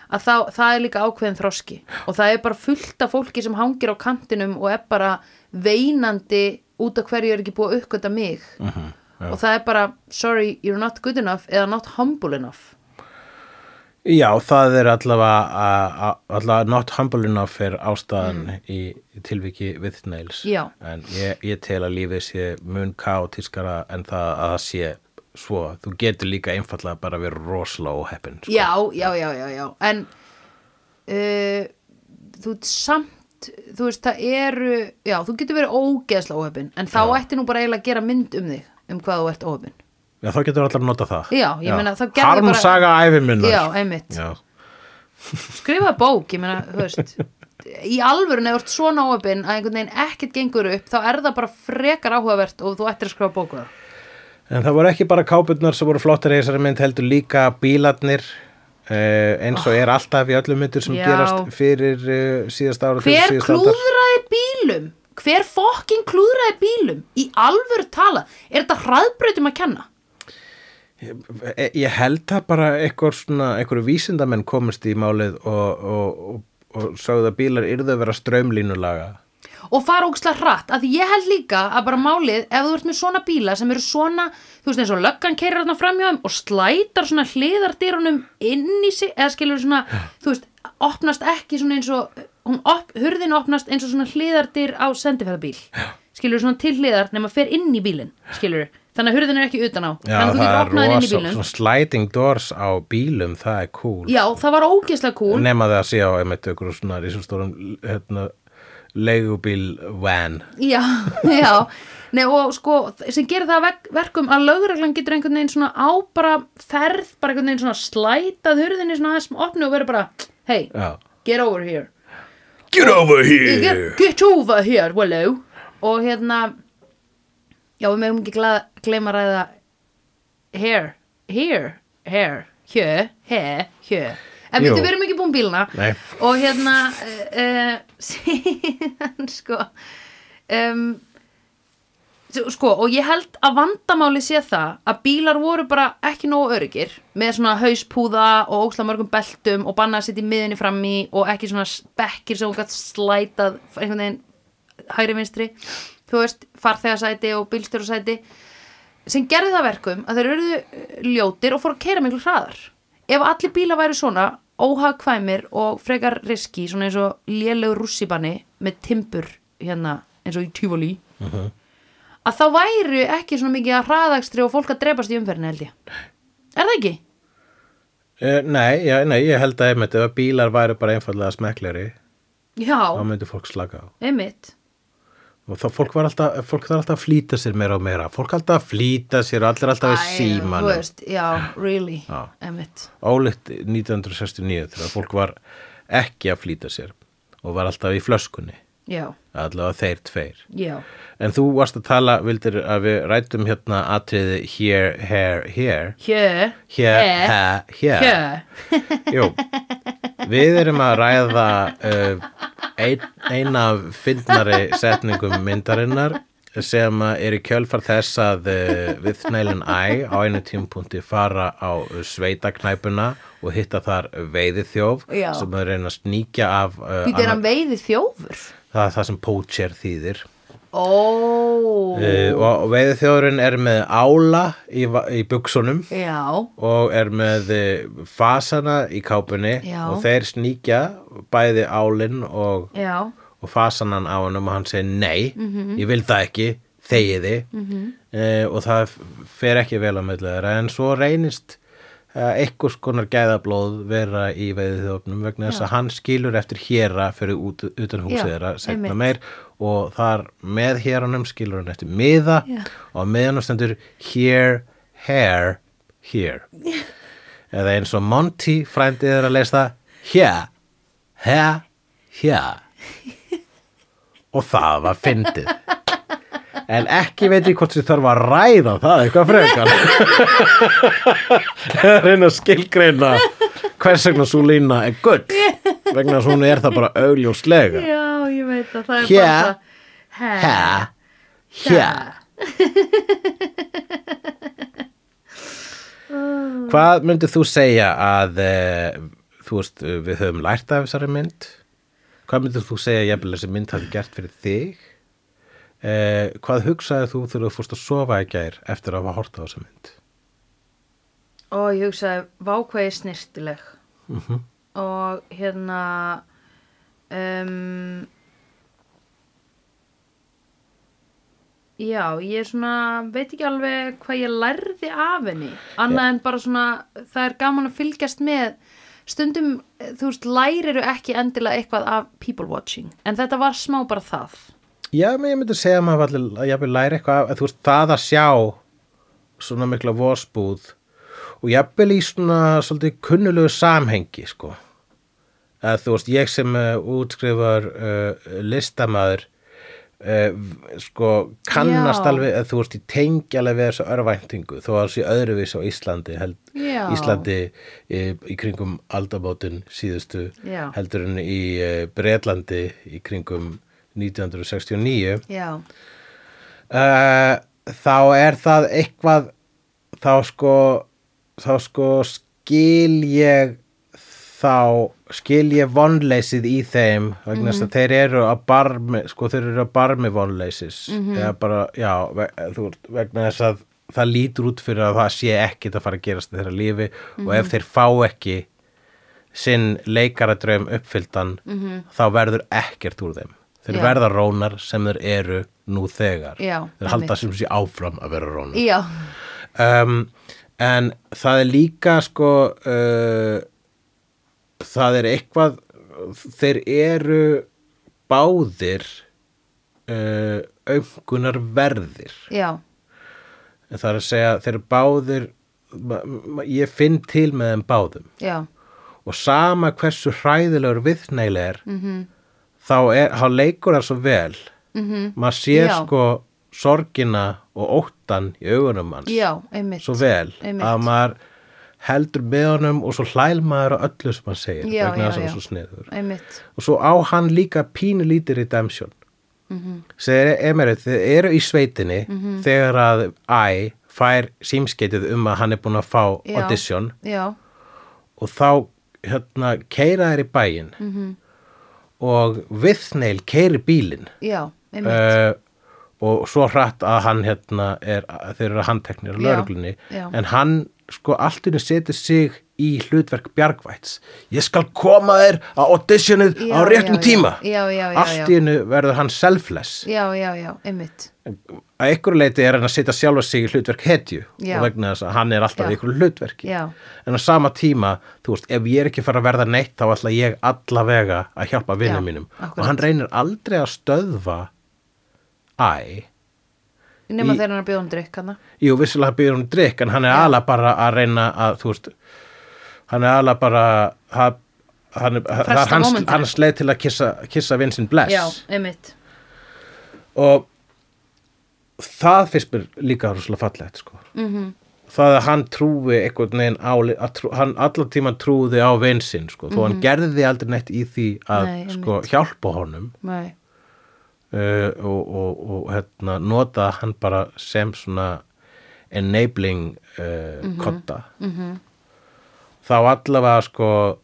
Speaker 2: að þá, það er líka ákveðin þroski og það er bara fullt af fólki sem hangir á kantinum og er bara veinandi út af hverju er ekki búið að uppgöta mig
Speaker 1: Mhm, já.
Speaker 2: og það er bara sorry you're not good enough eða not humble enough
Speaker 1: Já, það er allavega, a- a- allavega not humble enough er ástæðan í, í tilviki with nails.
Speaker 2: Mm. Já.
Speaker 1: En ég, ég tel að lífið sé mun kaotískara en það að það sé svo. Þú getur líka einfallega bara verið rosalega óheppin. Sko.
Speaker 2: já, já, já, já, já en uh, þú ert samt þú veist það eru já, þú getur verið ógeðslega óhefin en þá ætti nú bara eiginlega að gera mynd um þig um hvað þú ert óhefin
Speaker 1: Já, þá getur allavega nota það.
Speaker 2: Já, ég meina, þá gerðu bara-
Speaker 1: Harmsaga æfiminnar.
Speaker 2: Já, einmitt.
Speaker 1: Já,
Speaker 2: skrifa bók, ég meina, þú veist í alvörun eða þú ert svona óöpinn að einhvern veginn ekkert gengur upp þá er það bara frekar áhugavert og þú ættir að skrifa bóku það
Speaker 1: En það voru ekki bara kápurnar sem voru flottar í þessari mynd heldur líka bílarnir uh, eins og er alltaf í öllum myndir sem
Speaker 2: Ah. Já.
Speaker 1: gerast fyrir uh, síðast ára.
Speaker 2: hver
Speaker 1: fyrir síðast aldar.
Speaker 2: klúðraði bílum hver fokkin klúðraði bílum í alvöru tala, er þetta hraðbrautum að kenna?
Speaker 1: E- Ég held að bara eitthvað svona, eitthvað vísindamenn komist í málið og, og, og, og sögðu að bílar yrðu að vera strömlínulaga.
Speaker 2: og fara ógislega hratt að því ég held líka að bara málið ef þú ert með svona bíla sem eru svona þú veist eins og löggan keirir þarna framhjóðum og slætar svona hliðardýrunum inn í sig eða skilur svona þú veist, opnast ekki svona eins og hún op, hurðin opnast eins og svona hliðardýr á sendifæðabíl skilur svona til hliðar nema fer inn í bílinn skilur þannig að hurðin er ekki utan á þannig að þú getur opnað hann inn í bílinn
Speaker 1: svona sliding doors á bílum, það er cool.
Speaker 2: já það var ógislega cool
Speaker 1: Nema það að sé á einmitt ykkur svona í svona stórum hérna, leigubíl van
Speaker 2: Já, já Nei, og sko, sem gerir það vek- verkum að lögreglan getur einhvern veginn svona á bara ferð, bara einhvern veginn svona slætað hurðinni svona aðeins opnu og verður bara hey,
Speaker 1: Já.
Speaker 2: get over here
Speaker 1: Get over
Speaker 2: get, get over here, hello og hérna já, við mögum ekki glað, gleyma að ræða here, here, here here, here, here en
Speaker 1: Jú.
Speaker 2: við við erum ekki búin bílna
Speaker 1: Nei.
Speaker 2: og hérna uh, síðan sko um, s- sko og ég held að vandamáli sé það að bílar voru bara ekki nógu öryggir með svona hauspúða og óksla mörgum beltum og bannað að sitja í miðinni fram í og ekki svona bekkir sem hún gætt slætað einhvern veginn hægri vinstri þú veist farþegasæti og bílstjórasæti sem gerði það verkum að þeir eru ljótir og fóru að keira miklu hraðar ef allir bílar væri svona óhagkvæmir og frekar riski svona eins og lélegu rússibanni með timbur hérna eins og í tífólí
Speaker 1: Mhm.
Speaker 2: að þá væri ekki svona mikið að hraðakstri og fólk að drepast í umferðinu held ég er það ekki?
Speaker 1: Eh, Nei, já, nei, ég held að einmitt ef að bílar væru bara einfallega smekkleri þá
Speaker 2: Já,
Speaker 1: myndi fólk slaka á
Speaker 2: einmitt
Speaker 1: og þá fólk var alltaf, fólk þarf alltaf að flýta sér meira og meira, fólk alltaf að flýta sér og allir alltaf í
Speaker 2: Æ, þú
Speaker 1: símanum
Speaker 2: veist, Já, really,
Speaker 1: Já.
Speaker 2: einmitt
Speaker 1: ólitt 1969 þegar fólk var ekki að flýta sér og var alltaf í flöskunni
Speaker 2: Já,
Speaker 1: allavega þeir tveir
Speaker 2: já,
Speaker 1: en þú varst að tala, vildir að við rætum hérna atriði here, here, here
Speaker 2: hjö
Speaker 1: here,
Speaker 2: hjö,
Speaker 1: ha, here
Speaker 2: hjö
Speaker 1: Jú, við erum að ræða uh, ein, eina af fyndnari setningum myndarinnar sem að er í kjölfar þess að uh, við snælun æ á einu tímpunkti fara á sveitaknæpuna og hitta þar veiði þjóf
Speaker 2: Já.
Speaker 1: sem að reyna að sníkja af uh,
Speaker 2: Býtu er
Speaker 1: annar-
Speaker 2: hann veiði þjófur?
Speaker 1: það, er það sem poacher þýðir
Speaker 2: Ó,
Speaker 1: uh, og veiði þjófurinn er með ála í, va- í buksunum
Speaker 2: já,
Speaker 1: og er með eh, fasana í kápunni
Speaker 2: Já.
Speaker 1: og þeir sníkja bæði álinn og,
Speaker 2: já,
Speaker 1: og fasanan á hann og hann segir nei,
Speaker 2: Mhm.
Speaker 1: ég vil það ekki þegiði mm -hmm. og það f- fer ekki vel á milli þeirra en svo reynist eh, einhvers konar gæðablóð vera í veiðiðjófnum vegna þess að hann skilur eftir héra fyrir út, utan húsið
Speaker 2: Já,
Speaker 1: þeirra seinna
Speaker 2: einmitt.
Speaker 1: meir og þar með héranum skilur hann eftir miða
Speaker 2: Já.
Speaker 1: og á miðanum stendur here, hair, here eða eins og Monty frændið er að lesa hér, hér, hér og það var fyndið en ekki veit ég hvort þið þarf að ræða það eitthvað frekar Eða reyna að skilgreina hvers vegna svo lína er gull vegna þess að hún er það bara augljóslega
Speaker 2: já, ég veit að það er
Speaker 1: Hjö.
Speaker 2: bara
Speaker 1: hæ,
Speaker 2: það.
Speaker 1: hæ hvað myndir þú segja að e, þú veist, eh, við höfum lært af þessari mynd hvað myndir þú segja jafnilega þessi mynd hafi gert fyrir þig e, hvað hugsaði þú þegar þú fórst að sofa í gær eftir að hafa horta á þessa mynd
Speaker 2: Og ég hugsaði, vákvæði snirtileg. Og hérna, um, já, ég er svona, veit ekki alveg hvað ég lærði af henni. Annað en bara svona, það er gaman að fylgjast með. Stundum, eh, þú veist, læriru ekki endilega eitthvað af people watching. En þetta var smá bara það.
Speaker 1: já, menn ég myndi segja að maður allir, að jafnilega læra eitthvað af, að þú veist, það að sjá svona mikla vósbúð og jafnilega í svona svolítið kunnulegu samhengi sko að þú veist, ég sem uh, útskrifar uh, listamaður uh, v- sko kannast
Speaker 2: Já.
Speaker 1: alveg að þú veist, ég tengi alveg við þessu örvæntingu þó að þessu öðruvís á Íslandi held,
Speaker 2: Já.
Speaker 1: Íslandi í, í kringum aldamótin síðustu
Speaker 2: Já.
Speaker 1: heldur en í uh, Bretlandi í kringum 1969
Speaker 2: Já,
Speaker 1: Eh, þá er það eitthvað þá sko þá sko skil ég þá skil ég vonleysið í þeim vegna þess að þeir eru að barmi sko þeir eru að barmi vonleysis eða bara, já, ve þú, veist, vegna þess að það lítur út fyrir að það sé ekkit að fara að gerast í þeirra lífi og ef þeir fá ekki sinn leikaradraum uppfylltan þá verður ekkert úr þeim þeir
Speaker 2: Já.
Speaker 1: verða rónar sem þeir eru nú þegar
Speaker 2: Já,
Speaker 1: þeir halda
Speaker 2: einmitt.
Speaker 1: sem sé áfram að vera rónar
Speaker 2: já,
Speaker 1: um, en það er líka sko uh, það er eitthvað þeir eru báðir uh, auðgunar verðir
Speaker 2: já,
Speaker 1: það er að segja þeir eru báðir ma- ma- ég finn til með þeim báðum
Speaker 2: já,
Speaker 1: og sama hversu hræðilegur viðneil er þá, er, þá leikur það svo vel -hmm. maður sér
Speaker 2: Já.
Speaker 1: sko sorgina og óttan í augunum hans
Speaker 2: já, einmitt
Speaker 1: svo vel
Speaker 2: Einmitt.
Speaker 1: að maður heldur með honum og svo hlæl maður á öllu sem hann segir
Speaker 2: Já,
Speaker 1: vegna
Speaker 2: já,
Speaker 1: þess að hann
Speaker 2: já.
Speaker 1: er svo sniður
Speaker 2: einmitt,
Speaker 1: og svo á hann líka pínu lítið redemption segir Emerit, þið eru í sveitinni
Speaker 2: Mhm.
Speaker 1: þegar að Æ fær símskeitið um að hann er búin að fá
Speaker 2: Já.
Speaker 1: audition
Speaker 2: já,
Speaker 1: og þá hérna, keira þær í bæinn
Speaker 2: Mhm.
Speaker 1: -hmm. og Viðneil keiri bílinn
Speaker 2: já, einmitt
Speaker 1: uh, og svo hratt að hann hérna, er, þeir eru handteknir á
Speaker 2: Já,
Speaker 1: lauruglunni
Speaker 2: já.
Speaker 1: en hann sko allt inni setur sig í hlutverk bjargvæts ég skal koma þér á auditionið
Speaker 2: Já,
Speaker 1: á
Speaker 2: já,
Speaker 1: réttum
Speaker 2: já.
Speaker 1: tíma
Speaker 2: Já, já, já,
Speaker 1: allt
Speaker 2: já.
Speaker 1: innu verður hann selfless
Speaker 2: já, já, já, einmitt
Speaker 1: að einhverju leiti er hann að setja sjálfa sig í hlutverk hetju
Speaker 2: Já.
Speaker 1: og vegna þess að hann er alltaf
Speaker 2: Já.
Speaker 1: í einhverju hlutverki
Speaker 2: Já.
Speaker 1: en á sama tíma, þú veist, ef ég er ekki fara að verða neitt þá ætla ég allavega að hjálpa
Speaker 2: Já,
Speaker 1: vinnum mínum
Speaker 2: akkurat.
Speaker 1: og hann reynir aldrei að stöðva æ,
Speaker 2: nema
Speaker 1: Í-
Speaker 2: þegar hann er að bjóða um drikk hann
Speaker 1: jú, vissulega býður hún drikk en hann er
Speaker 2: Já.
Speaker 1: alveg bara að reyna að, þú veist hann er alveg bara að hann, það er
Speaker 2: Fresta
Speaker 1: hans,
Speaker 2: momentinu.
Speaker 1: hans leið til að kissa, kissa vinn sinn bless
Speaker 2: já, einmitt,
Speaker 1: og það finnst mér líka rosalega fallegt sko. mm -hmm. það að hann trúi einhvern veginn á að trú, hann allan tíman trúði á vinsinn sko, þó hann gerði aldrei neitt í því að
Speaker 2: Nei,
Speaker 1: sko, hjálpa honum
Speaker 2: nei,
Speaker 1: uh, og, og, og hérna, nota hann bara sem svona enabling uh, kotta -hmm. þá allavega sko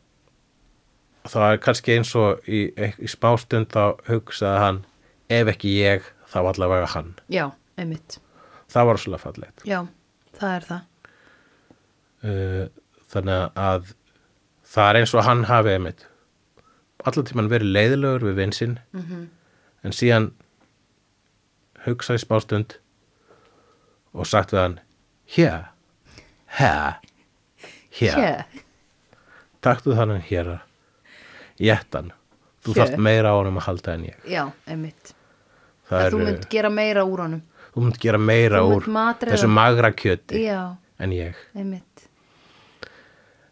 Speaker 1: þá er kannski eins og í, í smástund þá hugsaði hann ef ekki ég þá allavega hann
Speaker 2: já, einmitt
Speaker 1: það var svolítið fallegt
Speaker 2: já, það er það
Speaker 1: uh, þannig að það er eins og hann hafi einmitt allan tímann verið leiðilegur við vinsinn
Speaker 2: Mhm.
Speaker 1: -hmm. en síðan hugsaði spástund og sagt við hann hér, hér hér,
Speaker 2: yeah.
Speaker 1: taktu þannig hér jættan þú
Speaker 2: Hér.
Speaker 1: þarft meira á honum að halda en ég
Speaker 2: já, einmitt
Speaker 1: það
Speaker 2: að þú mynd gera meira úr honum
Speaker 1: þú munt gera meira
Speaker 2: þú
Speaker 1: úr
Speaker 2: munt matreiða-
Speaker 1: þessu magra kjöti
Speaker 2: já,
Speaker 1: en ég
Speaker 2: einmitt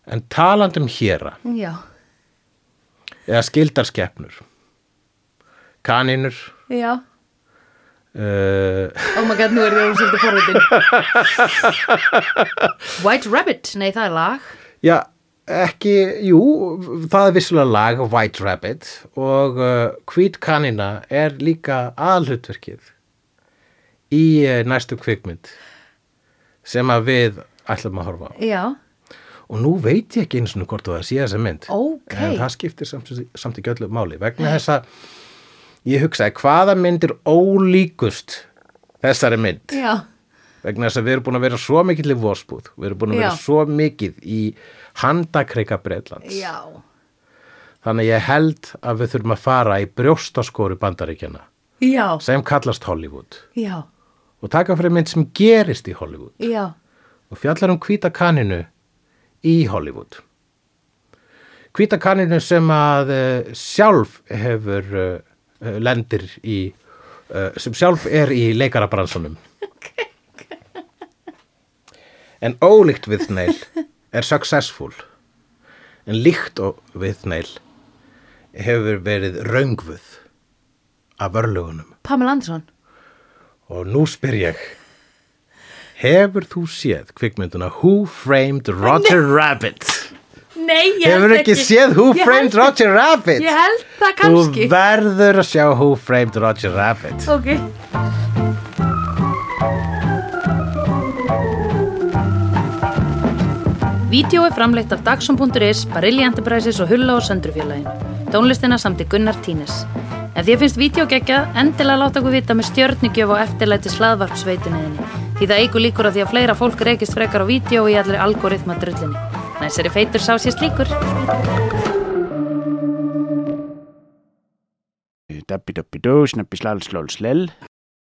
Speaker 1: en talandum hér
Speaker 2: já,
Speaker 1: eða skildarskeppnur kaninur
Speaker 2: já
Speaker 1: uh,
Speaker 2: oh my god, nú er ég um svolítið forvitin White Rabbit, nei það er lag
Speaker 1: já, ekki, jú það er vissulega lag White Rabbit og uh, hvít kanina er líka aðhlutverkið í uh, næstu kvikmynd sem að við ætlum að horfa á
Speaker 2: já,
Speaker 1: og nú veit ég ekki eins og hvort það sé þessa mynd
Speaker 2: Ókei.
Speaker 1: en það skiptir samt, samt ekki öllu máli vegna þess að ég hugsaði hvaða myndir ólíkust þessari mynd
Speaker 2: já,
Speaker 1: vegna þess að við erum búin að vera svo mikill í vorspúð, við erum búin að vera
Speaker 2: Já.
Speaker 1: svo mikill í handakreika Breitlands
Speaker 2: já
Speaker 1: þannig að ég held að við þurfum að fara í brjóstaskóru bandaríkjana
Speaker 2: já,
Speaker 1: sem kallast Hollywood
Speaker 2: já,
Speaker 1: og taka fyrir mynd sem gerist í Hollywood
Speaker 2: já
Speaker 1: og fjallar um hvíta kaninu í Hollywood hvíta kaninu sem að uh, sjálf hefur uh, uh, lendir í uh, sem sjálf er í leikarabransunum en ólíkt við neil er successful en líkt og við neil hefur verið raungvuð af örlugunum
Speaker 2: Pamela Anderson
Speaker 1: Og nú spyr ég Hefur þú séð kvikmynduna Who Framed Roger Rabbit?
Speaker 2: nei, ég
Speaker 1: Hefur ekki séð Who
Speaker 2: Ég
Speaker 1: Framed
Speaker 2: held-
Speaker 1: Roger Rabbit?
Speaker 2: ég held það
Speaker 1: Þú
Speaker 2: kannski
Speaker 1: verður að sjá Who Framed Roger Rabbit
Speaker 2: ok, Vídeó er framleitt af Dagsum.is, Barilli Enterprises og Hulla og Söndrufjörlægin. Tónlistina samt í Gunnar Tínes. Ef þér finnst vídeo geggja, endilega láta okkur vita með stjörnigjöf og eftirlæti slaðvarpsveituninni. Því það eigur líkur að því að fleira fólk reykist frekar á vídeo í allri algoritma drullinni. Næsari feitur sá sér slíkur.
Speaker 4: Dabbi dabbi dó, snabbi slal slól slell.